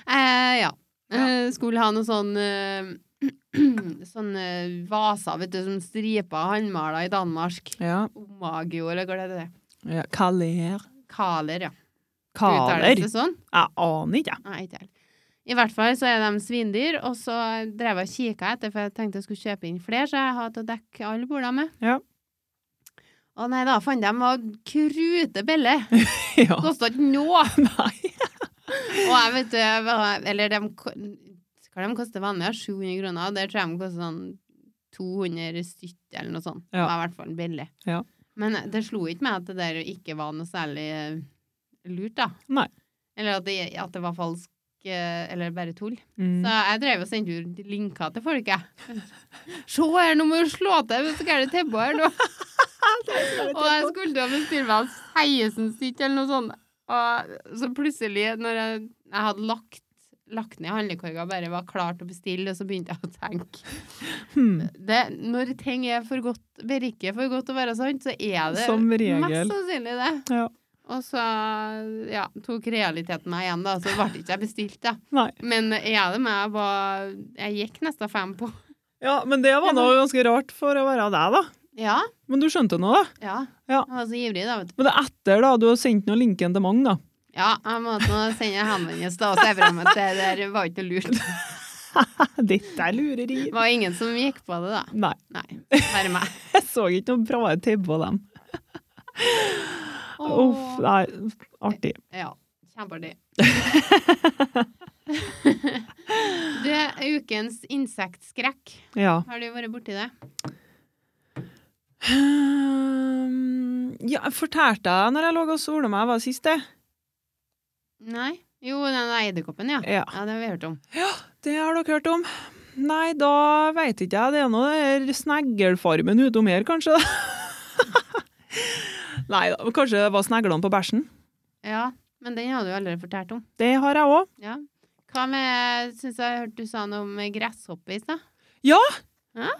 Speaker 1: Eh, ja. Eh, skulle ha noe sånn eh, Sånne vaser, vet du, som stripa håndmala i Danmark.
Speaker 2: Ja.
Speaker 1: Omagio, eller hva det heter.
Speaker 2: ja. Kaler.
Speaker 1: Kaler, ja. Uttales
Speaker 2: Kaler?
Speaker 1: det sånn?
Speaker 2: Jeg aner ikke, jeg.
Speaker 1: Nei, ikke helt. I hvert fall så er de svindyr, og så drev jeg og kikka etter, for jeg tenkte jeg skulle kjøpe inn flere, så jeg hadde til å dekke alle bordene med.
Speaker 2: Ja.
Speaker 1: Og nei, da fant jeg meg krute bille.
Speaker 2: Ja.
Speaker 1: Kosta ikke noe.
Speaker 2: Nei.
Speaker 1: Og jeg vet du, jeg var- eller de ko- Hva de koster vanlig? 700 kroner. og Der tror jeg de koster sånn 200 stykk eller noe sånt. Det
Speaker 2: Ja.
Speaker 1: var i hvert fall billig.
Speaker 2: Ja.
Speaker 1: Men det slo ikke meg at det der ikke var noe særlig eh, lurt, da.
Speaker 2: Nei.
Speaker 1: Eller at det, at det var falsk eh, eller bare tull.
Speaker 2: Mm.
Speaker 1: Så jeg drev og sendte ut linker til folk, jeg. Se her, nå må du slå til! Vet du hva er det tilbud her nå? Og jeg skulle til å bestille meg 16 stykk eller noe sånt. Og så plutselig, når jeg, jeg hadde lagt, lagt ned handlekorga, bare var klar til å bestille, og så begynte jeg å tenke
Speaker 2: Hmm.
Speaker 1: det, Når ting er for godt, virker for godt til å være sant, så er det
Speaker 2: Som regel.
Speaker 1: mest sannsynlig det.
Speaker 2: Ja.
Speaker 1: Og så ja, tok realiteten meg igjen, da. Så ble det ikke jeg bestilt, da.
Speaker 2: Nei.
Speaker 1: Men jeg det med jeg var Jeg gikk nesten fem på.
Speaker 2: ja, men det var noe ganske rart for å være deg, da.
Speaker 1: Ja.
Speaker 2: Men du skjønte noe, da.
Speaker 1: ja.
Speaker 2: Ja.
Speaker 1: Jeg var så ivrig, da, vet du.
Speaker 2: Men det er etter da, du har sendt noe linken til mange, da.
Speaker 1: Ja, jeg må nå sende en henvendelse da og se frem at det der var ikke noe lurt.
Speaker 2: Dette er lureri.
Speaker 1: Det var ingen som gikk på det, da.
Speaker 2: Nei,
Speaker 1: Nei, bare meg.
Speaker 2: jeg så ikke noe bra tipp på dem. Uff,
Speaker 1: Åh.
Speaker 2: nei, artig.
Speaker 1: Ja, kjempeartig. det er ukens insektskrekk.
Speaker 2: Ja.
Speaker 1: Har du vært borti det?
Speaker 2: Ehm, ja, fortalte jeg når jeg lå og sola meg, var sist det?
Speaker 1: Nei? Jo, den der edderkoppen, ja.
Speaker 2: Ja.
Speaker 1: Ja, det har vi hørt om.
Speaker 2: Det har dere hørt om. Nei, da veit ikke jeg. Det er nå den her sneglfarmen utom her, kanskje. Nei da, kanskje det var sneglene på bæsjen.
Speaker 1: Ja, men den har du allerede fortalt om.
Speaker 2: Det har jeg òg.
Speaker 1: Ja. Hva med Syns jeg hørte du sa noe om gresshoppe i stad.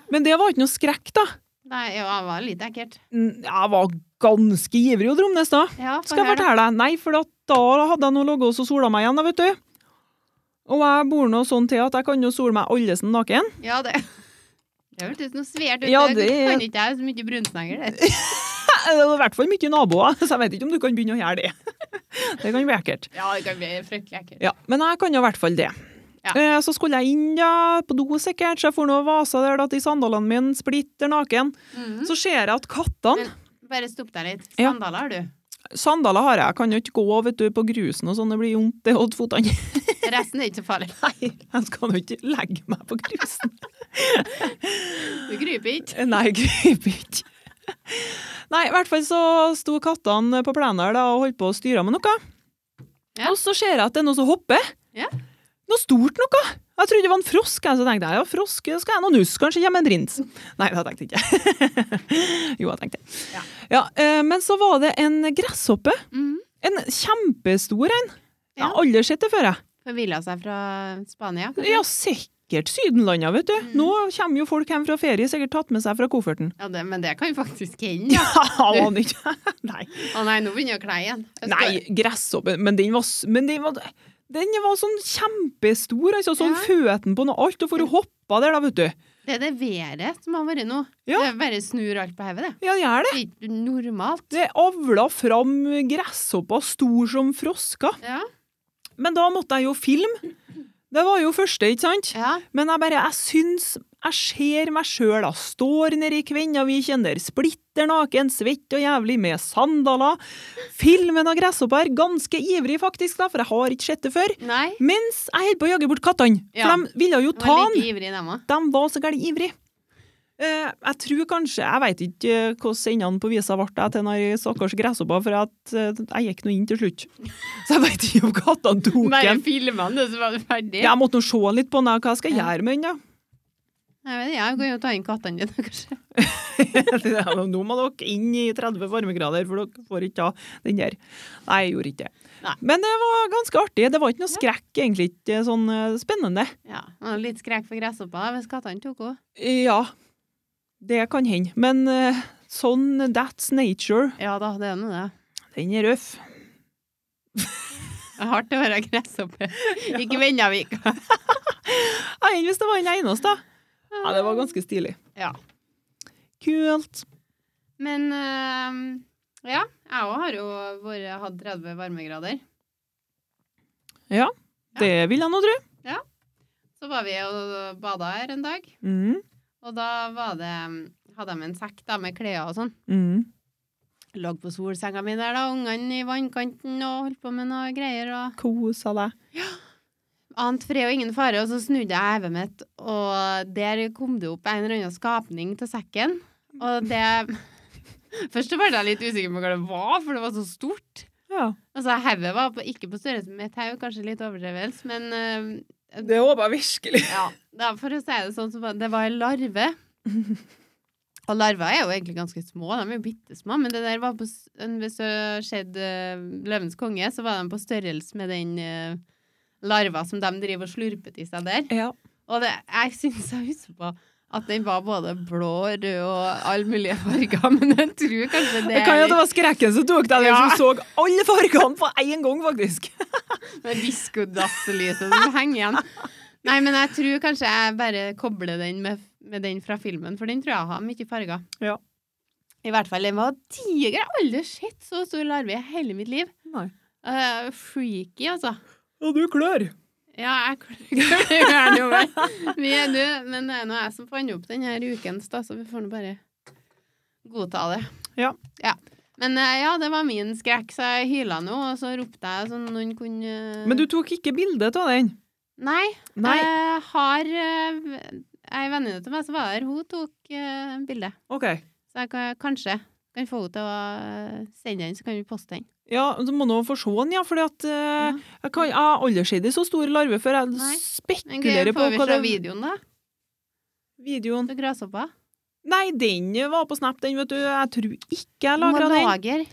Speaker 2: Men det var ikke noe skrekk, da.
Speaker 1: Nei, ja, det var litt ekkelt.
Speaker 2: N- Jeg var ganske ivrig, Odd Romnes, da.
Speaker 1: Ja, få
Speaker 2: Skal jeg
Speaker 1: høre, da.
Speaker 2: fortelle deg? Nei, for at da hadde jeg nå ligget og sola meg igjen, da, vet du. Og jeg bor nå sånn til at jeg kan jo sole meg allesen naken.
Speaker 1: Ja, det Det hørtes noe svært ut.
Speaker 2: Ja,
Speaker 1: det...
Speaker 2: det-
Speaker 1: kan ikke jeg så mye brunsnegler. det.
Speaker 2: Det er i hvert fall mye naboer, så jeg vet ikke om du kan begynne å gjøre det. Det kan bli ekkelt.
Speaker 1: Ja, det kan bli fryktelig ekkelt.
Speaker 2: Ja, men jeg kan jo i hvert fall det.
Speaker 1: Ja.
Speaker 2: Eh, Så skulle jeg inn ja, på do sikkert, så jeg får noe vasa der da, til sandalene mine splitter naken.
Speaker 1: Mhm.
Speaker 2: Så ser jeg at kattene,
Speaker 1: Bare stopp deg litt.
Speaker 2: Ja.
Speaker 1: Sandaler har du.
Speaker 2: sandaler har jeg, jeg kan jo ikke gå vet du, på grusen og sånn, det blir vondt det åt fotene.
Speaker 1: Resten er ikke så farlig.
Speaker 2: Nei, jeg skal jo ikke legge meg på grusen.
Speaker 1: Du gruper ikke.
Speaker 2: Nei, griper ikke. Nei, i hvert fall så sto kattene på plenen her da, og holdt på å styre med noe.
Speaker 1: Ja.
Speaker 2: Og så ser jeg at det er noe som hopper.
Speaker 1: Ja.
Speaker 2: Noe stort noe. Jeg trodde det var en frosk, jeg, så tenkte jeg, ja, frosk, skal jeg nå nuss, kanskje hjem en prins. Nei, det tenkte jeg ikke. jo, jeg tenkte.
Speaker 1: Ja.
Speaker 2: Ja, eh, men så var det en gresshoppe.
Speaker 1: Mm.
Speaker 2: En kjempestor en. Jeg har
Speaker 1: Ja.
Speaker 2: aldri sett det før, jeg.
Speaker 1: Forvilla seg fra Spania. kanskje?
Speaker 2: Ja, sikkert Sydenlandet, vet du.
Speaker 1: Mm.
Speaker 2: Nå kommer jo folk hjem fra ferie, sikkert tatt med seg fra kofferten.
Speaker 1: Ja, det, men det kan jo faktisk hende.
Speaker 2: Ja, han ikke. Nei.
Speaker 1: Å nei, nå begynner jeg å kle igjen. Jeg skal-
Speaker 2: Nei, gresshoppen, men den var, s- men den var, den var sånn kjempestor, altså sånn
Speaker 1: Ja.
Speaker 2: føten på noe alt, og for å hoppe der da, vet du.
Speaker 1: Det er det været som har vært nå.
Speaker 2: Ja.
Speaker 1: Det bare snur alt på hodet, det.
Speaker 2: Ja, det er det.
Speaker 1: Det er ikke normalt.
Speaker 2: Det avla fram gresshoppa stor som froska.
Speaker 1: Ja.
Speaker 2: Men da måtte jeg jo filme. Det var jo første, ikke sant?
Speaker 1: ja.
Speaker 2: Men jeg bare, jeg syns, jeg ser meg sjøl, jeg står nede i Kvennaviken der, splitter naken, svett og jævlig, med sandaler. Filmen av gresshoppa her, ganske ivrig faktisk, da, for jeg har ikke sett det før.
Speaker 1: Nei.
Speaker 2: Mens jeg holdt på å jage bort kattene, for
Speaker 1: Ja.
Speaker 2: de ville jo
Speaker 1: Jeg
Speaker 2: ta
Speaker 1: var
Speaker 2: den.
Speaker 1: like ivrig, dem òg.
Speaker 2: De var så gærent ivrige. Eh, jeg tror kanskje, jeg veit ikke eh, hvordan endene på visa ble jeg til den stakkars gresshoppa, for at eh, jeg gikk nå inn til slutt. Så jeg veit ikke om kattene tok
Speaker 1: Bare
Speaker 2: den.
Speaker 1: filma den, og så var du ferdig.
Speaker 2: Jeg måtte nå se litt på den, hva jeg skal
Speaker 1: Ja.
Speaker 2: gjøre med den, da.
Speaker 1: Jeg vet ikke, jeg kan jo ta inn kattene dine, kanskje.
Speaker 2: Det er jo- Nå må dere inn i 30 varmegrader, for dere får ikke ta den der. Nei, jeg gjorde ikke det.
Speaker 1: Nei.
Speaker 2: Men det var ganske artig. Det var ikke noe skrekk, egentlig ikke sånn eh, spennende.
Speaker 1: Ja, og Litt skrekk for gresshoppa hvis kattene tok henne.
Speaker 2: Ja, det kan hende. Men eh, sånn that's nature.
Speaker 1: Ja da, det er nå det.
Speaker 2: Den er røff.
Speaker 1: Det er hardt å være gresshoppe. Ikke Vennavika.
Speaker 2: Ja, Enn hvis det var den eneste. Ja, det var ganske stilig.
Speaker 1: Ja.
Speaker 2: Kult.
Speaker 1: Men øhm, ja, jeg òg har jo vært, hatt 30 varmegrader.
Speaker 2: Det vil jeg nå tro.
Speaker 1: Så var vi og bada her en dag,
Speaker 2: Mm.
Speaker 1: og da var det, hadde de en sekk da med klær og sånn.
Speaker 2: Mm.
Speaker 1: Lå på solsenga mi der, da, ungene i vannkanten og holdt på med noe greier. og
Speaker 2: Kosa deg.
Speaker 1: Ant fred og ingen fare, og så snudde jeg hevet mitt, og der kom det opp en eller annen skapning til sekken. Og det Først så ble jeg litt usikker på hva det var, for det var så stort.
Speaker 2: Ja.
Speaker 1: Altså, Hodet var på, ikke på størrelse med et hau, kanskje litt overdrevelse, men
Speaker 2: Det håper jeg virkelig.
Speaker 1: eh, ja. Da, for å si det sånn, så var det var en larve. Og larver er jo egentlig ganske små, de er jo bitte små, men det der var på, s- en- hvis du har sett eh, Løvens konge, så var de på størrelse med den eh, larva som de driver og slurpet i seg der.
Speaker 2: Ja.
Speaker 1: Og det, jeg syns jeg husker på at den var både blå, rød og alle mulige farger, men jeg tror kanskje det
Speaker 2: Det kan jo at det var skrekken som tok deg, den
Speaker 1: Ja.
Speaker 2: som så alle fargene på én gang, faktisk.
Speaker 1: Med diskodasselyset som henger igjen. Nei, men jeg tror kanskje jeg bare kobler den med, med den fra filmen, for den tror jeg har mye farger.
Speaker 2: Ja.
Speaker 1: I hvert fall, den var diger. Jeg har aldri sett så stor larve i hele mitt liv.
Speaker 2: Nei.
Speaker 1: Eh, freaky, altså.
Speaker 2: Og du klør.
Speaker 1: Ja, jeg klarer ikke å gjøre noe mer. Vi er døde, men det er nå jeg som fant opp denne ukens, da, så vi får nå bare godta det.
Speaker 2: Ja.
Speaker 1: Men eh, ja, det var min skrekk, så jeg hyla nå, og så ropte jeg sånn noen kunne
Speaker 2: Men du tok ikke bilde av den?
Speaker 1: Nei.
Speaker 2: Nei.
Speaker 1: Jeg har eh, Ei venninne til meg som var her, hun tok eh, bilde.
Speaker 2: OK.
Speaker 1: Så jeg kan, kanskje kan få henne til å eh, sende den, så kan vi poste den.
Speaker 2: Ja, du må nå få se den, ja. eh, For
Speaker 1: Ja.
Speaker 2: jeg, kan- jeg har aldri sett en så stor larve før. Jeg
Speaker 1: Nei. Men
Speaker 2: spekulerer
Speaker 1: gøy,
Speaker 2: på
Speaker 1: får vi
Speaker 2: hva
Speaker 1: se
Speaker 2: det
Speaker 1: videoen, da?
Speaker 2: videoen.
Speaker 1: Og grasshoppa.
Speaker 2: Nei, den var på Snap, den, vet du. Jeg tror ikke jeg lagra den.
Speaker 1: Monologer.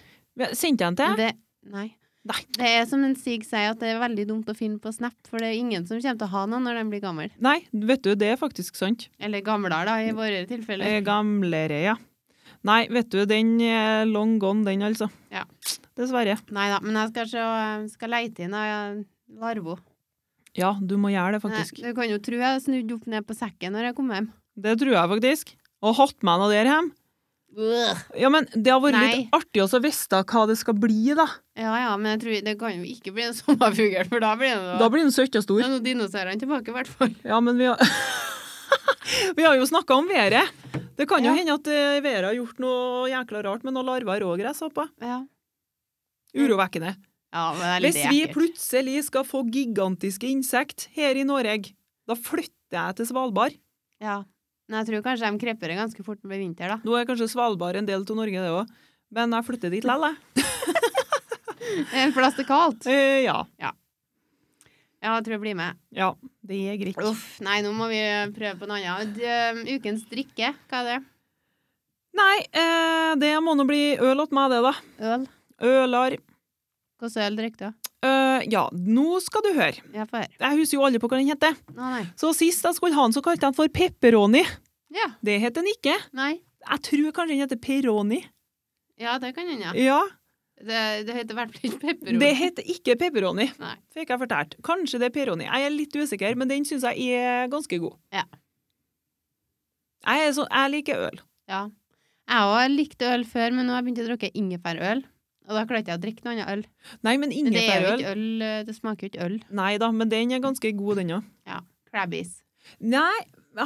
Speaker 2: Sendte jeg den til?
Speaker 1: Det, nei.
Speaker 2: Nei.
Speaker 1: Det er som en Sig sier, at det er veldig dumt å finne på Snap, for det er ingen som kommer til å ha noe når de blir gammel.
Speaker 2: Nei, vet du, det er faktisk sant.
Speaker 1: Eller gamler, da, i våre tilfeller.
Speaker 2: Eh, Gamlere, ja. Nei, vet du, den er long gone, den, altså.
Speaker 1: Ja.
Speaker 2: Dessverre.
Speaker 1: Nei da, men jeg skal, se, skal leite inn ei larvo.
Speaker 2: Ja, du må gjøre det,
Speaker 1: Nei,
Speaker 2: faktisk.
Speaker 1: Du kan jo tro jeg har snudd opp ned på sekken når jeg kom hjem.
Speaker 2: Det tror jeg faktisk. Og hatt med noe der hjem.
Speaker 1: Ugh.
Speaker 2: Ja, men det har vært
Speaker 1: Nei.
Speaker 2: litt artig også å vite hva det skal bli, da.
Speaker 1: Ja ja, men jeg tror, det kan jo ikke bli en sommerfugl, for da blir det noe
Speaker 2: Da blir den søtt og
Speaker 1: Da
Speaker 2: stor.
Speaker 1: er noen dinosaurene tilbake, i hvert fall.
Speaker 2: Ja, men vi har, vi har jo snakka om været. Det kan jo
Speaker 1: Ja.
Speaker 2: hende at eh, været har gjort noe jækla rart med noen larver og gresshopper.
Speaker 1: Ja,
Speaker 2: Urovekkende.
Speaker 1: ja men det er litt
Speaker 2: Hvis vi
Speaker 1: ekkelt.
Speaker 2: plutselig skal få gigantiske insekt her i Norge, da flytter jeg til Svalbard.
Speaker 1: Ja. Men jeg tror kanskje de krepper ganske fort med vinter, da.
Speaker 2: Nå er kanskje Svalbard en del av Norge, det òg. Men jeg flytter dit likevel, jeg.
Speaker 1: Det er en plass det er kaldt.
Speaker 2: Eh, ja.
Speaker 1: Ja, jeg tror jeg blir med.
Speaker 2: ja. Det er greit.
Speaker 1: Uff, nei, nå må vi prøve på noe annet. D- eh, Ukens drikke, hva er det?
Speaker 2: Nei, eh, det må nå bli øl åt meg, det, da.
Speaker 1: Øl.
Speaker 2: Ølar.
Speaker 1: Hvordan øl drikker du?
Speaker 2: Eh, ja, nå skal du høre.
Speaker 1: Ja, få høre.
Speaker 2: Jeg husker jo aldri på hva den heter.
Speaker 1: Å, nei.
Speaker 2: Så sist jeg skulle ha den, så kalte jeg den for pepperoni.
Speaker 1: Ja.
Speaker 2: Det heter den ikke.
Speaker 1: Nei.
Speaker 2: Jeg tror kanskje den heter peroni.
Speaker 1: Ja, det kan hende. Ja.
Speaker 2: Ja,
Speaker 1: Det, det heter i hvert fall ikke pepperoni.
Speaker 2: det heter ikke pepperoni,
Speaker 1: Nei.
Speaker 2: fikk jeg fortalt. Kanskje det er peroni. Jeg er litt usikker, men den syns jeg er ganske god.
Speaker 1: Ja.
Speaker 2: Jeg, er så, jeg liker øl.
Speaker 1: Ja. Jeg òg likte øl før, men nå har jeg begynt å drikke ingefærøl. Og da klarte jeg å drikke noe annet øl.
Speaker 2: Nei,
Speaker 1: Men
Speaker 2: men
Speaker 1: Det er jo
Speaker 2: ingefærøl
Speaker 1: ikke øl, eh, det smaker jo ikke øl.
Speaker 2: Nei da, men den er ganske god, den òg.
Speaker 1: Crabbies.
Speaker 2: Nei,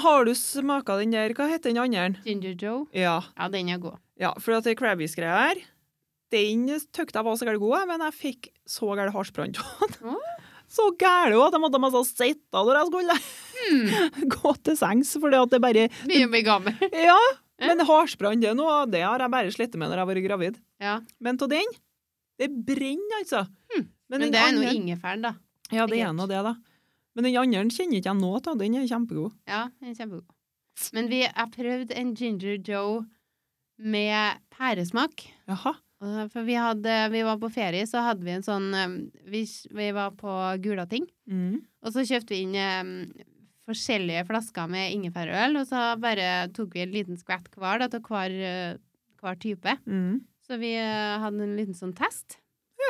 Speaker 2: har du smaka den der Hva heter den andre?
Speaker 1: Ginger Joe.
Speaker 2: Ja,
Speaker 1: Ja, den er god.
Speaker 2: ja for at det Crabbies-greia her, den tykte jeg var så gæren god, jeg, men jeg fikk så gæren hardsprang av
Speaker 1: Å.
Speaker 2: den. Så gæren at jeg måtte nesten sitte når jeg skulle
Speaker 1: Hmm.
Speaker 2: gå til sengs, fordi at det bare
Speaker 1: Begynner å bli gammel.
Speaker 2: Ja, men hardsbrann det er noe av det har jeg bare slettet med når jeg har vært gravid.
Speaker 1: Ja. Hmm.
Speaker 2: Men av den, det brenner altså.
Speaker 1: Men det er
Speaker 2: den
Speaker 1: nå
Speaker 2: andre-
Speaker 1: ingefæren, da.
Speaker 2: Ja, det er
Speaker 1: sikkert.
Speaker 2: nå det, da. Men den andre kjenner ikke jeg nå til, den er kjempegod.
Speaker 1: Ja, den er kjempegod. Men vi har prøvd en Ginger Joe med pæresmak.
Speaker 2: Jaha.
Speaker 1: Og For vi, hadde, vi var på ferie, så hadde vi en sånn eh, Vi, vi var på Gulating,
Speaker 2: Mm.
Speaker 1: og så kjøpte vi inn eh, forskjellige flasker med ingefærøl, og så bare tok vi en liten skvett hver da, til hver, eh, hver type.
Speaker 2: Mm.
Speaker 1: Så vi eh, hadde en liten sånn test.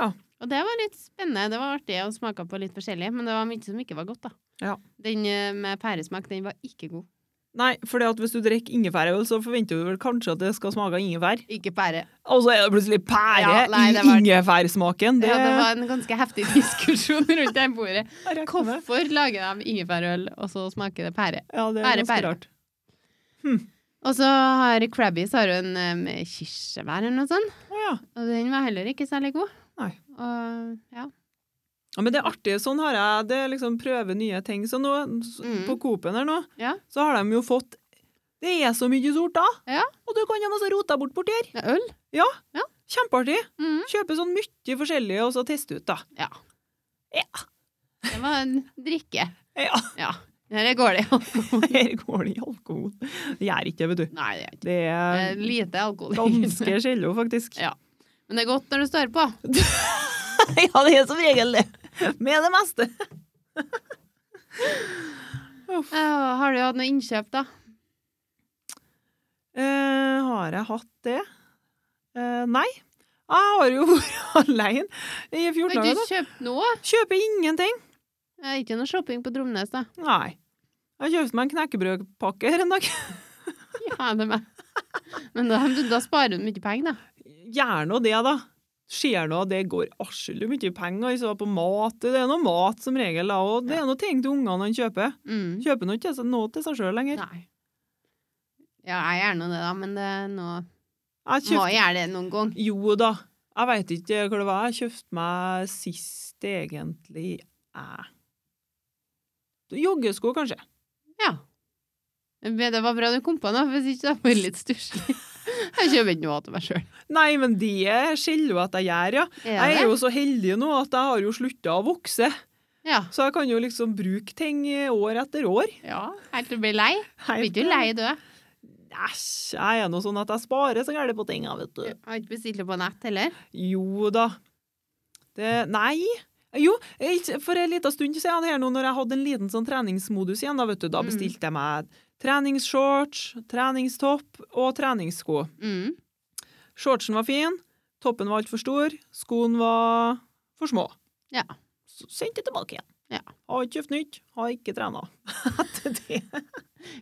Speaker 2: Ja.
Speaker 1: Og det var litt spennende. Det var artig å smake på litt forskjellig, men det var mye som ikke var godt, da.
Speaker 2: Ja.
Speaker 1: Den eh, med pæresmak, den var ikke god.
Speaker 2: Nei, for det at hvis du drikker ingefærøl, så forventer du vel kanskje at det skal smake av ingefær.
Speaker 1: Ikke pære.
Speaker 2: Og så er det plutselig pære
Speaker 1: Ja, nei, det
Speaker 2: i
Speaker 1: var-
Speaker 2: ingefærsmaken. Det,
Speaker 1: Ja, det var en ganske heftig diskusjon rundt det bordet.
Speaker 2: Jeg regner med.
Speaker 1: Hvorfor lager de ingefærøl, og så smaker det pære?
Speaker 2: Ja, det er
Speaker 1: Pære,
Speaker 2: ganske
Speaker 1: pære.
Speaker 2: rart.
Speaker 1: Og så har Krabbies har jo en eh, med kirsebær eller noe sånt,
Speaker 2: Å ja.
Speaker 1: og den var heller ikke særlig god.
Speaker 2: Nei.
Speaker 1: Og, ja.
Speaker 2: Ja, men det er artig. Sånn har jeg det. er liksom Prøve nye ting. Så nå, s-
Speaker 1: Mm.
Speaker 2: på Coop-en her nå,
Speaker 1: Ja.
Speaker 2: så har de jo fått Det er så mye sorter!
Speaker 1: Ja.
Speaker 2: Og du kan jo også rote deg bort borti her.
Speaker 1: Ja, Øl?
Speaker 2: Kjempeartig!
Speaker 1: Mm.
Speaker 2: Kjøpe sånn mye forskjellig og så teste ut, da.
Speaker 1: Ja.
Speaker 2: Ja.
Speaker 1: Det var en drikke.
Speaker 2: Ja,
Speaker 1: Her går det jo.
Speaker 2: her går det i alkohol. Det gjør ikke det, vet du.
Speaker 1: Nei, det er ikke.
Speaker 2: Det
Speaker 1: Det
Speaker 2: er
Speaker 1: er lite alkohol. i den.
Speaker 2: ganske skjello, faktisk.
Speaker 1: Eh, Ja. Men det er godt når det står på.
Speaker 2: ja, det er som regel det. Med det meste. Uff.
Speaker 1: Eh, har du hatt noe innkjøp, da?
Speaker 2: Eh, har jeg hatt det? Eh, nei. Jeg har jo vært alene i 14
Speaker 1: Har
Speaker 2: dager.
Speaker 1: du
Speaker 2: da.
Speaker 1: kjøpt noe?
Speaker 2: Kjøper ingenting.
Speaker 1: Eh, Ikke noe shopping på Dromnes, da.
Speaker 2: Nei. Jeg kjøpte meg en knekkebrødpakke her en dag.
Speaker 1: Ja, det er meg. Men da, da sparer du mye penger, da.
Speaker 2: Gjerne og det, da. Skjer noe, det går arskelig mye penger altså, på mat. Det er noe mat som regel, da, og det er noe ting til ungene han kjøper.
Speaker 1: Mm.
Speaker 2: Kjøper nå ikke seg noe til seg sjøl lenger.
Speaker 1: Nei. Ja, jeg gjør nå det, da, men det er noe
Speaker 2: Jeg
Speaker 1: Må
Speaker 2: kjøpte
Speaker 1: jeg gjøre det noen gang.
Speaker 2: Jo da. Jeg veit ikke hva det var jeg kjøpte meg sist, egentlig. Eh. Joggesko, kanskje.
Speaker 1: Ja. Men Det var bra du kom på noe, hvis ikke da blir det litt stusslig. Jeg kjøper ikke noe til meg sjøl.
Speaker 2: Nei, men det skiller jo at jeg gjør, ja. Jeg er jo så heldig nå at jeg har jo slutta å vokse.
Speaker 1: Ja.
Speaker 2: Så jeg kan jo liksom bruke ting eh, år etter år. eh,
Speaker 1: ja. Helt til du blir lei. Blir du lei du? Jeg
Speaker 2: Æsj, jeg er nå sånn at jeg sparer så gærent på ting, jeg, vet du.
Speaker 1: har ikke bestilt det på nett heller.
Speaker 2: Jo da. Det Nei. Jo, ikke- for en liten stund siden her nå, når jeg hadde en liten sånn treningsmodus igjen, da, vet du, da
Speaker 1: Mm.
Speaker 2: bestilte jeg meg treningsshorts, treningstopp og treningssko.
Speaker 1: Mm.
Speaker 2: Shortsen var fin, toppen var altfor stor, skoen var for små.
Speaker 1: Ja.
Speaker 2: Så sendte jeg tilbake igjen.
Speaker 1: Ja.
Speaker 2: Har ikke kjøpt nytt, har ikke trena. Etter det.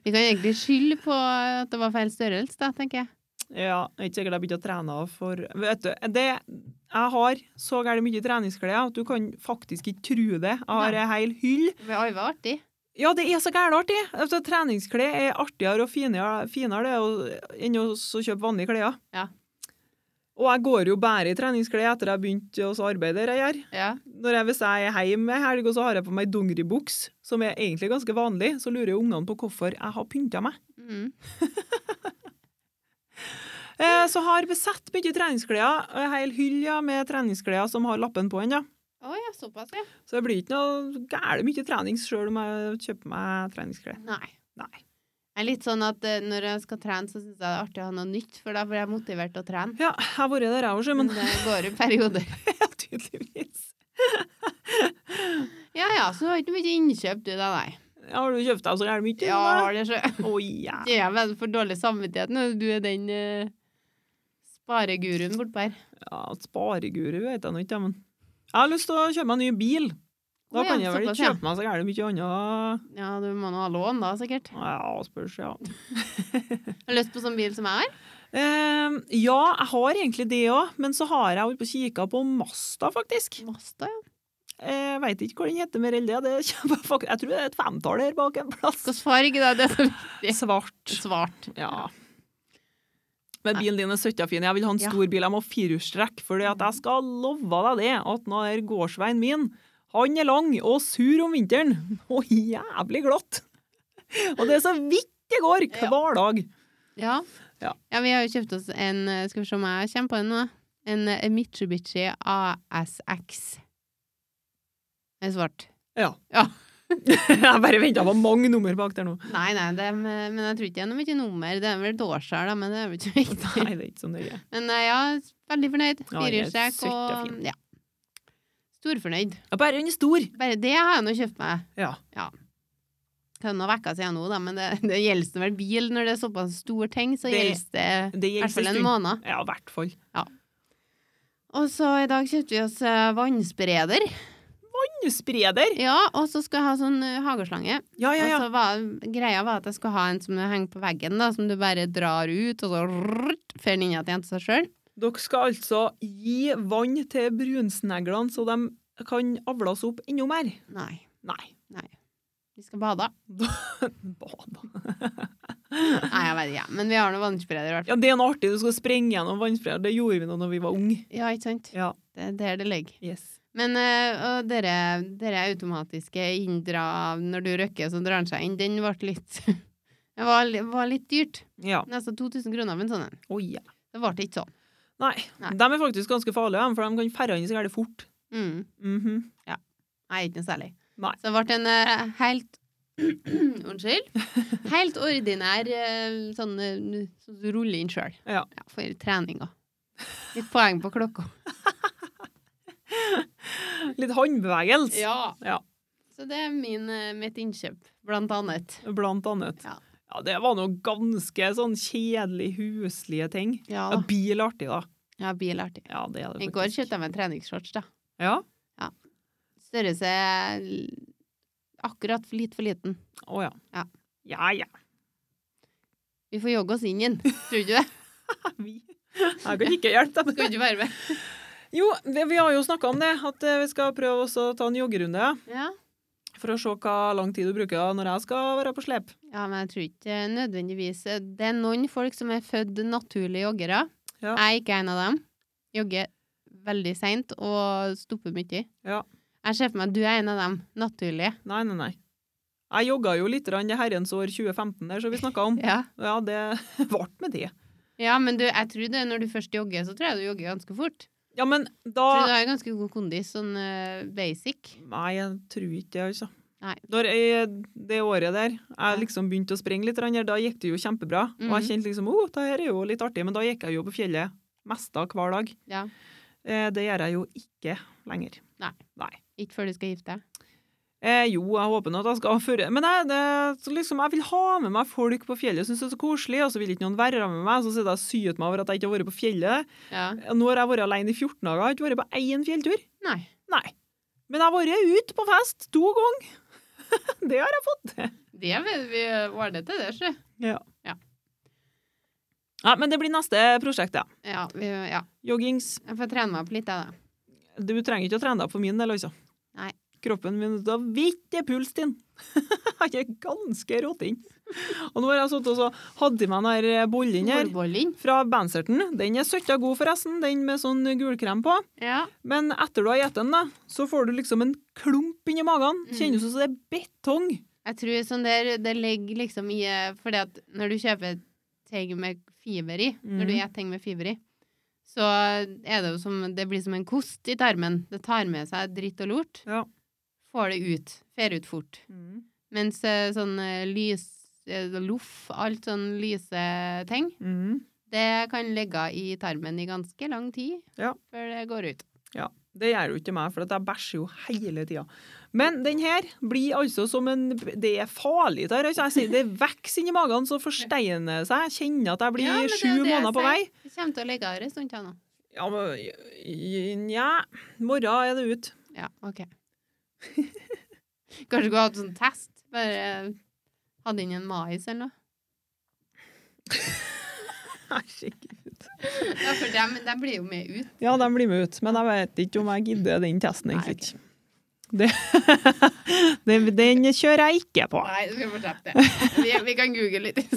Speaker 1: Vi kan egentlig skylde på at det var feil størrelse, da, tenker jeg.
Speaker 2: Ja, jeg er ikke sikkert jeg begynte å trene for Vet du, det, jeg har så gærent mye treningsklær at du kan faktisk ikke tro det. Jeg har
Speaker 1: Nei.
Speaker 2: ei hel hyll.
Speaker 1: Det var jo artig.
Speaker 2: Ja, det er så gærent artig! Altså, treningsklær er artigere og finere, finere det, og, enn å så kjøpe vanlige klær.
Speaker 1: Ja.
Speaker 2: Og jeg går jo bare i treningsklær etter jeg begynte å så arbeide der jeg gjør.
Speaker 1: Ja.
Speaker 2: Når jeg, hvis jeg er hjemme ei helg og så har jeg på meg dongeribuks, som er egentlig ganske vanlig, så lurer jo ungene på hvorfor jeg har pynta meg.
Speaker 1: Mm.
Speaker 2: Eh, Så har besett mye treningsklær, og en hel hyll ja, med treningsklær som har lappen på ennå.
Speaker 1: Å ja, såpass, ja.
Speaker 2: Så det blir ikke noe gæle mye trening sjøl om jeg kjøper meg treningsklær.
Speaker 1: Nei.
Speaker 2: Nei.
Speaker 1: Jeg er litt sånn at eh, når jeg skal trene, så syns jeg det er artig å ha noe nytt, for da blir jeg motivert til å trene.
Speaker 2: Ja, jeg har vært der jeg òg, sjø,
Speaker 1: Men
Speaker 2: men
Speaker 1: det går i perioder.
Speaker 2: ja, tydeligvis.
Speaker 1: Ja ja, så du har ikke mye innkjøp, du da, nei.
Speaker 2: Ja, Har du kjøpt deg så gæle mye?
Speaker 1: Ja,
Speaker 2: da?
Speaker 1: har det sjø.
Speaker 2: Å ja.
Speaker 1: Det er vel for dårlig samvittighet når du er den eh, spareguruen bortpå her.
Speaker 2: ja Spareguru vet jeg nå ikke, men Jeg har lyst til å kjøpe meg en ny bil. Da
Speaker 1: Å ja,
Speaker 2: kan jeg vel ikke
Speaker 1: såpass, ja.
Speaker 2: kjøpe meg så gæle mye annet.
Speaker 1: Ja, du må nå ha lån, da, sikkert.
Speaker 2: Ja, spørs, ja.
Speaker 1: Har du lyst på sånn bil som jeg har?
Speaker 2: Eh, ja, jeg har egentlig det òg, men så har jeg holdt på å kikke på Masta, faktisk.
Speaker 1: Masta, ja.
Speaker 2: Jeg veit ikke hva den heter mer enn det. det kommer jeg fakt- jeg tror det er et femtall her bak en plass.
Speaker 1: Hvilken farge, da? Det er så viktig.
Speaker 2: Svart.
Speaker 1: Svart.
Speaker 2: Ja. Men bilen din er søtta fin. Jeg vil ha en
Speaker 1: Ja.
Speaker 2: stor bil. Jeg må ha firehjulstrekk. For jeg skal love deg det, at nå er gårdsveien min han er lang og sur om vinteren. Og jævlig glatt. Og det er så vidt det går
Speaker 1: Ja.
Speaker 2: hver dag.
Speaker 1: Ja.
Speaker 2: Ja.
Speaker 1: vi har jo kjøpt oss en eh, Skal vi se om jeg kommer på den nå. En eh, Mitsubishi ASX. Den er svart.
Speaker 2: Ja.
Speaker 1: Ja.
Speaker 2: jeg bare venta på mange nummer bak der nå.
Speaker 1: Nei, nei, det er, men jeg tror ikke det er noe mye nummer. Det er vel et årsall, da, men det er vel ikke viktig.
Speaker 2: Nei, det er ikke så nøye.
Speaker 1: Men eh, ja, veldig fornøyd.
Speaker 2: Ja, jeg er
Speaker 1: Firehjulstrekk
Speaker 2: søtt og
Speaker 1: og
Speaker 2: fin.
Speaker 1: ja. Storfornøyd.
Speaker 2: Ja, Bare den er stor.
Speaker 1: Bare det har jeg nå kjøpt meg.
Speaker 2: Ja.
Speaker 1: Det er noen vekker siden nå, da, men det, det gjelder vel bil når det er såpass stor ting, så
Speaker 2: Det-
Speaker 1: gjelder det
Speaker 2: Det
Speaker 1: i
Speaker 2: gjelder
Speaker 1: hvert fall en
Speaker 2: stund.
Speaker 1: måned.
Speaker 2: Ja, i hvert fall.
Speaker 1: Og så i dag kjøpte vi oss eh, vannspreder.
Speaker 2: Spreder.
Speaker 1: Ja, og så skal jeg ha sånn eh, hageslange.
Speaker 2: Ja, ja, ja.
Speaker 1: Og så var, greia var at jeg skulle ha en som henger på veggen, da, som du bare drar ut, og så rrrt, fer den inn igjen til seg sjøl.
Speaker 2: Dere skal altså gi vann til brunsneglene så de kan avles opp enda mer.
Speaker 1: Nei,
Speaker 2: Nei.
Speaker 1: vi skal bade.
Speaker 2: Bada.
Speaker 1: Nei, jeg vet ikke, ja. men vi har noen vannspreder i hvert fall.
Speaker 2: Ja, det er noe artig. Du skal sprenge gjennom vannspreder. Det gjorde vi nå når vi var unge.
Speaker 1: Ja, ikke sant?
Speaker 2: Ja.
Speaker 1: Det er der det ligger.
Speaker 2: Yes.
Speaker 1: Men eh, og dere, dere automatiske inndra Når du røkker, så drar den seg inn. Den ble litt Det var, var litt dyrt.
Speaker 2: Ja.
Speaker 1: Nesten 2000 kroner for en sånn en.
Speaker 2: Å ja.
Speaker 1: Det ble ikke sånn.
Speaker 2: Nei.
Speaker 1: Nei.
Speaker 2: De er faktisk ganske farlige, de, for de kan ferde inn så gærent fort.
Speaker 1: Mm.
Speaker 2: Mhm.
Speaker 1: Nei, ikke noe særlig.
Speaker 2: Nei.
Speaker 1: Så det ble en eh, helt Unnskyld. Helt ordinær eh, sånn eh, sånn du ruller inn sjøl.
Speaker 2: Ja.
Speaker 1: For treninga. Litt poeng på klokka.
Speaker 2: Litt håndbevegelse,
Speaker 1: Ja.
Speaker 2: Ja.
Speaker 1: Så det er min, eh, mitt innkjøp, blant annet.
Speaker 2: blant annet.
Speaker 1: Ja.
Speaker 2: Ja, det var noe ganske sånn kjedelig huslige ting.
Speaker 1: Ja
Speaker 2: Ja,
Speaker 1: da.
Speaker 2: bil er artig, da.
Speaker 1: Ja, bil er artig.
Speaker 2: Ja, det er det
Speaker 1: I går kjøpte jeg meg en treningsshorts, da.
Speaker 2: Ja?
Speaker 1: Størrelse l- akkurat for- litt for liten.
Speaker 2: Å ja.
Speaker 1: Ja.
Speaker 2: Ja, ja.
Speaker 1: Vi får jogge oss inn igjen, tror du ikke det?
Speaker 2: Vi. Jeg kan ikke hjelpe dem.
Speaker 1: Skal ikke være med.
Speaker 2: Jo, det, vi har jo snakka om det, at eh, vi skal prøve også å ta en joggerunde.
Speaker 1: Ja.
Speaker 2: For å se hva lang tid du bruker da når jeg skal være på slep.
Speaker 1: Ja, men jeg tror ikke nødvendigvis eh, Det er noen folk som er født naturlige joggere.
Speaker 2: Ja.
Speaker 1: Jeg er ikke en av dem. Jogger veldig seint og stopper mye.
Speaker 2: Ja.
Speaker 1: Jeg ser for meg at du er en av dem naturlige.
Speaker 2: Nei, nei, nei. Jeg jogga jo litt grann det herrens år 2015 der, som vi snakka om.
Speaker 1: Ja.
Speaker 2: Ja, det ble med det.
Speaker 1: men du, jeg tror det når du først jogger, så tror jeg du jogger ganske fort.
Speaker 2: Ja, men
Speaker 1: Tror du
Speaker 2: da
Speaker 1: det er ganske god kondis, sånn eh, basic?
Speaker 2: Nei, jeg tror ikke det, altså.
Speaker 1: Nei.
Speaker 2: Når jeg, det året der
Speaker 1: Ja. Mhm.
Speaker 2: jeg liksom begynte å sprenge litt, grann her, da gikk det jo kjempebra. Og jeg kjente liksom å, det her er jo litt artig, men da gikk jeg jo på fjellet mest av hver dag.
Speaker 1: Ja.
Speaker 2: Eh, det gjør jeg jo ikke lenger.
Speaker 1: Nei. Ikke før du skal gifte deg?
Speaker 2: Eh, jo, jeg håper nå at jeg skal føre Men jeg, det, så liksom, jeg vil ha med meg folk på fjellet, syns det er så koselig, og så vil ikke noen være med meg, så sitter jeg og syet meg over at jeg ikke har vært på fjellet.
Speaker 1: Ja.
Speaker 2: Og Nå har jeg vært alene i 14 dager, jeg har ikke vært på én fjelltur.
Speaker 1: Nei.
Speaker 2: Nei. Men jeg har vært ute på fest to ganger. det har jeg fått til.
Speaker 1: Det vil vi ordne til, det, sjø.
Speaker 2: Ja, men det blir neste prosjekt, ja.
Speaker 1: Ja, vi, ja.
Speaker 2: Joggings.
Speaker 1: Jeg får trene meg opp litt, jeg, da.
Speaker 2: Du trenger ikke å trene deg for min del, altså.
Speaker 1: Nei.
Speaker 2: Kroppen min da vidt er puls din. Han er ganske råtinn. Og nå har jeg satt og så hatt i meg den her bollen her
Speaker 1: Hårbollen.
Speaker 2: fra Banserten. Den er søtta god, forresten, den med sånn gulkrem på.
Speaker 1: Ja.
Speaker 2: Men etter du har spist den, da, så får du liksom en klump inni magen.
Speaker 1: Mm.
Speaker 2: Kjennes ut som det er betong.
Speaker 1: Jeg tror sånn der, det ligger liksom i eh, Fordi at når du kjøper ting med fiber i, når du
Speaker 2: Mm.
Speaker 1: spiser ting med fiber i, så er det jo som Det blir som en kost i tarmen. Det tar med seg dritt og lort.
Speaker 2: Ja.
Speaker 1: Får det ut. Fer ut fort. Mens eh, sånn eh, lys eh, Loff, alt sånn lyse ting,
Speaker 2: Mm.
Speaker 1: det kan ligge i tarmen i ganske lang tid
Speaker 2: Ja.
Speaker 1: før det går ut.
Speaker 2: Det gjør jo ikke meg, for at jeg bæsjer jo hele tida. Men den her blir altså som en Det er farlig, det her. Altså. Jeg sier det vokser inni magen, så forsteiner det seg. Jeg kjenner at jeg blir
Speaker 1: Ja, men det er
Speaker 2: sju
Speaker 1: jo det jeg
Speaker 2: måneder på vei.
Speaker 1: sier. Det kommer til å ligge her en stund til nå.
Speaker 2: Ja, men Nja. Morgen er det ut.
Speaker 1: Ja, ok. Kanskje du kunne hatt sånn test? Bare hadde inn en mais eller noe?
Speaker 2: Herregud.
Speaker 1: Ja, for dem, dem blir jo med ut.
Speaker 2: Ja, de blir med ut, men jeg vet ikke om jeg gidder den testen,
Speaker 1: Nei,
Speaker 2: egentlig. Det, den, den kjører jeg ikke på.
Speaker 1: Nei, du skal få slippe det. Vi, vi kan google litt.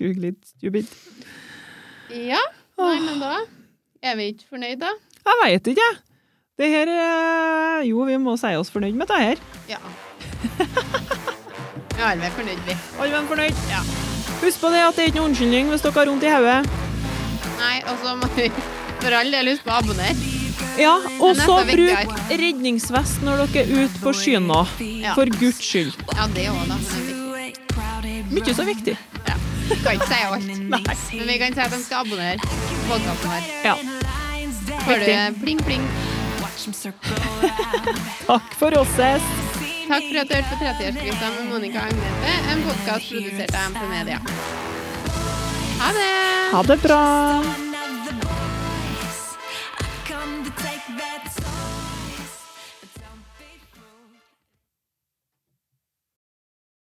Speaker 2: Google litt stupid.
Speaker 1: Ja, nei, men da er vi ikke fornøyd, da.
Speaker 2: Jeg veit ikke, jeg. Det her eh, Jo, vi må si oss fornøyd med det her.
Speaker 1: Ja. Ja, vi er fornøyd, vi.
Speaker 2: Alle var fornøyd? Ja. Husk på det at det er ikke noen unnskyldning hvis dere har vondt i hodet.
Speaker 1: Nei, og så må vi for all del huske å abonnere.
Speaker 2: Ja, og
Speaker 1: Men dette
Speaker 2: så
Speaker 1: er
Speaker 2: bruk
Speaker 1: viktigere.
Speaker 2: redningsvest når dere er ute på sjøen nå.
Speaker 1: Ja.
Speaker 2: For guds skyld.
Speaker 1: Ja, det òg, da. Men vi
Speaker 2: Mye så viktig.
Speaker 1: ja. vi kan ikke si alt. Men vi kan si at de skal abonnere på podkasten vår.
Speaker 2: Ja.
Speaker 1: Får du pling, pling.
Speaker 2: Takk for oss. ses.
Speaker 1: Takk for at du hørte på 30-årskrisa med Monica Agnete, en podkast produsert av MP Media. Ha det!
Speaker 2: Ha det bra.